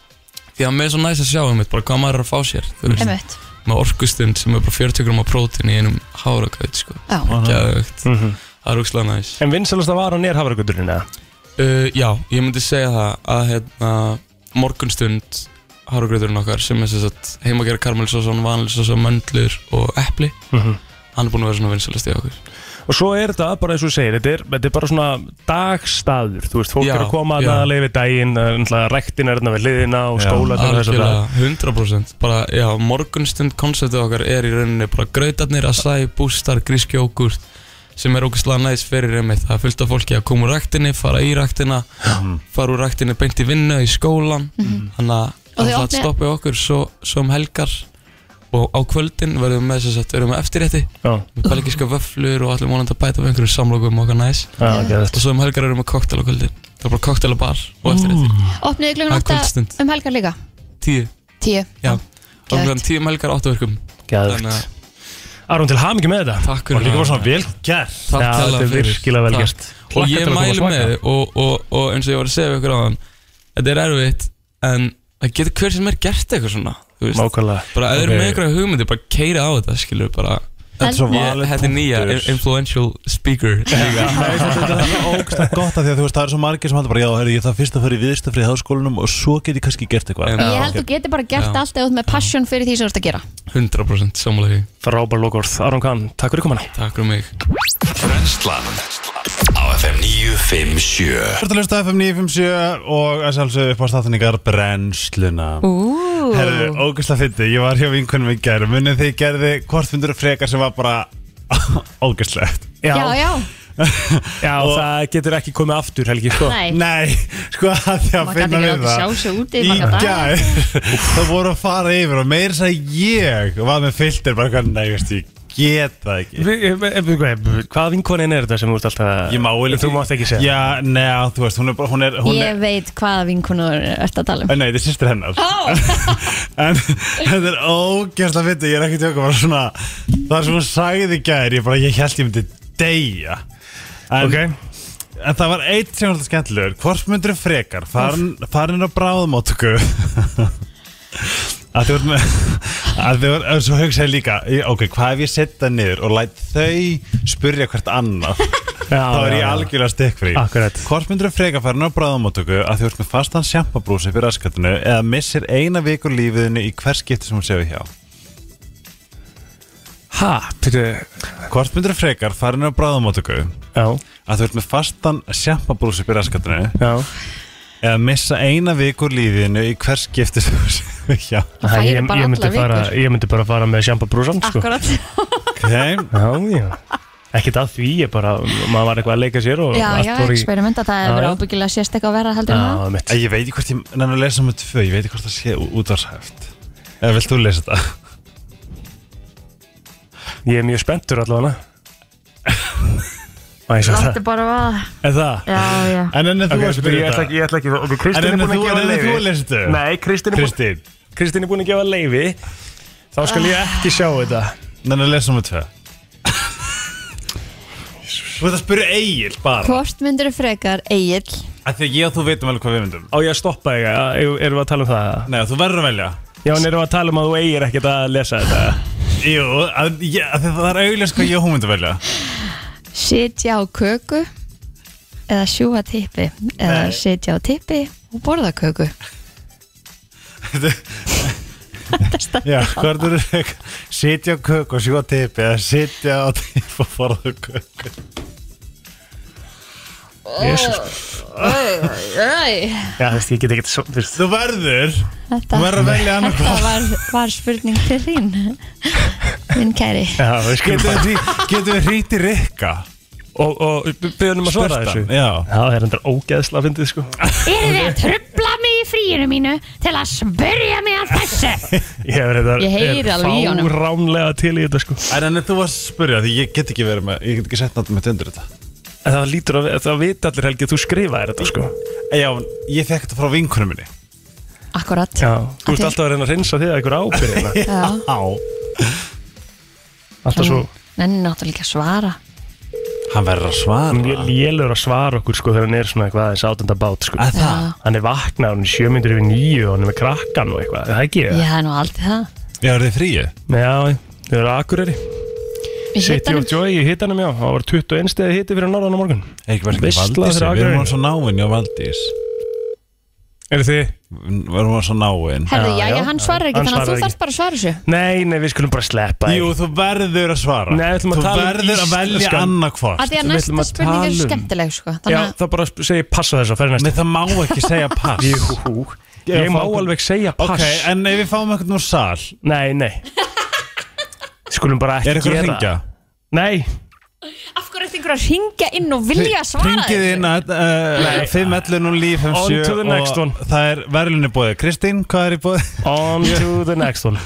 [SPEAKER 11] Því að mér er svo næst að sjá um þetta Bara hvað maður er að fá sér þú veist.
[SPEAKER 2] Einmitt.
[SPEAKER 11] með orkustund sem er bara 40 gram af prótín í einum hárakaut sko.
[SPEAKER 2] Já.
[SPEAKER 11] Geðveikt. Það er úkslega næs
[SPEAKER 1] En vinsalast að varan er hafragrauturinn eða?
[SPEAKER 11] uh, Já, ég myndi segja það að hérna, morgunstund hárgröðurinn okkar sem er sem sagt, heimagera karmelsósa, vanilsósa, möndlur og epli
[SPEAKER 1] Mhm.
[SPEAKER 11] Hann er búinn að vera svona vinsalast í okkur
[SPEAKER 1] Og svo er þetta bara eins og þú segir, þetta er, þetta er bara svona dagstaður, þú veist, fólk
[SPEAKER 11] Já,
[SPEAKER 1] er að koma
[SPEAKER 11] já.
[SPEAKER 1] að leifi daginn, það er náttúrulega rektin er þarna við liðina og
[SPEAKER 11] Já.
[SPEAKER 1] skóla
[SPEAKER 11] Algjörlega, 100% bara, já, morgunstund konceptið okkar er í rauninni bara grautarnir, asæ, bústar, grískjókurt sem er ógæslega næs fyrir einmitt það er fullt af fólki að koma úr ræktinni, fara í ræktina
[SPEAKER 2] Mhm.
[SPEAKER 11] fara úr ræktinni beint í vinnu í skólan, þannig að
[SPEAKER 2] Og þið
[SPEAKER 11] það
[SPEAKER 2] opnið-
[SPEAKER 11] stoppi okkur svo, svo um helgar og á kvöldin verðum við með þess að verðum við eftirrétti
[SPEAKER 1] Já.
[SPEAKER 11] með belgiska vöflur og allir vonandi að bæta við einhverjum samlokum okkar næs
[SPEAKER 1] Já, geðvægt.
[SPEAKER 11] og svo um helgar erum við koktel á kvöldin það er bara koktel og bar og eftirrétti
[SPEAKER 2] Opniði
[SPEAKER 11] Það er
[SPEAKER 2] klukkan 8
[SPEAKER 11] kvöldstund.
[SPEAKER 2] um helgar líka
[SPEAKER 11] tíu
[SPEAKER 2] 10
[SPEAKER 11] Já, og hann tíu melgar áttaverkum
[SPEAKER 1] Gæðvögt Aron til hamingi með þetta
[SPEAKER 11] Takk fyrir
[SPEAKER 1] Og líka bara
[SPEAKER 11] það.
[SPEAKER 1] svona vel gert
[SPEAKER 11] Takk
[SPEAKER 1] Já,
[SPEAKER 11] kærlega
[SPEAKER 1] þetta er
[SPEAKER 11] fyrir.
[SPEAKER 1] virkilega vel
[SPEAKER 11] Takk.
[SPEAKER 1] gert
[SPEAKER 11] Og
[SPEAKER 1] Hlakka til
[SPEAKER 11] ég
[SPEAKER 1] að koma
[SPEAKER 11] mæli
[SPEAKER 1] að
[SPEAKER 11] með
[SPEAKER 1] smaka.
[SPEAKER 11] þið og, og, og eins og ég var að segja við ykkur á hann Þetta er erfitt En það getur hver sem er gert eitthvað svona þú veist.
[SPEAKER 1] Nákvæmlega.
[SPEAKER 11] Bara ef þið eru
[SPEAKER 1] Ok.
[SPEAKER 11] með eitthvað hugmyndi bara keira á þetta skilur bara
[SPEAKER 3] Þetta er svo
[SPEAKER 11] Ég-
[SPEAKER 3] valið
[SPEAKER 11] Þetta er nýja
[SPEAKER 3] punktur.
[SPEAKER 11] in- influential speaker líka.
[SPEAKER 3] ógst gott að því að þú veist það er svo margir sem haldur bara já, herri, ég þarf fyrst að fara í viðstafrið í háskólanum og svo get ég kannski gert eitthvað
[SPEAKER 2] Ég held þú getur bara gert
[SPEAKER 11] Já.
[SPEAKER 2] allt eða út með passion fyrir því sem þú ert að gera
[SPEAKER 11] 100% samanlega
[SPEAKER 1] Frábær lokorð, Aron Kahn, takk fyrir komana
[SPEAKER 11] Takk fyrir mig
[SPEAKER 5] Brennslan á FM 957
[SPEAKER 3] Þú ert að hlusta á FM 957 og að sjálfsögðu upp á staðfinningar brennsluna Herru, ógæslega fyndi, ég var hjá vinkunum í gær Munið þið gerði hvort fundur frekar sem var bara ógæslegt
[SPEAKER 1] Já.
[SPEAKER 2] Já, já,
[SPEAKER 1] Já, það getur ekki komið aftur, Helgi, sko
[SPEAKER 2] Nei.
[SPEAKER 3] Nei, sko að því að
[SPEAKER 2] maður
[SPEAKER 3] finna
[SPEAKER 2] gæti ekki
[SPEAKER 3] við
[SPEAKER 2] látið
[SPEAKER 3] það
[SPEAKER 2] sjá sig úti í
[SPEAKER 3] Í
[SPEAKER 2] marga daga
[SPEAKER 3] gær, það voru að fara yfir og meira þess að ég var með filter bara hvað, nei, veist, ég get það ekki
[SPEAKER 1] Vi- eh, eh, hvað- Hvaða vinkonin er þetta sem þú ert alltaf
[SPEAKER 3] Ég má vel
[SPEAKER 1] Þú mátt ekki segja
[SPEAKER 3] Já, neða, þú veist, hún er bara, hún er, hún
[SPEAKER 2] Ég
[SPEAKER 3] er
[SPEAKER 2] veit hvaða vinkunu ert að tala um
[SPEAKER 3] Nei, þetta er sýstir hennar
[SPEAKER 2] Ó,
[SPEAKER 3] En þetta er ógæsla fyndi Ég er ekki tjóka bara svona Það er svona sagði í gær Ég bara, ég held ég myndi deyja En,
[SPEAKER 1] Ok.
[SPEAKER 3] en það var eitt sem var alltaf skemmtilegur Hvort myndir frekar farin, farin á bráðmóttöku Að þú ert með að þú ert, svo hugsaði líka ég- Ok, hvað ef ég setja niður og læt þau spyrja hvert annað
[SPEAKER 1] Já,
[SPEAKER 3] Þá
[SPEAKER 1] já,
[SPEAKER 3] er ég
[SPEAKER 1] já.
[SPEAKER 3] algjörlega stikkfrí
[SPEAKER 1] Akkurat.
[SPEAKER 3] Hvort myndur þú freka farin á bráðamóttöku að þú ert með fastan sjampabrúsi fyrir raskatunni eða missir eina viku lífiðinu í hvers skipti sem hún séu hjá?
[SPEAKER 1] Ha, byrju
[SPEAKER 3] Hvort myndur þú frekar farin á bráðamóttöku
[SPEAKER 1] Já,
[SPEAKER 3] að þú ert með fastan sjampabrúsi fyrir raskatunni
[SPEAKER 1] já
[SPEAKER 3] eða missa eina viku lífiðinu í hvers skipti sem hún séu hjá?
[SPEAKER 2] Það
[SPEAKER 1] Ég-
[SPEAKER 2] eru bara
[SPEAKER 1] ég myndi
[SPEAKER 2] allar
[SPEAKER 1] fara-
[SPEAKER 2] vikur. Ah,
[SPEAKER 1] Ég myndi bara fara með sjampa brúsan, sko
[SPEAKER 2] akkurat
[SPEAKER 3] Okay.
[SPEAKER 1] Já, já Ekkert að því, ég bara, maður var eitthvað að leika sér og
[SPEAKER 2] Já,
[SPEAKER 1] allt
[SPEAKER 2] já,
[SPEAKER 1] fór í-
[SPEAKER 2] experimenta, það
[SPEAKER 1] Já,
[SPEAKER 2] er verið
[SPEAKER 1] já.
[SPEAKER 2] ábyggilega sérst eitthvað verra heldur en það
[SPEAKER 1] Já, mitt
[SPEAKER 3] Æ, Ég veit ekki hvort ég nenni að lesa með tvö, ég veit ekki hvort það sé útvarshæft eða vilt þú lesa þetta?
[SPEAKER 1] Ég er mjög spenntur allavega Æ, svo það
[SPEAKER 2] bara að
[SPEAKER 1] Er það?
[SPEAKER 2] Já, já
[SPEAKER 3] En ennið þú
[SPEAKER 1] Ok,
[SPEAKER 3] að spyrja
[SPEAKER 1] ég ætla
[SPEAKER 3] þetta
[SPEAKER 1] ekki, ég ætla ekki ok, Kristín er búin
[SPEAKER 3] En
[SPEAKER 1] að
[SPEAKER 3] ennið þú
[SPEAKER 1] gefa
[SPEAKER 3] ennið þú að
[SPEAKER 1] leiði
[SPEAKER 3] lesa þetta?
[SPEAKER 1] Nei, Kristín er búin
[SPEAKER 3] Kristín,
[SPEAKER 1] Kristín er búin að gefa leiði Þá skal ég ekki sjá þetta
[SPEAKER 3] Þannig að lesa með tvö Þú ert að spyrja Egil bara
[SPEAKER 2] Hvort myndir frekar Egil
[SPEAKER 3] Af því að ég og þú veitum alveg hvað við myndum
[SPEAKER 1] Á ég að stoppa þig, eða erum við að tala um það?
[SPEAKER 3] Nei, þú verður að velja
[SPEAKER 1] Já, en erum við að tala um að þú eigir ekkert að lesa þetta
[SPEAKER 3] Jú, að, ég, að það er auðvitað hvað ég og hún myndi velja
[SPEAKER 2] Sitja á köku Eða sjúga tippi Eða sitja á tippi og borða köku
[SPEAKER 3] Já, hvað er þetta? Sitja á kök og sjúa tipi Eða sitja á tipi og forða kök
[SPEAKER 1] Jésus Já, þú veist, ég get ekkert svo, þú veist
[SPEAKER 3] Þú verður
[SPEAKER 2] Þetta
[SPEAKER 3] Þú verður að velja annað
[SPEAKER 2] Þetta var, var spurning til þín Minn kæri
[SPEAKER 1] Já, við skulum bara
[SPEAKER 3] Getum við hrýtt í rikka?
[SPEAKER 1] Og, og byrjum að svara þessu
[SPEAKER 3] Já
[SPEAKER 1] Já, það er endur ógeðsla að fyndið, sko
[SPEAKER 2] Eru þið að trubla mig í fríinu mínu Til að spurja mig að þessu
[SPEAKER 1] Ég er þetta
[SPEAKER 2] Ég heyri alveg í honum.
[SPEAKER 1] Fáránlega til í þetta, sko
[SPEAKER 3] En ennið þú varst að spyrja Því ég get ekki verið með Ég get ekki sett náttúrulega mitt undir þetta
[SPEAKER 1] En það lítur að, það vita allir helgi að þú skrifaðir þetta, sko
[SPEAKER 3] Eh, Já, ég fekk þetta frá vinkunum minni
[SPEAKER 2] Akkurat
[SPEAKER 1] Já, þú ert alltaf að reyna að reynsa þig að hérna. ykkur ábyrðina
[SPEAKER 2] Já.
[SPEAKER 3] Á
[SPEAKER 1] Alltaf svo
[SPEAKER 2] Nenni náttúrulega ekki að svara
[SPEAKER 3] Hann verður að
[SPEAKER 1] Hann
[SPEAKER 3] svara
[SPEAKER 1] er lélur að svara okkur sko þegar hann er svona eitthvað aðeins átenda bát sko
[SPEAKER 3] Að það?
[SPEAKER 1] Hann er vaknað, hann er sjömyndur yfir nýju og hann er með krakkan og eitthvað, er það ekki
[SPEAKER 2] Ég
[SPEAKER 1] það?
[SPEAKER 2] hef nú aldrei það
[SPEAKER 3] Já, er þið fríi?
[SPEAKER 1] Já, þið eru akkurýri
[SPEAKER 3] Í
[SPEAKER 1] City
[SPEAKER 3] hitanum?
[SPEAKER 1] of Joy í hittanum, já Það var 21 steði hitti fyrir norðan á morgun
[SPEAKER 3] Ekki verður ekki
[SPEAKER 1] Veistla
[SPEAKER 3] Valdís,
[SPEAKER 1] fyrir
[SPEAKER 3] við erum
[SPEAKER 1] Akureyri.
[SPEAKER 3] hann svo náinn hjá Valdís
[SPEAKER 1] Er þið?
[SPEAKER 3] Við erum hann svo náinn
[SPEAKER 2] Herðu, já, já, hann svarar ekki, þannig að þú þarft bara að svara þessu
[SPEAKER 1] Nei, nei, við skulum bara sleppa
[SPEAKER 3] Jú, þú verður að svara
[SPEAKER 1] Nei, við ætlum að
[SPEAKER 3] Þú
[SPEAKER 1] tala um
[SPEAKER 3] verður að velja
[SPEAKER 1] íslenskan.
[SPEAKER 3] annarkvort
[SPEAKER 2] Af því að næsta spurning er skemmtileg, sko Þannig
[SPEAKER 1] Já,
[SPEAKER 2] að
[SPEAKER 1] það bara segi passa þess að ferði næst
[SPEAKER 3] Nei, það má ekki segja pass.
[SPEAKER 1] Jú,
[SPEAKER 3] Ég
[SPEAKER 1] ég má
[SPEAKER 3] fá-
[SPEAKER 1] alveg segja pass
[SPEAKER 3] Ok, en ef við fáum eitthvað úr sal
[SPEAKER 1] Nei, nei Skulum bara ekki
[SPEAKER 3] Er eitthvað að
[SPEAKER 1] gera
[SPEAKER 3] hringja?
[SPEAKER 1] Nei,
[SPEAKER 2] af hverju ertu einhver að ringja inn og vilja svara
[SPEAKER 3] Ringið inn að uh,
[SPEAKER 1] Nei.
[SPEAKER 3] 511 og líf
[SPEAKER 1] On to the next one.
[SPEAKER 3] Það er verðlunni bóðið Kristín, hvað er í bóðið?
[SPEAKER 1] on to the next one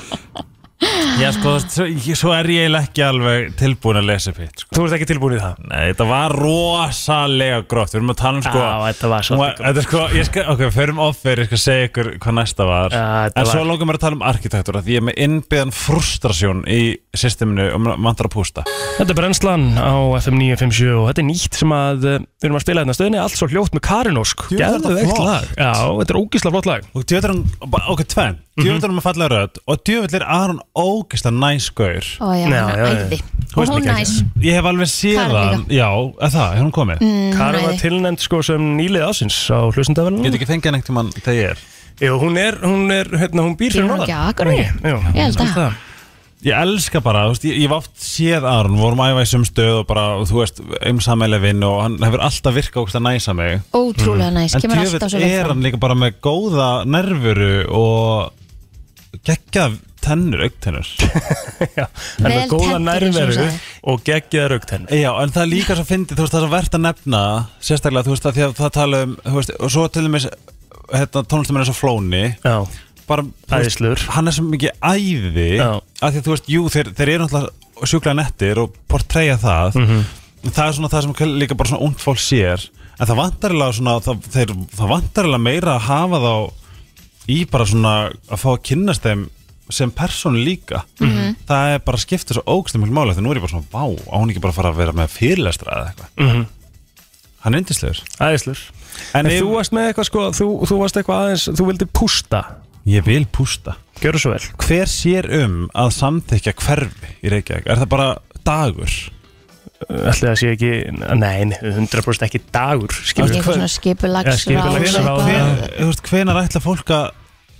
[SPEAKER 3] Já, sko, svo, ég- svo er ég eiginlega ekki alveg tilbúin að lesa upp hitt sko.
[SPEAKER 1] Þú ert ekki tilbúin í það
[SPEAKER 3] Nei, þetta var rosalega grótt Við erum að tala um sko
[SPEAKER 1] Já, þetta var
[SPEAKER 3] Hún var-
[SPEAKER 1] svolítið
[SPEAKER 3] Þetta er sko, ég skal, ok, við förum offer, ég skal segja ykkur hvað næsta var
[SPEAKER 1] Já, þetta
[SPEAKER 3] En svo
[SPEAKER 1] var-
[SPEAKER 3] lókum við að tala um arkitektúra Því ég er með innbyðan frustrasjón í systeminu og um vantar að pústa
[SPEAKER 1] Þetta er brennslan á FM 957 og þetta er nýtt sem að uh, við erum að spila hérna stöðinni allt svo hljótt með Karin Ósk
[SPEAKER 3] Jú, þetta er
[SPEAKER 1] Geðveikt
[SPEAKER 3] flott.
[SPEAKER 1] lag Já, þetta er ógísla flott lag
[SPEAKER 3] Og djöfull er hann, ok, tvenn
[SPEAKER 1] Mhm.
[SPEAKER 3] Djöfull er hann með fallega rödd Og djöfull er Aron ógist að næskaur
[SPEAKER 2] Ó, já,
[SPEAKER 1] Já,
[SPEAKER 2] hann
[SPEAKER 1] já,
[SPEAKER 2] er
[SPEAKER 1] já.
[SPEAKER 2] æði
[SPEAKER 3] Þú
[SPEAKER 2] Og
[SPEAKER 3] veist
[SPEAKER 2] hún
[SPEAKER 3] ekki
[SPEAKER 2] næs
[SPEAKER 3] Ég hef alveg séð
[SPEAKER 2] Karin
[SPEAKER 3] hann Já, að það, hefur hún komið
[SPEAKER 2] Mm,
[SPEAKER 1] Karin var
[SPEAKER 2] æði.
[SPEAKER 1] tilnæmt sko sem nýlið ásins á
[SPEAKER 3] Ég
[SPEAKER 1] hljósundavælunum
[SPEAKER 3] get ekki fengið hann eitt um hann þegar ég er
[SPEAKER 1] Jú, hún er, hún er, hérna, hún býr
[SPEAKER 2] Býr
[SPEAKER 1] fyrir
[SPEAKER 2] hún
[SPEAKER 1] norðan
[SPEAKER 2] ekki á Akureyri?
[SPEAKER 1] Jú,
[SPEAKER 2] Ég held að.
[SPEAKER 1] það.
[SPEAKER 3] Ég elska bara, þú veist, ég, ég hef oft séð Aron, við vorum að æfa í sum stöð og bara, og þú veist, um sammeile vinn og hann hefur alltaf virkað ógst að næsa mig.
[SPEAKER 2] Ótrúlega næs,
[SPEAKER 3] En
[SPEAKER 2] kemur alltaf svo
[SPEAKER 3] djöfull
[SPEAKER 2] vel
[SPEAKER 3] er
[SPEAKER 2] fram
[SPEAKER 3] hann líka bara með góða nervuru og geggjað tennur, auktennur.
[SPEAKER 1] Já, hann er með góða
[SPEAKER 2] Vel tenntur, eins og hún
[SPEAKER 1] nærveru
[SPEAKER 2] sagði.
[SPEAKER 1] og geggjaða raugtenn
[SPEAKER 3] Já, en það er líka svo fyndið, þú veist, það er svo verðt að nefna, sérstaklega, þú veist, að því að það tala um, þú veist, og svo til dæmis, hérna, tónlistamenn er svo flóni,
[SPEAKER 1] Já,
[SPEAKER 3] bara, þú veist,
[SPEAKER 1] æðislur
[SPEAKER 3] hann er svo mikið æði,
[SPEAKER 1] Já.
[SPEAKER 3] að því að þú veist, jú, þeir, þeir eru náttúrulega sjúklega nettir og portreyja það,
[SPEAKER 1] Mhm.
[SPEAKER 3] En það er svona það sem líka bara svona ungt fólk sér en það vantarlega svona það, þeir, það vantarlega meira að hafa þá í bara svona að fá að kynnast þeim sem persónu líka það er bara að skipta svo ógstum mjög máli þegar nú er ég bara svona vá á hún ekki bara að fara að vera með fyrirlestra eða eitthvað
[SPEAKER 1] Mhm.
[SPEAKER 3] hann er yndislegur
[SPEAKER 1] Æðislur En,
[SPEAKER 3] ef-
[SPEAKER 1] þú varst með eitthvað sko, þú, þú varst eitthvað aðeins, þú vildi pústa
[SPEAKER 3] ég vil pústa
[SPEAKER 1] Gjörðu svo vel
[SPEAKER 3] hver sér um að samþykja hverfi í Reykjavík er það bara dagur
[SPEAKER 1] Ætli það sé ekki, nein, 100% ekki dagur
[SPEAKER 2] Ekki
[SPEAKER 1] skilur
[SPEAKER 2] eitthvað svona
[SPEAKER 1] Já,
[SPEAKER 2] skipulagsráð
[SPEAKER 1] skipulagsráð,
[SPEAKER 2] eitthvað.
[SPEAKER 1] já.
[SPEAKER 3] hver, þú veist, hvenar ætla fólk að,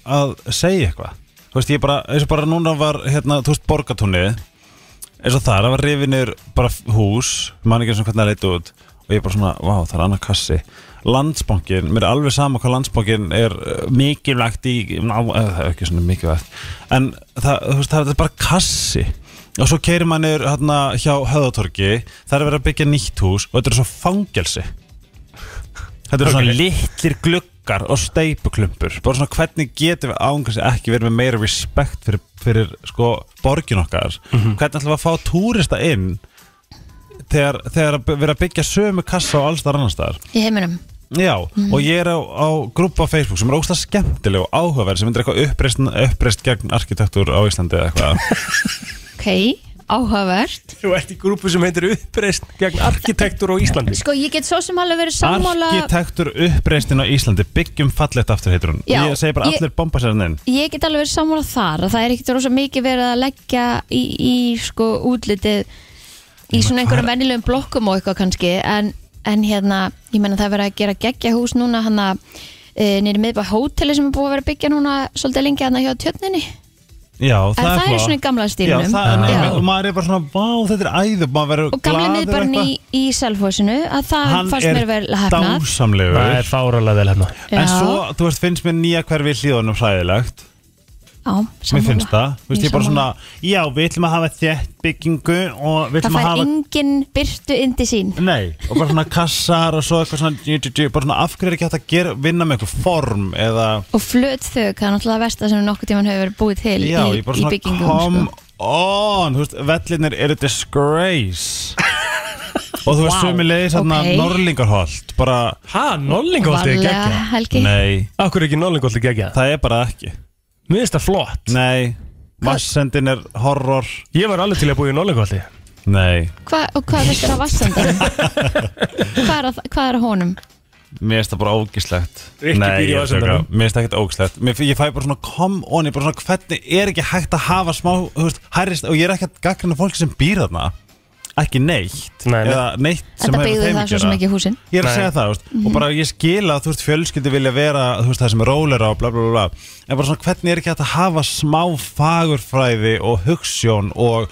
[SPEAKER 3] að segja eitthvað þú veist, ég bara, eins og bara núna var hérna, þú veist, borgatúni eins og þar, það var rifinir bara f- hús mann ekki eins og hvernig það leiti út og ég bara svona, vá, það er annar kassi landsbankin, mér er alveg sama hvað landsbankin er uh, mikilvægt í ná, eh, það er ekki svona mikilvægt en það, þú veist, það er bara kassi og svo keirir mann er hérna hjá höðatorgi, það er verið að byggja nýtt hús og þetta er svo fangelsi Þetta eru svona litlir gluggar og steipuklumpur Bara svona hvernig getum við ángrasi ekki verið með meira respekt fyrir, fyrir sko borgin okkar
[SPEAKER 1] Mhm.
[SPEAKER 3] Hvernig ætlum við að fá túrista inn Þegar, þegar að vera að byggja sömu kassa á alls þar annars þar
[SPEAKER 2] Í heiminum
[SPEAKER 3] Já,
[SPEAKER 2] Mhm.
[SPEAKER 3] og ég er á, á grúpa á Facebook sem er óslega skemmtileg og áhugaverð sem myndir eitthvað uppreist, uppreist gegn arkitektúr á Íslandi eða eitthvað
[SPEAKER 2] Ok, áhugavert
[SPEAKER 1] Þú ert í grúpu sem heitir uppreist gegn arkitektur á Íslandi
[SPEAKER 2] Sko, ég get svo sem alveg verið sammála
[SPEAKER 3] Arkitektur uppreistin á Íslandi byggjum fallegt aftur heitur hún
[SPEAKER 2] Já,
[SPEAKER 3] Ég segi bara
[SPEAKER 2] ég-
[SPEAKER 3] allir bomba sér hann inn
[SPEAKER 2] Ég get alveg verið sammála þar að það er ekkert rosa mikið verið að leggja í, í sko útlitið í svona einhverjum venjulegum blokkum og eitthvað kannski en, en hérna, ég menna það er verið að gera geggja hús núna hann að e, nýri miðbæ hóteli sem er búið að vera að byggja núna svolítið lengi hann hjá tjörninni
[SPEAKER 3] Já,
[SPEAKER 2] en það, er
[SPEAKER 3] flott.
[SPEAKER 2] svona í gamla
[SPEAKER 3] Já,
[SPEAKER 2] stílunum
[SPEAKER 3] það er nefnir, og
[SPEAKER 2] Já.
[SPEAKER 3] maður er bara svona, vá, þetta er æðu, maður verður
[SPEAKER 2] og gamla
[SPEAKER 3] glaður
[SPEAKER 2] miðbærin í, í selfhúsinu að það
[SPEAKER 3] Hann
[SPEAKER 2] fannst mér
[SPEAKER 3] er
[SPEAKER 2] vel hefnað
[SPEAKER 1] Það er
[SPEAKER 3] dásamlegur,
[SPEAKER 1] fáralega vel hérna
[SPEAKER 2] Já,
[SPEAKER 3] en svo, þú veist, finnst mér nýja hverfi í hlíðunum hræðilegt,
[SPEAKER 2] já,
[SPEAKER 3] mér
[SPEAKER 2] sammála.
[SPEAKER 3] finnst það, þú veist,
[SPEAKER 2] Ég
[SPEAKER 3] ég bara svona,
[SPEAKER 2] sammála.
[SPEAKER 3] já, við ætlum að hafa þétt byggingu og
[SPEAKER 2] það
[SPEAKER 3] við ætlum að
[SPEAKER 2] fær
[SPEAKER 3] hafa,
[SPEAKER 2] engin byrtu indi sín
[SPEAKER 3] nei, og bara svona kassar og svo eitthvað svona, djú, djú, djú, bara svona, af hverju er ekki hægt að gera, vinna með eitthvað form eða,
[SPEAKER 2] Og flöt þau, það er náttúrulega versta sem nokkuð tíman hefur verið búið til
[SPEAKER 3] já,
[SPEAKER 2] í,
[SPEAKER 3] ég bara
[SPEAKER 2] í
[SPEAKER 3] svona,
[SPEAKER 2] byggingum
[SPEAKER 3] come
[SPEAKER 2] sko.
[SPEAKER 3] on, þú veist, vellinir eru disgrace. Og þú veist, wow. sömulegis hérna
[SPEAKER 2] ok.
[SPEAKER 3] Norlingarholt, bara,
[SPEAKER 1] Ha, nollingolti er
[SPEAKER 2] Varlega,
[SPEAKER 1] geggja
[SPEAKER 2] Helgi
[SPEAKER 3] nei,
[SPEAKER 1] Akkur er ekki nollingolti geggja
[SPEAKER 3] Það er bara ekki
[SPEAKER 1] Mér finnst það flott
[SPEAKER 3] Nei, vassendin er horror
[SPEAKER 1] Ég var alveg til að búa í nollingolti
[SPEAKER 3] Nei
[SPEAKER 2] Hva, Og hvað veist þér á vassendanum? hvað, er að, hvað er að honum?
[SPEAKER 3] Mér finnst það bara ógislegt
[SPEAKER 1] Rikki býr í vasandanum.
[SPEAKER 3] Mér finnst það ekkert ógislegt Mér, Ég fæ bara svona come on Ég bara svona hvernig er ekki hægt að hafa smá þú veist, hærrist, Og ég er ekki að gaggrina fólki sem býr þarna Ekki neitt
[SPEAKER 1] nei.
[SPEAKER 3] Eða neitt sem
[SPEAKER 2] Þetta
[SPEAKER 3] hefur
[SPEAKER 2] byggði
[SPEAKER 3] þeim
[SPEAKER 2] það
[SPEAKER 3] að
[SPEAKER 2] svo
[SPEAKER 3] gera.
[SPEAKER 2] sem ekki húsin
[SPEAKER 3] Ég er að segja það, þú veist,
[SPEAKER 2] Mhm.
[SPEAKER 3] og bara ég skila að þú veist, fjölskyldi vilja vera, þú veist, það sem er rólera og bla bla bla bla, en bara svona hvernig er ekki hægt að hafa smá fagurfræði og hugssjón og,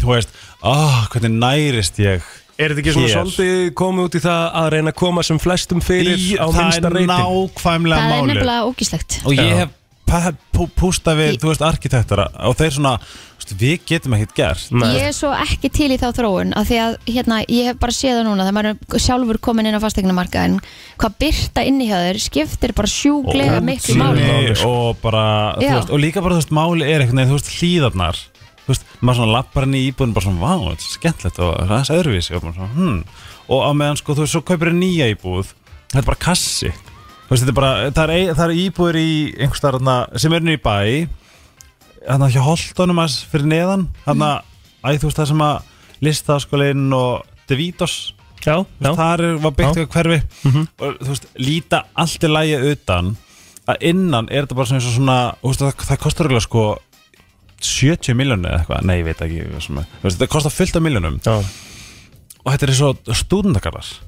[SPEAKER 3] þú veist, ah, hvernig nærist ég
[SPEAKER 1] Er þetta ekki svona
[SPEAKER 3] hér?
[SPEAKER 1] svolítið komið út í það að reyna að koma sem flestum fyrir
[SPEAKER 3] Í-
[SPEAKER 1] á
[SPEAKER 3] það
[SPEAKER 1] minnsta
[SPEAKER 3] er
[SPEAKER 1] reyting?
[SPEAKER 3] nákvæmlega
[SPEAKER 2] Það er
[SPEAKER 3] málið.
[SPEAKER 2] nefnilega ógíslegt
[SPEAKER 3] og ég
[SPEAKER 1] Já.
[SPEAKER 3] hef pa- pú- pústað við, þú veist, arkitektara og þeir svona, þú veist, við getum ekkert gert
[SPEAKER 2] Ég er svo ekki til í þá þróun af því að hérna, ég hef bara séð það núna þegar maður er sjálfur komin inn á fastegnumarkaðin hvað byrta inn í hjá þér skiptir bara sjúglega miklu máli
[SPEAKER 3] Tími og bara, þú
[SPEAKER 2] Já.
[SPEAKER 3] veist, og líka bara, þú veist, máli er einhvern veginn, þú veist, hlýðarnar þú veist, maður svona lappar henni í íbúðin bara svona, vá, þetta er skemmtilegt og það er öðruvísi og bara svona, hm, og á meðan, sko, þú veist, svo kaupir þér nýja íbúð þetta er bara kassi, þú veist, þetta er bara það er, ei- það er íbúðir í einhvers staðar þarna, sem er nýri bæ hann að hjá holdunum að fyrir neðan hann að, þú veist, það sem að listaskólinn og Devítos
[SPEAKER 1] Já, já.
[SPEAKER 3] þar er- var byggt eitthvað hverfi
[SPEAKER 2] Mhm.
[SPEAKER 3] og þú veist, líta allt í lægi utan að innan er þetta bara svona, eins og svona þú veist, það, það kostar eiginlega sko 70 miljónu eða eitthvað, nei, ég veit ekki hvað sem er. Þú veist, þetta kostar fullt af miljónum
[SPEAKER 1] Já.
[SPEAKER 3] og þetta er eins og stúdendagarðar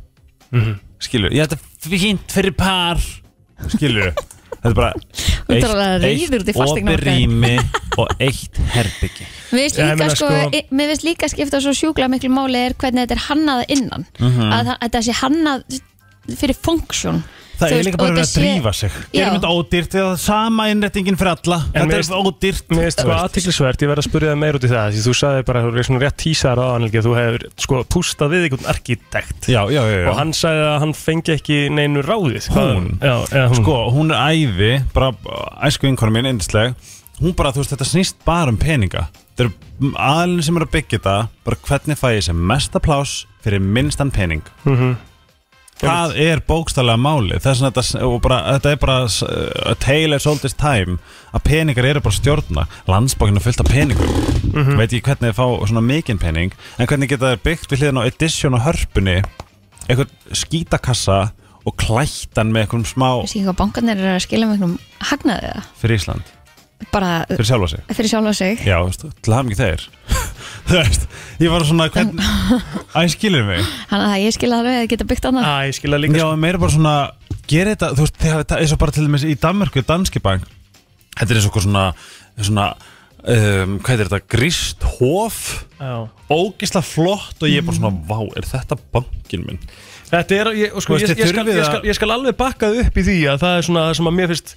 [SPEAKER 2] Mhm.
[SPEAKER 3] skilur, ég þetta er fínt fyrir par skilur, þetta er bara
[SPEAKER 2] Þú ert alveg reiður út í
[SPEAKER 3] opið
[SPEAKER 2] fasteignamarkaðinn.
[SPEAKER 3] rými og eitt herbyggi
[SPEAKER 2] Mér finnst
[SPEAKER 1] Já, ég
[SPEAKER 2] líka,
[SPEAKER 1] meina,
[SPEAKER 2] sko,
[SPEAKER 1] sko-
[SPEAKER 2] sko, mér finnst líka skipta svo sjúklega miklu máli er hvernig þetta er hannað að innan
[SPEAKER 3] Mhm.
[SPEAKER 2] að, það- að það sé hannað fyrir funksjón
[SPEAKER 3] Það er líka bara verið að drífa sig Gerum þetta ódýrt við það sama innrettingin fyrir alla
[SPEAKER 1] mér
[SPEAKER 3] Þetta
[SPEAKER 1] veist-
[SPEAKER 3] er ódýrt
[SPEAKER 1] Mér finnst
[SPEAKER 3] Þú
[SPEAKER 1] sko
[SPEAKER 3] veist.
[SPEAKER 1] aðtiklisvert, ég verð að spyrja það meir út í það því þú sagði bara, þú er svona rétt tísaðar á hann að þú hefur sko pústað við einhvern arkitekt
[SPEAKER 3] Já, já, já, já.
[SPEAKER 1] og hann sagði að hann fengi ekki neinu ráðið Hvað-
[SPEAKER 3] Hún?
[SPEAKER 1] Já, já, hún
[SPEAKER 3] Sko, hún er æði Bara æsku vinkonum mín eindisleg Hún bara, þú veist, þetta snýst bara um peninga Þetta eru aðalinn sem eru að byggja þetta Bara hvernig fæ ég sem mesta plás Fyrir minnstan pening
[SPEAKER 1] Mhm.
[SPEAKER 3] Það er bókstallega máli Þess að þetta, og bara, þetta er bara s- A tale as old as time Að peningar eru bara að stjórna Landsbókinu fullt af peningum Veit ég hvernig þið fá svona mikinn pening En hvernig geta þær byggt við hliðin á edition og hörpunni Eitthvað skítakassa Og klættan með einhverjum smá
[SPEAKER 2] Þessi hvað bankarnir eru að skila miklum hagnaði það
[SPEAKER 3] Fyrir Ísland,
[SPEAKER 2] bara
[SPEAKER 3] fyrir sjálfa sig
[SPEAKER 2] fyrir sjálfa sig
[SPEAKER 3] Já, veistu, til hafum ekki þeir Þú veist, ég var svona hvern... Æ, skilur mig
[SPEAKER 2] Þannig að ég skil alveg að geta byggt annað
[SPEAKER 3] Ah,
[SPEAKER 1] Æ, ég skilja líka sko.
[SPEAKER 3] Já, en meira bara svona, gera þetta Þú veist, þið hafið þetta eins og bara til dæmis í Danmörku Danski bank, þetta er eins og okkur svona Svona, um, hvað er þetta Gríst hof
[SPEAKER 1] Já.
[SPEAKER 3] Ógisla flott og ég er bara svona
[SPEAKER 2] Mhm.
[SPEAKER 3] Vá, er þetta bankin minn?
[SPEAKER 1] Þetta er, ég, og sko,
[SPEAKER 3] Þú veist,
[SPEAKER 1] ég,
[SPEAKER 3] þið
[SPEAKER 1] ég, skal,
[SPEAKER 3] þurfið
[SPEAKER 1] ég,
[SPEAKER 3] að-
[SPEAKER 1] skal, ég skal alveg bakkað upp í því að það er svona það sem að mér finnst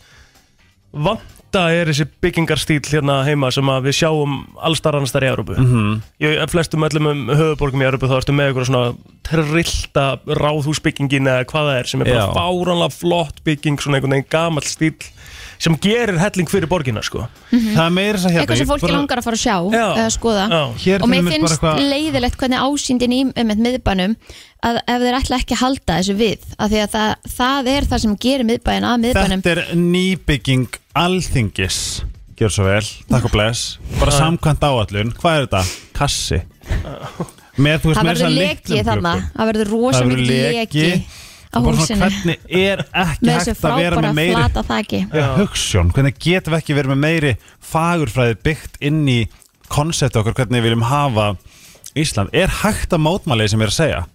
[SPEAKER 1] vanta er þessi byggingarstíl hérna heima sem að við sjáum allstar annars þar í Európu mm -hmm.
[SPEAKER 3] Mhm.
[SPEAKER 1] ég, flestum öllum um höfuborgum í Európu þá ertu með einhverja svona trillta ráðhúsbyggingin eða hvað það er sem er bara
[SPEAKER 3] Já.
[SPEAKER 1] fáránlega flott bygging svona einhvern veginn gamall stíl sem gerir helling fyrir borginna sko
[SPEAKER 3] Það er meira þess að
[SPEAKER 2] Mhm.
[SPEAKER 3] hérna
[SPEAKER 2] eitthvað sem
[SPEAKER 3] ég
[SPEAKER 2] fólki
[SPEAKER 3] bara-
[SPEAKER 2] langar að fara að sjá
[SPEAKER 1] Já.
[SPEAKER 2] eða skoða
[SPEAKER 1] Já.
[SPEAKER 3] Hér
[SPEAKER 2] og
[SPEAKER 3] til
[SPEAKER 2] mér
[SPEAKER 3] dæmis bara
[SPEAKER 2] finnst
[SPEAKER 3] eitthvað-
[SPEAKER 2] leiðilegt hvernig ásýndin í um eitt miðbænum að ef þeir ætla ekki að halda þessu við af því að það, það er það sem gerir miðbæin að miðbænum
[SPEAKER 3] Þetta er nýbygging alþingis Gjör svo vel, takk og bless Bara samkvæmt áallun, hvað er þetta? Kassi Með, þú veist,
[SPEAKER 2] það
[SPEAKER 3] með þess
[SPEAKER 2] verður
[SPEAKER 3] að
[SPEAKER 2] leki
[SPEAKER 3] litlum
[SPEAKER 2] þarna
[SPEAKER 3] gluggum.
[SPEAKER 2] það verður rosa
[SPEAKER 3] Það verður
[SPEAKER 2] mikið leki
[SPEAKER 3] leki
[SPEAKER 2] á
[SPEAKER 3] Og bara svona
[SPEAKER 2] húsinu
[SPEAKER 3] hvernig er ekki
[SPEAKER 2] með þessu
[SPEAKER 3] hægt að vera
[SPEAKER 2] frábæra
[SPEAKER 3] með meiri
[SPEAKER 2] flata þaki
[SPEAKER 1] Já.
[SPEAKER 3] Hugssjón, hvernig getum við ekki verið með meiri Fagurfræði byggt inn í Konsept okkar, hvernig við viljum hafa Ísland, er hægt að mótmáli sem ég er að segja?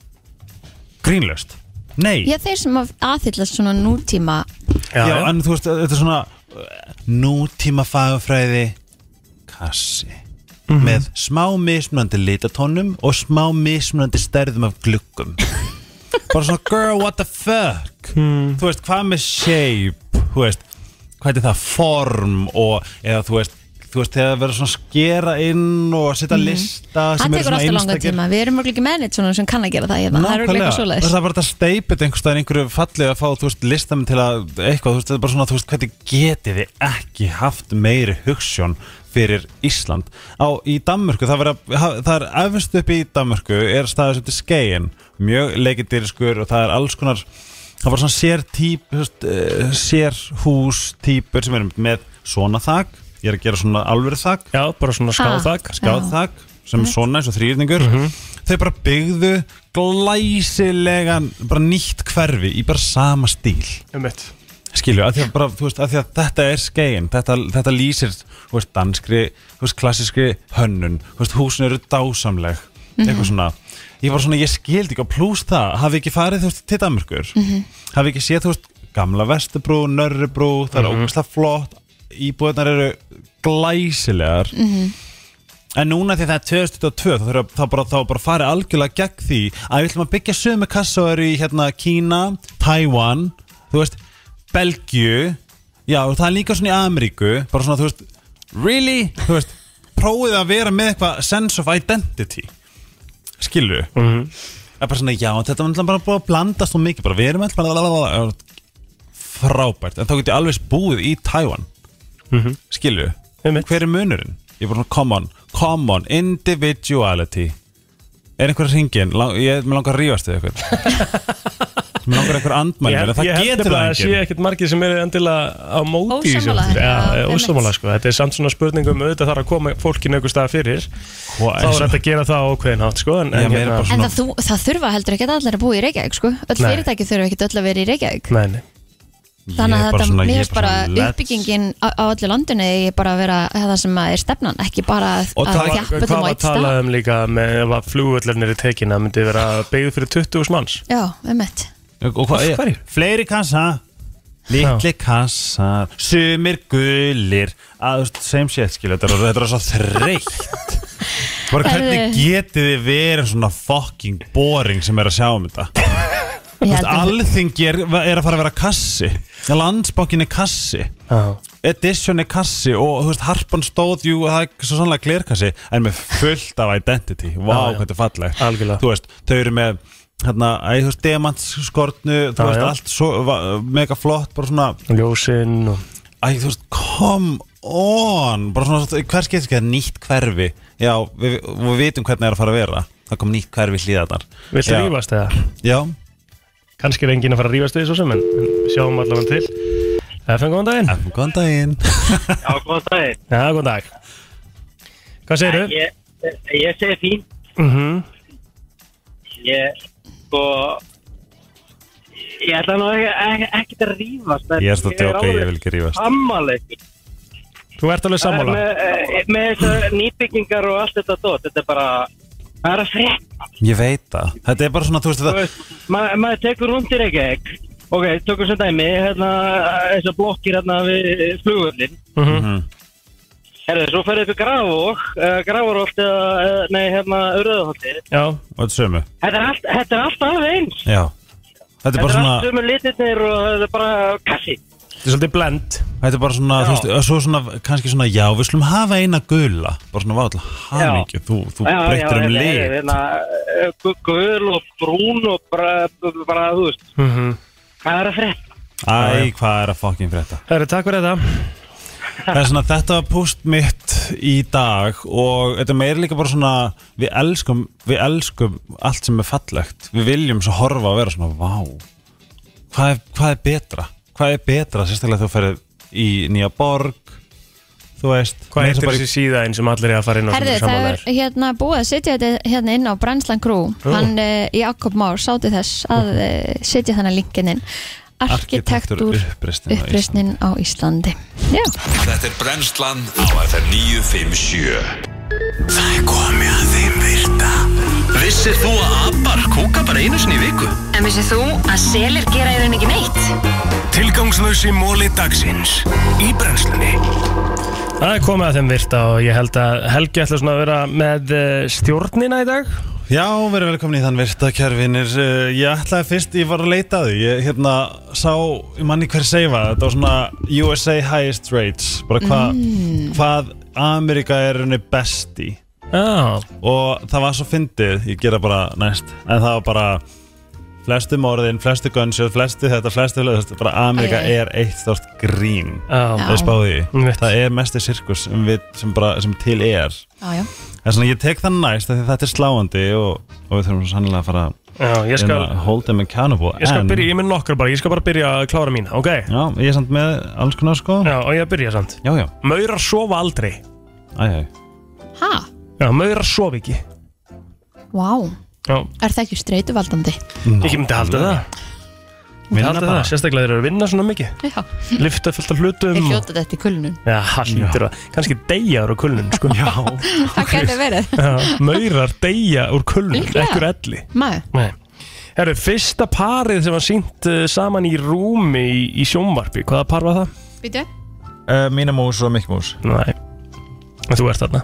[SPEAKER 3] Grínlöst Nei
[SPEAKER 2] ég þeir sem að- aðhyllast svona nútíma
[SPEAKER 3] Já, en þú veist, þetta er svona uh, nútíma fagfræði kassi
[SPEAKER 2] Mhm.
[SPEAKER 3] með smá mismunandi litatónum og smá mismunandi stærðum af gluggum bara svona girl what the fuck
[SPEAKER 2] Hmm.
[SPEAKER 3] þú veist, hvað með shape þú veist, hvað er það form og, eða þú veist þú veist, þegar það verður svona að skera inn og setja
[SPEAKER 2] Hmm.
[SPEAKER 3] lista sem
[SPEAKER 2] það
[SPEAKER 3] eru
[SPEAKER 2] tekur
[SPEAKER 3] svona
[SPEAKER 2] alltaf langan
[SPEAKER 3] einstakir-
[SPEAKER 2] tíma við erum mörglega menið svona sem kann að gera það hérna. það er örugglega eitthvað
[SPEAKER 3] Nákvæmlega.
[SPEAKER 2] svoleiðis
[SPEAKER 3] Það er bara þetta steipið einhvers staðar einhverju fallið að fá, þú veist, listamenn til að eitthvað, þú veist, þetta er bara svona, þú veist, hvernig getið þið ekki haft meiri hugssjón fyrir Ísland á, í Danmörku, það, vera, ha- það er efnst upp í Danmörku, er staðið sem til skeiðin, mjög leikindýriskur og það er alls konar, það var svona sér típ, þú veist, uh, sér hús típur sem er með svona þak, ég er að gera svona alvöru þak
[SPEAKER 1] já, bara svona skáðak
[SPEAKER 2] Ah.
[SPEAKER 3] skáðþak sem er svona eins og þrýrningur þau bara byggðu glæsilegan bara nýtt hverfi í bara sama stíl
[SPEAKER 1] Einmitt.
[SPEAKER 3] skilju, að því að, bara, þú veist, að því að þetta er skegin, þetta, þetta lýsir þú veist, danskri, þú veist, klassískri hönnun, þú veist, húsin eru dásamleg eitthvað
[SPEAKER 12] Mhm.
[SPEAKER 3] svona ég var svona, ég skildi ekki, og pluss það hafi ekki farið, þú veist, til Danmörkur
[SPEAKER 12] Mhm.
[SPEAKER 3] hafi ekki séð, þú veist, gamla Vesturbrú Nörrubrú, það er
[SPEAKER 12] Mhm.
[SPEAKER 3] ógæslega flott íbúðnar eru glæsilegar
[SPEAKER 12] Mhm.
[SPEAKER 3] En núna því það er 2002 þá, þurfa- þá, bara, þá bara farið algjörlega gegn því að við ætlum að byggja sömu kassaður í hérna, Kína, Taiwan þú veist, Belgiu já, og það er líka svona í Ameríku bara svona, þú veist, really þú veist, prófið að vera með eitthvað sense of identity skilu mm
[SPEAKER 1] Mhm.
[SPEAKER 3] -hmm. bara svona, já, þetta var náttúrulega bara búið að blanda svo mikið, bara við erum alltaf bara- frábært, en þá get ég alveg búið í Taiwan mm
[SPEAKER 1] Mhm.
[SPEAKER 3] -hmm. skilu, hver er munurinn? ég er bara svona, come on, come on individuality er einhver hringin, Lang, ég mér langar að rífast við eitthvað mér langar einhver andmæli mér, en það
[SPEAKER 1] ég held
[SPEAKER 3] getur
[SPEAKER 1] nefnilega að
[SPEAKER 3] það
[SPEAKER 1] sé
[SPEAKER 3] enginn
[SPEAKER 1] ekkert margir sem eru endilega á móti í þessu.
[SPEAKER 2] Ósammála,
[SPEAKER 1] Já,
[SPEAKER 2] já,
[SPEAKER 1] já,
[SPEAKER 2] einmitt.
[SPEAKER 1] ósammála sko, þetta er samt svona spurningum auðvitað þarf að koma fólkinu einhver stað fyrir
[SPEAKER 3] Hvað
[SPEAKER 1] þá
[SPEAKER 3] er
[SPEAKER 1] er
[SPEAKER 3] svo-
[SPEAKER 1] þetta að gera það á ákveðin hátt sko en,
[SPEAKER 3] Já, meira bara
[SPEAKER 2] En það, þú, það þurfa heldur ekki allir að búa í Reykjavík sko. Öll
[SPEAKER 1] Nei.
[SPEAKER 2] fyrirtæki þurfa ekki öll að vera í Reykjavík
[SPEAKER 1] Nei, nei
[SPEAKER 2] Þannig
[SPEAKER 1] Ég er
[SPEAKER 2] að
[SPEAKER 1] bara
[SPEAKER 2] þetta,
[SPEAKER 1] svona-
[SPEAKER 2] mér
[SPEAKER 1] ég er
[SPEAKER 2] finnst bara
[SPEAKER 1] bara svona, let's-
[SPEAKER 2] uppbyggingin á, á öllu landinu er bara að vera það sem að er stefnan, ekki bara að, að þjappa
[SPEAKER 1] hvað
[SPEAKER 2] þeim á
[SPEAKER 1] var
[SPEAKER 2] eitt stað
[SPEAKER 1] talað um líka með ef að flugvöllernir er tekin að myndi vera beigð fyrir 20 manns
[SPEAKER 2] Já, um mitt
[SPEAKER 3] og hvað
[SPEAKER 1] Af hverju?
[SPEAKER 3] er, fleiri kassa litli kassar sumir gulir að þú veist, same shit skilja, þetta er- þetta er svo þreytt bara
[SPEAKER 2] Herðu.
[SPEAKER 3] hvernig getið þið verið svona fucking boring sem er að sjá um þetta Þú veist, alþingi er, er að fara að vera kassi landsbankin er kassi edition er kassi og þú veist harpan stóð jú og það er svo sannlega glerkassi en með fullt af identity vá
[SPEAKER 1] Já, já.
[SPEAKER 3] hvað þetta er fallegt Algjörlega. þú veist þau eru með hérna æ, þú veist demantskortnu þú
[SPEAKER 1] Já,
[SPEAKER 3] veist
[SPEAKER 1] já.
[SPEAKER 3] allt svo va- mega flott bara svona
[SPEAKER 1] ljósinn og
[SPEAKER 3] æ þú veist come on bara svona hver skeitt ekki það er nýtt hverfi já við, við vitum hvernig það er að fara að vera það kom nýtt hverfi hlýðarnar
[SPEAKER 1] Viltu
[SPEAKER 3] Já.
[SPEAKER 1] rífast eða?
[SPEAKER 3] Já
[SPEAKER 1] Kanski er enginn að fara að rífast við svo sem en en sjáum allavega til FM, góðan daginn
[SPEAKER 3] FM, góðan daginn
[SPEAKER 13] Já, góðan daginn
[SPEAKER 1] Já, góðan dag Hvað segirðu?
[SPEAKER 13] Ég, ég segi fín
[SPEAKER 1] Mm
[SPEAKER 13] Ég, sko Ég ætla nú ekki, ekki, ekki að rífast en
[SPEAKER 3] Ég er svolítið að djóka, ég vil ekki rífast.
[SPEAKER 13] Sammála ykkur.
[SPEAKER 1] Þú ert
[SPEAKER 13] Það
[SPEAKER 1] alveg
[SPEAKER 13] er
[SPEAKER 1] sammála
[SPEAKER 13] Með, eh, með þessar nýbyggingar og allt þetta dót Þetta er bara Það er að frétt
[SPEAKER 3] ég veit það þetta er bara svona þú veist þetta
[SPEAKER 13] Ma, Maður tekur rundir ekki ekki Ok, tökum sem dæmi hérna, Þessar blokkir hérna við flugvöllin
[SPEAKER 3] Mhm.
[SPEAKER 13] Herðu, svo ferðu upp í Grafók uh, Grafórholt eða, eh, nei, hérna, Uröðholti
[SPEAKER 1] Já
[SPEAKER 3] og þetta sömu
[SPEAKER 13] Þetta er allt- þetta er allt alveg eins
[SPEAKER 3] já þetta er bara svona
[SPEAKER 13] allt sömu litirnir og þetta er bara kassi
[SPEAKER 1] Þetta er svolítið blend
[SPEAKER 3] Þetta er bara svona,
[SPEAKER 13] Já.
[SPEAKER 3] þú veist, og svo svona, kannski svona, já, við slum hafa eina gula Bara svona, vá, alltaf hamingju, þú, þú breytir um lið
[SPEAKER 13] hérna, lið Gull og brún og bara, bara þú veist Hvað er að frétt?
[SPEAKER 3] Æ, hvað er að fokkin frétta
[SPEAKER 1] Herru, takk fyrir þetta
[SPEAKER 3] Það er svona, þetta var púst mitt í dag Og þetta meir líka bara svona, við elskum, við elskum allt sem er fallegt Við viljum svo horfa að vera svona, vá Hvað er, hvað er betra? Hvað er betra, sérstaklega þú ferð í nýja borg Þú veist
[SPEAKER 1] Hvað
[SPEAKER 3] meira
[SPEAKER 1] heitir
[SPEAKER 3] bara í-
[SPEAKER 1] þessi síða eins sem allir er að fara inn á sem
[SPEAKER 2] Herðu,
[SPEAKER 1] eru
[SPEAKER 2] það
[SPEAKER 1] sammála
[SPEAKER 2] er hérna búið að setja þetta hérna inn á Brænslan Crew
[SPEAKER 1] Jú.
[SPEAKER 2] Hann, uh, Jakob Már, sátti þess að uh, setja þannig linkinn inn Arkitektur
[SPEAKER 3] uppreisnin á
[SPEAKER 2] uppreisnin á Íslandi Já,
[SPEAKER 5] Þetta er brennslan á FM 957 Það er komið að þeim virta Vissir þú að abar kúka bara einu sinni í viku?
[SPEAKER 10] En vissið þú að selir gera í rauninni ekki neitt?
[SPEAKER 5] Tilgangslösi móli dagsins Í brennslunni
[SPEAKER 1] Það er komið að þeim virta og ég held að Helgi ætla svona að vera með eh, stjórnina í dag
[SPEAKER 3] Já, verið velkomin í þann virta kjærvinir Uh, Ég ætlaði fyrst, ég var að leita að því Ég hérna sá, ég manni hver segja það Þetta var svona USA highest rates Bara hva, hvað Amerika er henni best í
[SPEAKER 1] Já
[SPEAKER 3] Og það var svo fyndið, ég gera bara næst En það var bara Flestu morðin, flestu gunsjóð, flestu þetta, flestu þetta Bara Amerika
[SPEAKER 1] Æ, æ, æ.
[SPEAKER 3] er eitt þást grín
[SPEAKER 1] Já.
[SPEAKER 3] Það er spáði Það er mesti sirkus sem, við, sem, bara, sem til er
[SPEAKER 2] já, já
[SPEAKER 3] Það er svona, ég tek það næst af því þetta er sláandi og, og við þurfum sannlega að fara
[SPEAKER 1] Já, ég skal-
[SPEAKER 3] að hold them accountable
[SPEAKER 1] Hérna, Ég skal
[SPEAKER 3] en-
[SPEAKER 1] byrja, ég minn nokkar bara, ég skal bara byrja að klára mín, ok?
[SPEAKER 3] Já, ég er samt með alls konar sko
[SPEAKER 1] Já, og ég að byrja samt
[SPEAKER 3] Já, já
[SPEAKER 1] Maurar sofa aldrei
[SPEAKER 3] Æ, æ
[SPEAKER 2] ha?
[SPEAKER 1] Já, maurar sofa ekki
[SPEAKER 2] Vá,
[SPEAKER 1] Já.
[SPEAKER 2] Er það ekki streituvaldandi?
[SPEAKER 1] Ég myndi halda það Myndi
[SPEAKER 2] Vinna
[SPEAKER 1] halda það,
[SPEAKER 2] bara.
[SPEAKER 1] sérstaklega þeir eru að vinna svona mikið
[SPEAKER 2] Já.
[SPEAKER 1] Lyfta fullt af hlutum
[SPEAKER 2] Ég
[SPEAKER 1] og-
[SPEAKER 2] hljóta þetta í kulnun
[SPEAKER 1] Já, haldur að, kannski deyjar úr kulnun sko. Já,
[SPEAKER 2] Það gæti verið
[SPEAKER 1] Maurar deyja úr kulnun,
[SPEAKER 2] Líklega.
[SPEAKER 1] ekki úr elli
[SPEAKER 2] Maður
[SPEAKER 1] Nei Herru, fyrsta parið sem var sínt uh, saman í rúmi í, í sjónvarpi, hvaða par var það?
[SPEAKER 2] Býtu
[SPEAKER 3] uh, Mínamús og Mikkmús
[SPEAKER 1] Nei En Þú ert þarna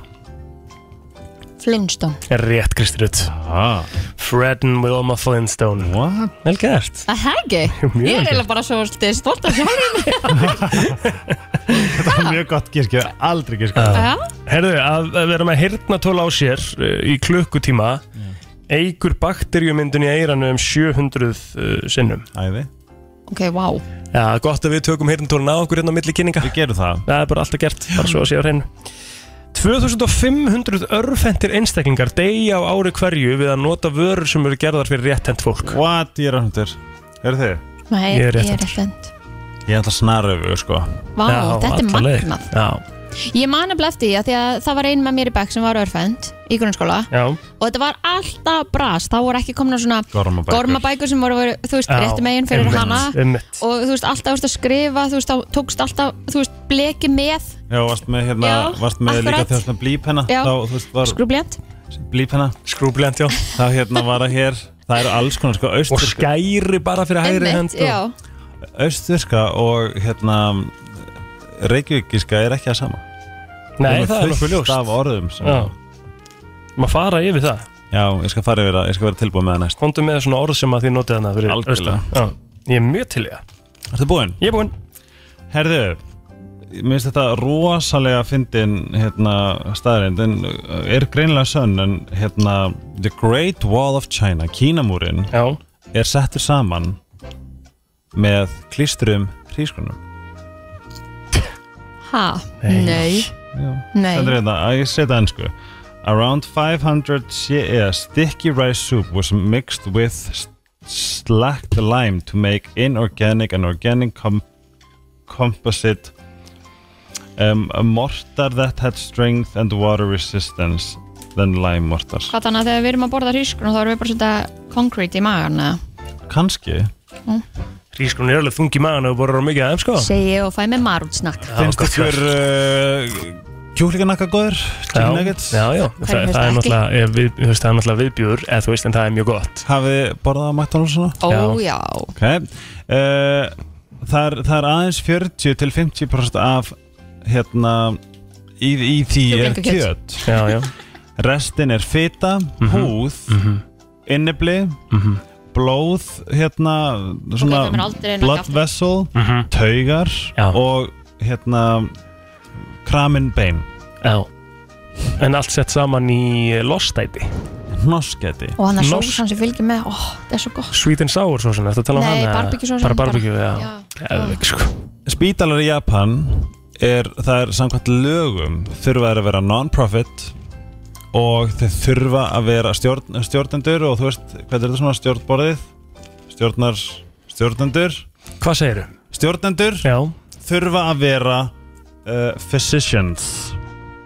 [SPEAKER 2] Flintstone
[SPEAKER 1] Rétt, Kristi Rutt ah. Fredden with Oma Flintstone What? Vel gert
[SPEAKER 2] Það er ekki
[SPEAKER 1] mjög
[SPEAKER 2] Ég er
[SPEAKER 1] vel
[SPEAKER 2] eiginlega bara svo stið stolt af sjálfum
[SPEAKER 3] Þetta var mjög gott gískja, aldrei gískja
[SPEAKER 1] Já. Herðu, að, að vera með hirtnatóla á sér uh, í klukkutíma eigur bakterjumyndun í eiranu um 700 uh, sinnum Æði
[SPEAKER 2] Ok, wow
[SPEAKER 1] Já, gott að við tökum hirtnatólan á okkur hérna á milli kynninga Við gerum það Það er bara alltaf gert, bara svo að sé á hreinu 2500 örfentir einstaklingar deyja á ári hverju við að nota vörur sem eru gerðar fyrir rétthent fólk What, ég er röndur
[SPEAKER 3] Eru þið?
[SPEAKER 2] Nei,
[SPEAKER 3] Ég er
[SPEAKER 2] ég
[SPEAKER 3] rétt
[SPEAKER 2] er
[SPEAKER 3] aftur.
[SPEAKER 2] eftir
[SPEAKER 3] Ég ætla snaröfu, sko
[SPEAKER 2] Vá, Já, þetta er alla leið. magnað.
[SPEAKER 1] Já,
[SPEAKER 2] Ég man að blefti að því að það var ein með mér í bekk sem var örfend í grunnskóla
[SPEAKER 1] já
[SPEAKER 2] og þetta var alltaf brast, þá voru ekki komna svona
[SPEAKER 1] Gormabækur.
[SPEAKER 2] gormabækur sem voru, voru þú veist,
[SPEAKER 1] Já,
[SPEAKER 2] réttu megin fyrir
[SPEAKER 1] einmitt,
[SPEAKER 2] hana
[SPEAKER 1] einmitt.
[SPEAKER 2] og þú veist, alltaf þú veist að skrifa þú veist, þá tókst alltaf, þú veist, bleki með
[SPEAKER 3] Já, varst með, hérna,
[SPEAKER 2] Já,
[SPEAKER 3] varst með líka
[SPEAKER 2] akkurat.
[SPEAKER 3] þegar svona blípenna
[SPEAKER 2] Já.
[SPEAKER 3] Þá, þú veist, var
[SPEAKER 2] skrúbljant
[SPEAKER 3] blípenna
[SPEAKER 1] Skrúbljant, já
[SPEAKER 3] Þá hérna var það hér, það eru alls konar, sko austur, Og
[SPEAKER 1] skæri bara fyrir
[SPEAKER 2] já,
[SPEAKER 3] Austvirka og hérna Reykjavíkiska er ekki að sama
[SPEAKER 1] Nei,
[SPEAKER 3] Hún
[SPEAKER 1] það er nokkuð
[SPEAKER 3] fullt
[SPEAKER 1] ljóst.
[SPEAKER 3] af orðum sem-
[SPEAKER 1] Já. Maður fara yfir það
[SPEAKER 3] Já, ég skal fara yfir það, ég skal vera tilbúið með það næst
[SPEAKER 1] Kondu með svona orð sem að þið notið hana fyrir Algjörlega Já, ég er mjög til í það
[SPEAKER 3] Ertu búinn?
[SPEAKER 1] Ég er búinn
[SPEAKER 3] Herðu, mér finnst þetta rosalega fyndin hérna, staðrind en uh, er greinilega sönn en hérna, The Great Wall of China, Kínamúrin
[SPEAKER 1] Já.
[SPEAKER 3] er settur saman með klístrum hrískunum
[SPEAKER 2] ha, nei Nei.
[SPEAKER 3] Þetta er þetta, að ég setja ennsku Around 500 CE sticky rice soup was mixed with s- slacked lime to make inorganic and organic com composite um, a mortar that had strength and water resistance than lime mortars
[SPEAKER 2] hvað þannig að þegar við erum að borða hrísgrun þá erum við bara svona concrete í magan eða?
[SPEAKER 3] Kanski
[SPEAKER 2] Mm.
[SPEAKER 1] Rísgrun er alveg þungi maður og borður á mikið aðeins sko
[SPEAKER 2] segi ég og fæ með marútsnakk
[SPEAKER 3] Finnst ykkur uh, kjúklinganakka góður? Chicken nuggets?
[SPEAKER 1] Já, já, það,
[SPEAKER 2] Hverjum finnst
[SPEAKER 1] það, er
[SPEAKER 2] það
[SPEAKER 1] náttúrulega, eh, við, þú veist, það er náttúrulega viðbjúr eða þú veist en það er mjög gott
[SPEAKER 3] Hafið þið borðað að McDonalds svona?
[SPEAKER 2] Ó, Já. já.
[SPEAKER 3] Ok uh, það, er, það er aðeins 40 til 50% af hérna í, í því er
[SPEAKER 1] Kjúklingakjöt.
[SPEAKER 3] kjöt
[SPEAKER 1] Já, já
[SPEAKER 3] Restin er fita, húð innibli blóð hérna svona
[SPEAKER 2] kemur aldrei inn á
[SPEAKER 3] blood
[SPEAKER 2] kjaftinn.
[SPEAKER 3] vessel taugar og hérna kramin bein
[SPEAKER 1] Já En allt sett saman í eh, lostæti
[SPEAKER 3] Norskæti
[SPEAKER 2] og hann er sósan sem fylgir með, ó, það er svo gott
[SPEAKER 1] Sweet and sour svo sem, ertu að tala um
[SPEAKER 2] Nei,
[SPEAKER 1] hana?
[SPEAKER 2] barbecuesósuna
[SPEAKER 1] Bara
[SPEAKER 2] bara.
[SPEAKER 1] barbecue,
[SPEAKER 2] Já.
[SPEAKER 1] já Geðveik, sko.
[SPEAKER 3] Spítalar í Japan er, það er samkvæmt lögum þurfa þeir að vera non-profit og þeir þurfa að vera stjórn, stjórnendur og þú veist, hvað er þetta svona stjórnborðið? Stjórnar, stjórnendur
[SPEAKER 1] Hvað segirðu?
[SPEAKER 3] Stjórnendur
[SPEAKER 1] Já.
[SPEAKER 3] þurfa að vera uh, physicians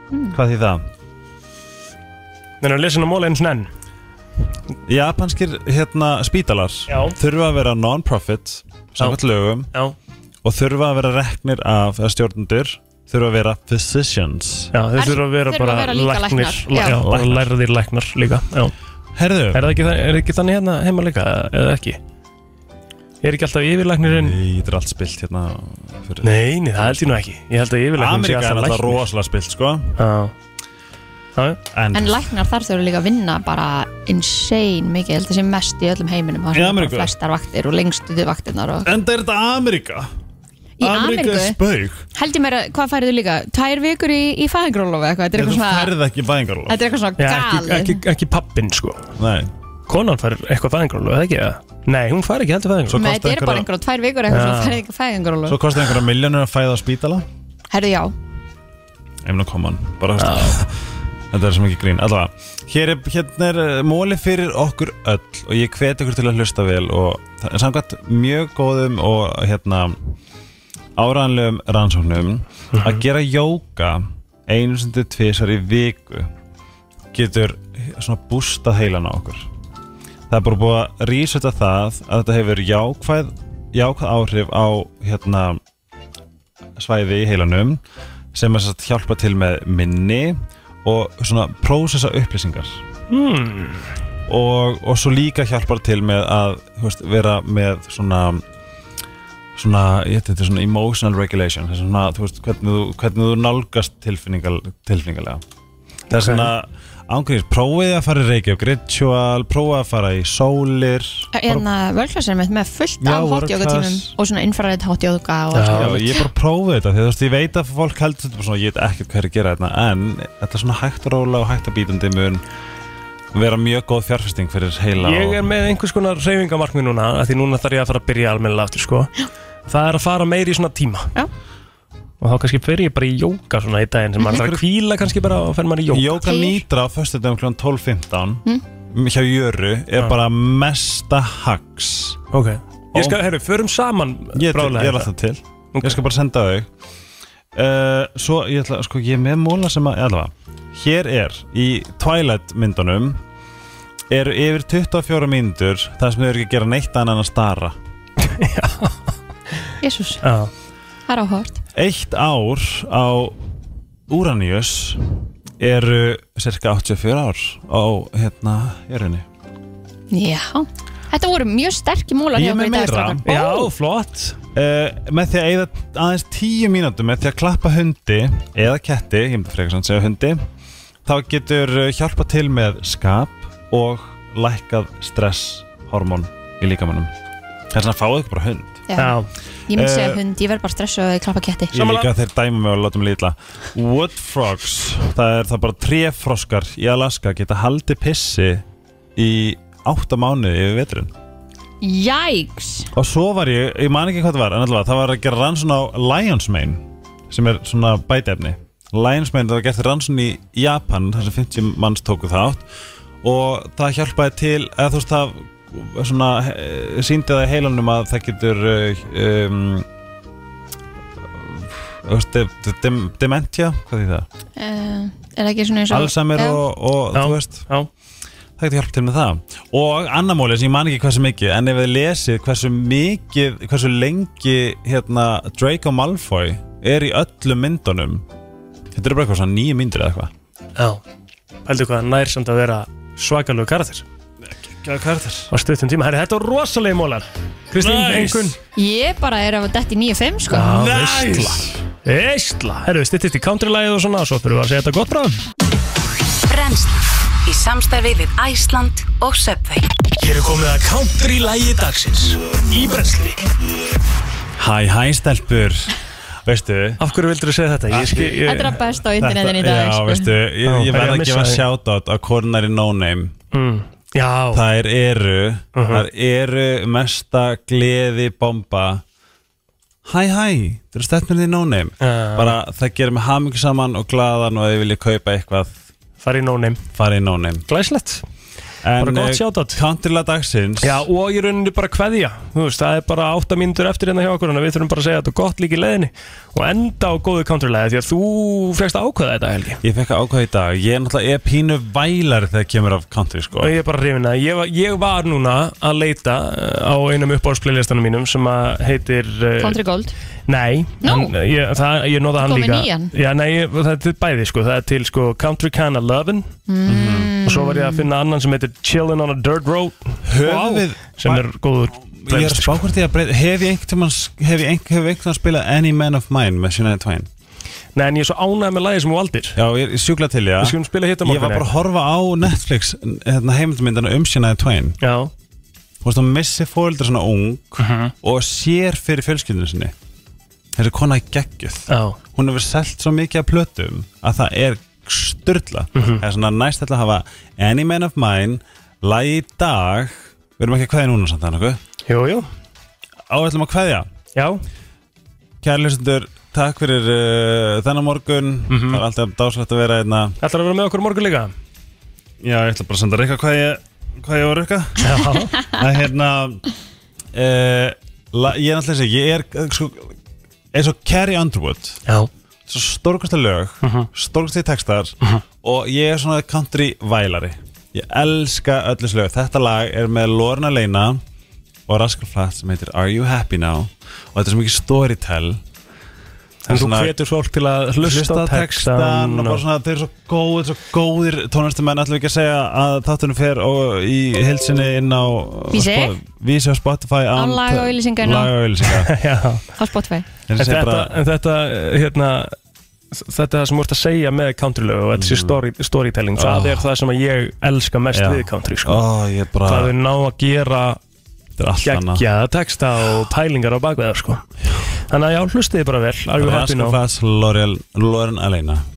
[SPEAKER 1] Mm.
[SPEAKER 3] Hvað því það?
[SPEAKER 1] Þannig að lesa hennar móla eins og enn
[SPEAKER 3] Japanskir hérna, spítalar
[SPEAKER 1] Já.
[SPEAKER 3] þurfa að vera non-profit samkvæmt lögum
[SPEAKER 1] Já.
[SPEAKER 3] og þurfa að vera reknir af eða stjórnendur þurfa að vera physicians
[SPEAKER 1] Já, þeir þurfa að vera bara læknir læ- Já, bara lærðir læknar líka Já
[SPEAKER 3] Herðu
[SPEAKER 1] Er það ekki, þa- er ekki þannig hérna heima líka, eða ekki? Er ekki alltaf yfirlæknirinn?
[SPEAKER 3] Nei, þetta er allt spilt hérna fyrir...
[SPEAKER 1] Nei, nei, það held ég nú ekki Ég held að yfirlæknirinn
[SPEAKER 3] Ameríka er alltaf rosalega spilt sko
[SPEAKER 1] Já Já,
[SPEAKER 3] en,
[SPEAKER 2] En læknar þar þurfa líka að vinna bara insane mikið, ég held að sé mest í öllum heiminum þar
[SPEAKER 3] Í
[SPEAKER 2] sem bara
[SPEAKER 3] Ameríku?
[SPEAKER 2] flestar vaktir og lengstu þið vaktirnar og...
[SPEAKER 3] Enda er þetta Ameríka
[SPEAKER 2] Í
[SPEAKER 3] Ameríka er
[SPEAKER 2] Ameríku
[SPEAKER 3] spauk
[SPEAKER 2] held ég mér að, hvað færðu líka? Tær vikur í, í fæðingrólofi eitthvað, þetta er
[SPEAKER 3] Þú
[SPEAKER 2] eitthvað svona
[SPEAKER 3] færð ekki fæðingaróla
[SPEAKER 2] Þetta er eitthvað svona galið
[SPEAKER 1] ekki, ekki, ekki pappin sko
[SPEAKER 3] Nei
[SPEAKER 1] Konan fær eitthvað fæðingrólu, eða ekki? eða? Nei, hún fær ekki heldur fæðingrólu
[SPEAKER 2] Nei, þetta er bara einhverja tvær vikur eitthvað
[SPEAKER 1] Já.
[SPEAKER 2] svona færðu ekki
[SPEAKER 3] Svo
[SPEAKER 2] fæðingrólofi
[SPEAKER 3] kostar einhverja miljónur að fæða á spítala
[SPEAKER 2] Herðu já,
[SPEAKER 3] Emna Common bara veist, Þetta er sem ekki grín Allavega, hér er, hérna er uh, móli fyrir okkur öll og ég hvet ykkur til að hlusta vel og það er samkvæmt mjög góðum og hérna áræðanlegum rannsóknum að gera jóka einu sem til tvisar í viku getur svona bústað heilan á okkur það er bara búið að rísetta það að þetta hefur jákvæð, jákvæð áhrif á hérna, svæði í heilanum sem er satt hjálpa til með minni og svona prósessa upplýsingar
[SPEAKER 1] Hmm.
[SPEAKER 3] og, og svo líka hjálpar til með að þú veist, vera með svona svona, ég veit þetta er svona emotional regulation, þess að svona, þú veist hvernig þú, hvernig þú nálgast tilfinningal, tilfinningalega það er svona ángríðis, prófið að fara í Reykjavík ritual, prófið að fara í sólir
[SPEAKER 2] En að völklasin Hérna, mitt með fullt
[SPEAKER 3] Já,
[SPEAKER 2] af
[SPEAKER 3] world
[SPEAKER 2] hotjókatímum
[SPEAKER 3] class.
[SPEAKER 2] og svona infrarætt hotjóka og alls
[SPEAKER 3] Já,
[SPEAKER 2] konar.
[SPEAKER 3] ég er bara að prófa þetta því þú veist, ég veit að fólk heldur þetta bara svona, ég veit ekkert hvað er að gera þetta en þetta er svona hægt og róla og hægt að bítandi mun vera mjög góð fjárfesting fyrir heila
[SPEAKER 1] Ég er með einhvers konar reyfingamarkmi núna af Því núna þarf ég að fara að byrja almennilega aftur sko. Það er að fara meiri í svona tíma Já. Og þá kannski fer ég bara í jóka Svona í daginn sem maður þarf að kvíla kannski bara Og fer maður í jóka
[SPEAKER 3] Jóka nýtra á föstudagum kl. 12.15 hjá Jöru er
[SPEAKER 1] Já.
[SPEAKER 3] bara mesta hags
[SPEAKER 1] Ok Ég skal, herru, förum saman
[SPEAKER 3] Ég, til,
[SPEAKER 1] bráðlega hérna.
[SPEAKER 3] ég er
[SPEAKER 1] þetta.
[SPEAKER 3] alltaf til Ég skal bara senda þau uh, Svo ég ætla, sko, ég er með móla sem að allavega, Hér er í Twilight myndunum eru yfir 24 mínútur þar sem þau eru ekki að gera neitt annað en að stara
[SPEAKER 2] Jésús,
[SPEAKER 1] Já
[SPEAKER 2] það er áhört
[SPEAKER 3] Eitt ár á Úranius eru cirka 84 ár á hérna, jörðinni
[SPEAKER 2] Já, þetta voru mjög sterkir múlar hjá
[SPEAKER 3] Ég
[SPEAKER 2] okkur
[SPEAKER 3] er með
[SPEAKER 2] í dag
[SPEAKER 3] meira
[SPEAKER 2] strákar. Ó,
[SPEAKER 1] flott
[SPEAKER 3] Eh, Með því að eða aðeins tíu mínútur með því að klappa hundi eða ketti, ég myndi frekar sann segja hundi þá getur eh, hjálpað til með skap og lækkað stresshormón í líkamannum Þess vegna fáið ekki bara hund
[SPEAKER 2] Já. Ég myndi segja
[SPEAKER 3] Eh,
[SPEAKER 2] hund, ég verð bara stressuð að klappa ketti
[SPEAKER 3] Ég líka að þeir dæma mig og láta mig lítla Wood frogs, það er það bara tréfroskar í Alaska geta haldið pissi í átta mánuði yfir veturinn
[SPEAKER 2] Jæks
[SPEAKER 3] Og svo var ég, ég man ekki hvað það var En allavega, það var að gera rannsókn á Lion's Mane Sem er svona bætefni Lion's Mane, það var gert rannsókn í Japan Þar sem 50 manns tóku þátt Og það hjálpaði til Eða þú veist, það svona eh, Sýndi það í heilanum að það getur eh, um, þú veist, de, de, dem, Dementia, hvað því það?
[SPEAKER 2] uh, Er það ekki svona eins og
[SPEAKER 3] Alzheimer
[SPEAKER 2] Já.
[SPEAKER 3] og, og þú veist
[SPEAKER 1] já.
[SPEAKER 3] það getur hjálp til með það og annar móli sem ég man ekki hversu mikið en ef þið lesið hversu mikið hversu lengi hérna Draco Malfoy er í öllum myndunum þetta er bara eitthvað svona nýju myndir eða eitthvað
[SPEAKER 1] Já Heldur hvað nær samt að vera svakalög karakter
[SPEAKER 3] Gæða karakter
[SPEAKER 1] Á stuttum tíma Herru, þetta er rosalegi mólar Kristín, nice. einhvern
[SPEAKER 2] Ég bara er að detti 9.5 sko
[SPEAKER 1] Veistla Veistla Herru, við styttist í countrylægið og svona Svo fyrir við að segja þetta gott bráðum
[SPEAKER 10] Brennslan í samstarfi við Æsland og Subway
[SPEAKER 5] Hér er komið að country-lægi dagsins Í brensli
[SPEAKER 3] Hæ, hæ, stelpur Veistu
[SPEAKER 1] Af hverju vildur þú segja þetta? Ég skil- ég-
[SPEAKER 2] Þetta er að best á internetinu í dag,
[SPEAKER 3] Já,
[SPEAKER 2] sko.
[SPEAKER 3] veistu, ég,
[SPEAKER 1] Já,
[SPEAKER 3] ég
[SPEAKER 1] er ég
[SPEAKER 3] verð
[SPEAKER 1] að
[SPEAKER 3] að
[SPEAKER 1] missa
[SPEAKER 3] gefa
[SPEAKER 1] þig?
[SPEAKER 3] shoutout á Coronary No Name
[SPEAKER 1] mm. Já
[SPEAKER 3] Þær eru,
[SPEAKER 1] Mhm.
[SPEAKER 3] þær eru mesta gleði bomba Hæ, hæ, þetta eru stefnir því no-name Bara það gerir mig hamingu saman og glaðan og ef ég vilja kaupa eitthvað
[SPEAKER 1] Fari í no-name
[SPEAKER 3] Fari í no-name
[SPEAKER 1] Glæslegt
[SPEAKER 3] En
[SPEAKER 1] Bara gott
[SPEAKER 3] Countryla dagsins
[SPEAKER 1] Já, og í rauninni bara kveðja Þú veist, það er bara átta mínútur eftir hérna hjá okkur Þannig að við þurfum bara að segja að þetta er gott líka í leiðinni Og enda á góðu countrylægi Því að þú fegst að ákveða þetta, Helgi
[SPEAKER 3] Ég fekk að ákvæða í dag Ég er náttúrulega ég er pínu vælar þegar kemur af country sko
[SPEAKER 1] Og ég er bara hrifin að ég, var- ég var núna að leita uh, á einum uppáðsplaylistanum mínum sem að heitir uh,
[SPEAKER 2] Country Gold
[SPEAKER 1] Nei,
[SPEAKER 2] Nú?
[SPEAKER 1] en, uh, ég, það, ég nóða hann
[SPEAKER 2] Komið
[SPEAKER 1] líka
[SPEAKER 2] nýjan?
[SPEAKER 1] Já, nei, ég- það er til bæði sko Það er til sko Country Can of Lovin'
[SPEAKER 2] Mm.
[SPEAKER 1] og svo var ég að finna annan sem heitir Chillin' on a Dirt Road
[SPEAKER 3] Höfum við-
[SPEAKER 1] sem er góður sko.
[SPEAKER 3] Ég er spákvært ég að breyta Hef ég einhvern tímann hef ég einhvern- hef einhvern tímann spilað Any Man of Mine með Shania Twain
[SPEAKER 1] Nei, en ég er svo ánægð með lagið sem þú valdir
[SPEAKER 3] Já, ég er sjúkla til, já
[SPEAKER 1] Við skulum um spila hitt á
[SPEAKER 3] Ah, Ég
[SPEAKER 1] morgunni.
[SPEAKER 3] var bara að horfa á Netflix hérna, heimildmyndina um Shania Twain
[SPEAKER 1] Já
[SPEAKER 3] Þú veist, hún missi fóreldra svona ung og sér fyrir fjölskyldinu sinni Þessi kona er geggjöð
[SPEAKER 1] Já.
[SPEAKER 3] Hún hefur selt svo mikið af plötum að það er styrla Það er svona næst ætla að hafa Any Man of Mine Lagi í dag Við erum ekki að kveðja núna samt þannig
[SPEAKER 1] Jú, jú
[SPEAKER 3] Áætlum að kveðja
[SPEAKER 1] Já
[SPEAKER 3] Kærleistendur, takk fyrir uh, þennan morgun Það er alltaf dáslegt að vera hérna. einna
[SPEAKER 1] Ætlar að vera með okkur á morgun líka?
[SPEAKER 3] Já, ég ætla bara að senda Rikka hvað ég, hvað ég var Rikka
[SPEAKER 1] Já
[SPEAKER 3] Það er hérna uh, la, Ég er alltaf þessi Ég er eh, sko, eins og Carrie Underwood
[SPEAKER 1] Já Mhm.
[SPEAKER 3] Svo stórkasta lög, uh textar Og ég er svona country vælari Ég elska öllu slög Þetta lag er með Lorna Leina og Rascal Flatts sem heitir Are You Happy Now og þetta er svo mikið storytell
[SPEAKER 1] En þú hvetur fólk til að hlusta á textann
[SPEAKER 3] textan og bara
[SPEAKER 1] og-
[SPEAKER 3] svona, þeir eru svo góðir, svo góðir tónlistumenn ætlum við ekki að segja að þáttunum fer og í hilsinni inn á
[SPEAKER 2] Vísi.
[SPEAKER 3] Spo- Vísi á Spotify
[SPEAKER 2] Á
[SPEAKER 3] án-
[SPEAKER 2] lag og auglýsingar, ná.
[SPEAKER 3] Lag og auglýsingar.
[SPEAKER 1] Já
[SPEAKER 2] á Spotify
[SPEAKER 1] En
[SPEAKER 3] En segja
[SPEAKER 1] þetta,
[SPEAKER 3] bara-
[SPEAKER 1] en þetta, hérna, þetta sem voru að segja með countrylög og þessi story, storytelling, það
[SPEAKER 3] Oh.
[SPEAKER 1] er það sem að ég elska mest
[SPEAKER 3] Mm. Já. Ah,
[SPEAKER 1] við country, sko.
[SPEAKER 3] Ó, ég bara-
[SPEAKER 1] Það er ná að gera
[SPEAKER 3] allt annað.
[SPEAKER 1] geggjaða texta og pælingar á bakveðar, sko. Þannig að já, hlustiði bara vel, are you happy
[SPEAKER 3] Rascal
[SPEAKER 1] now?
[SPEAKER 3] Flatts, Lauren Alena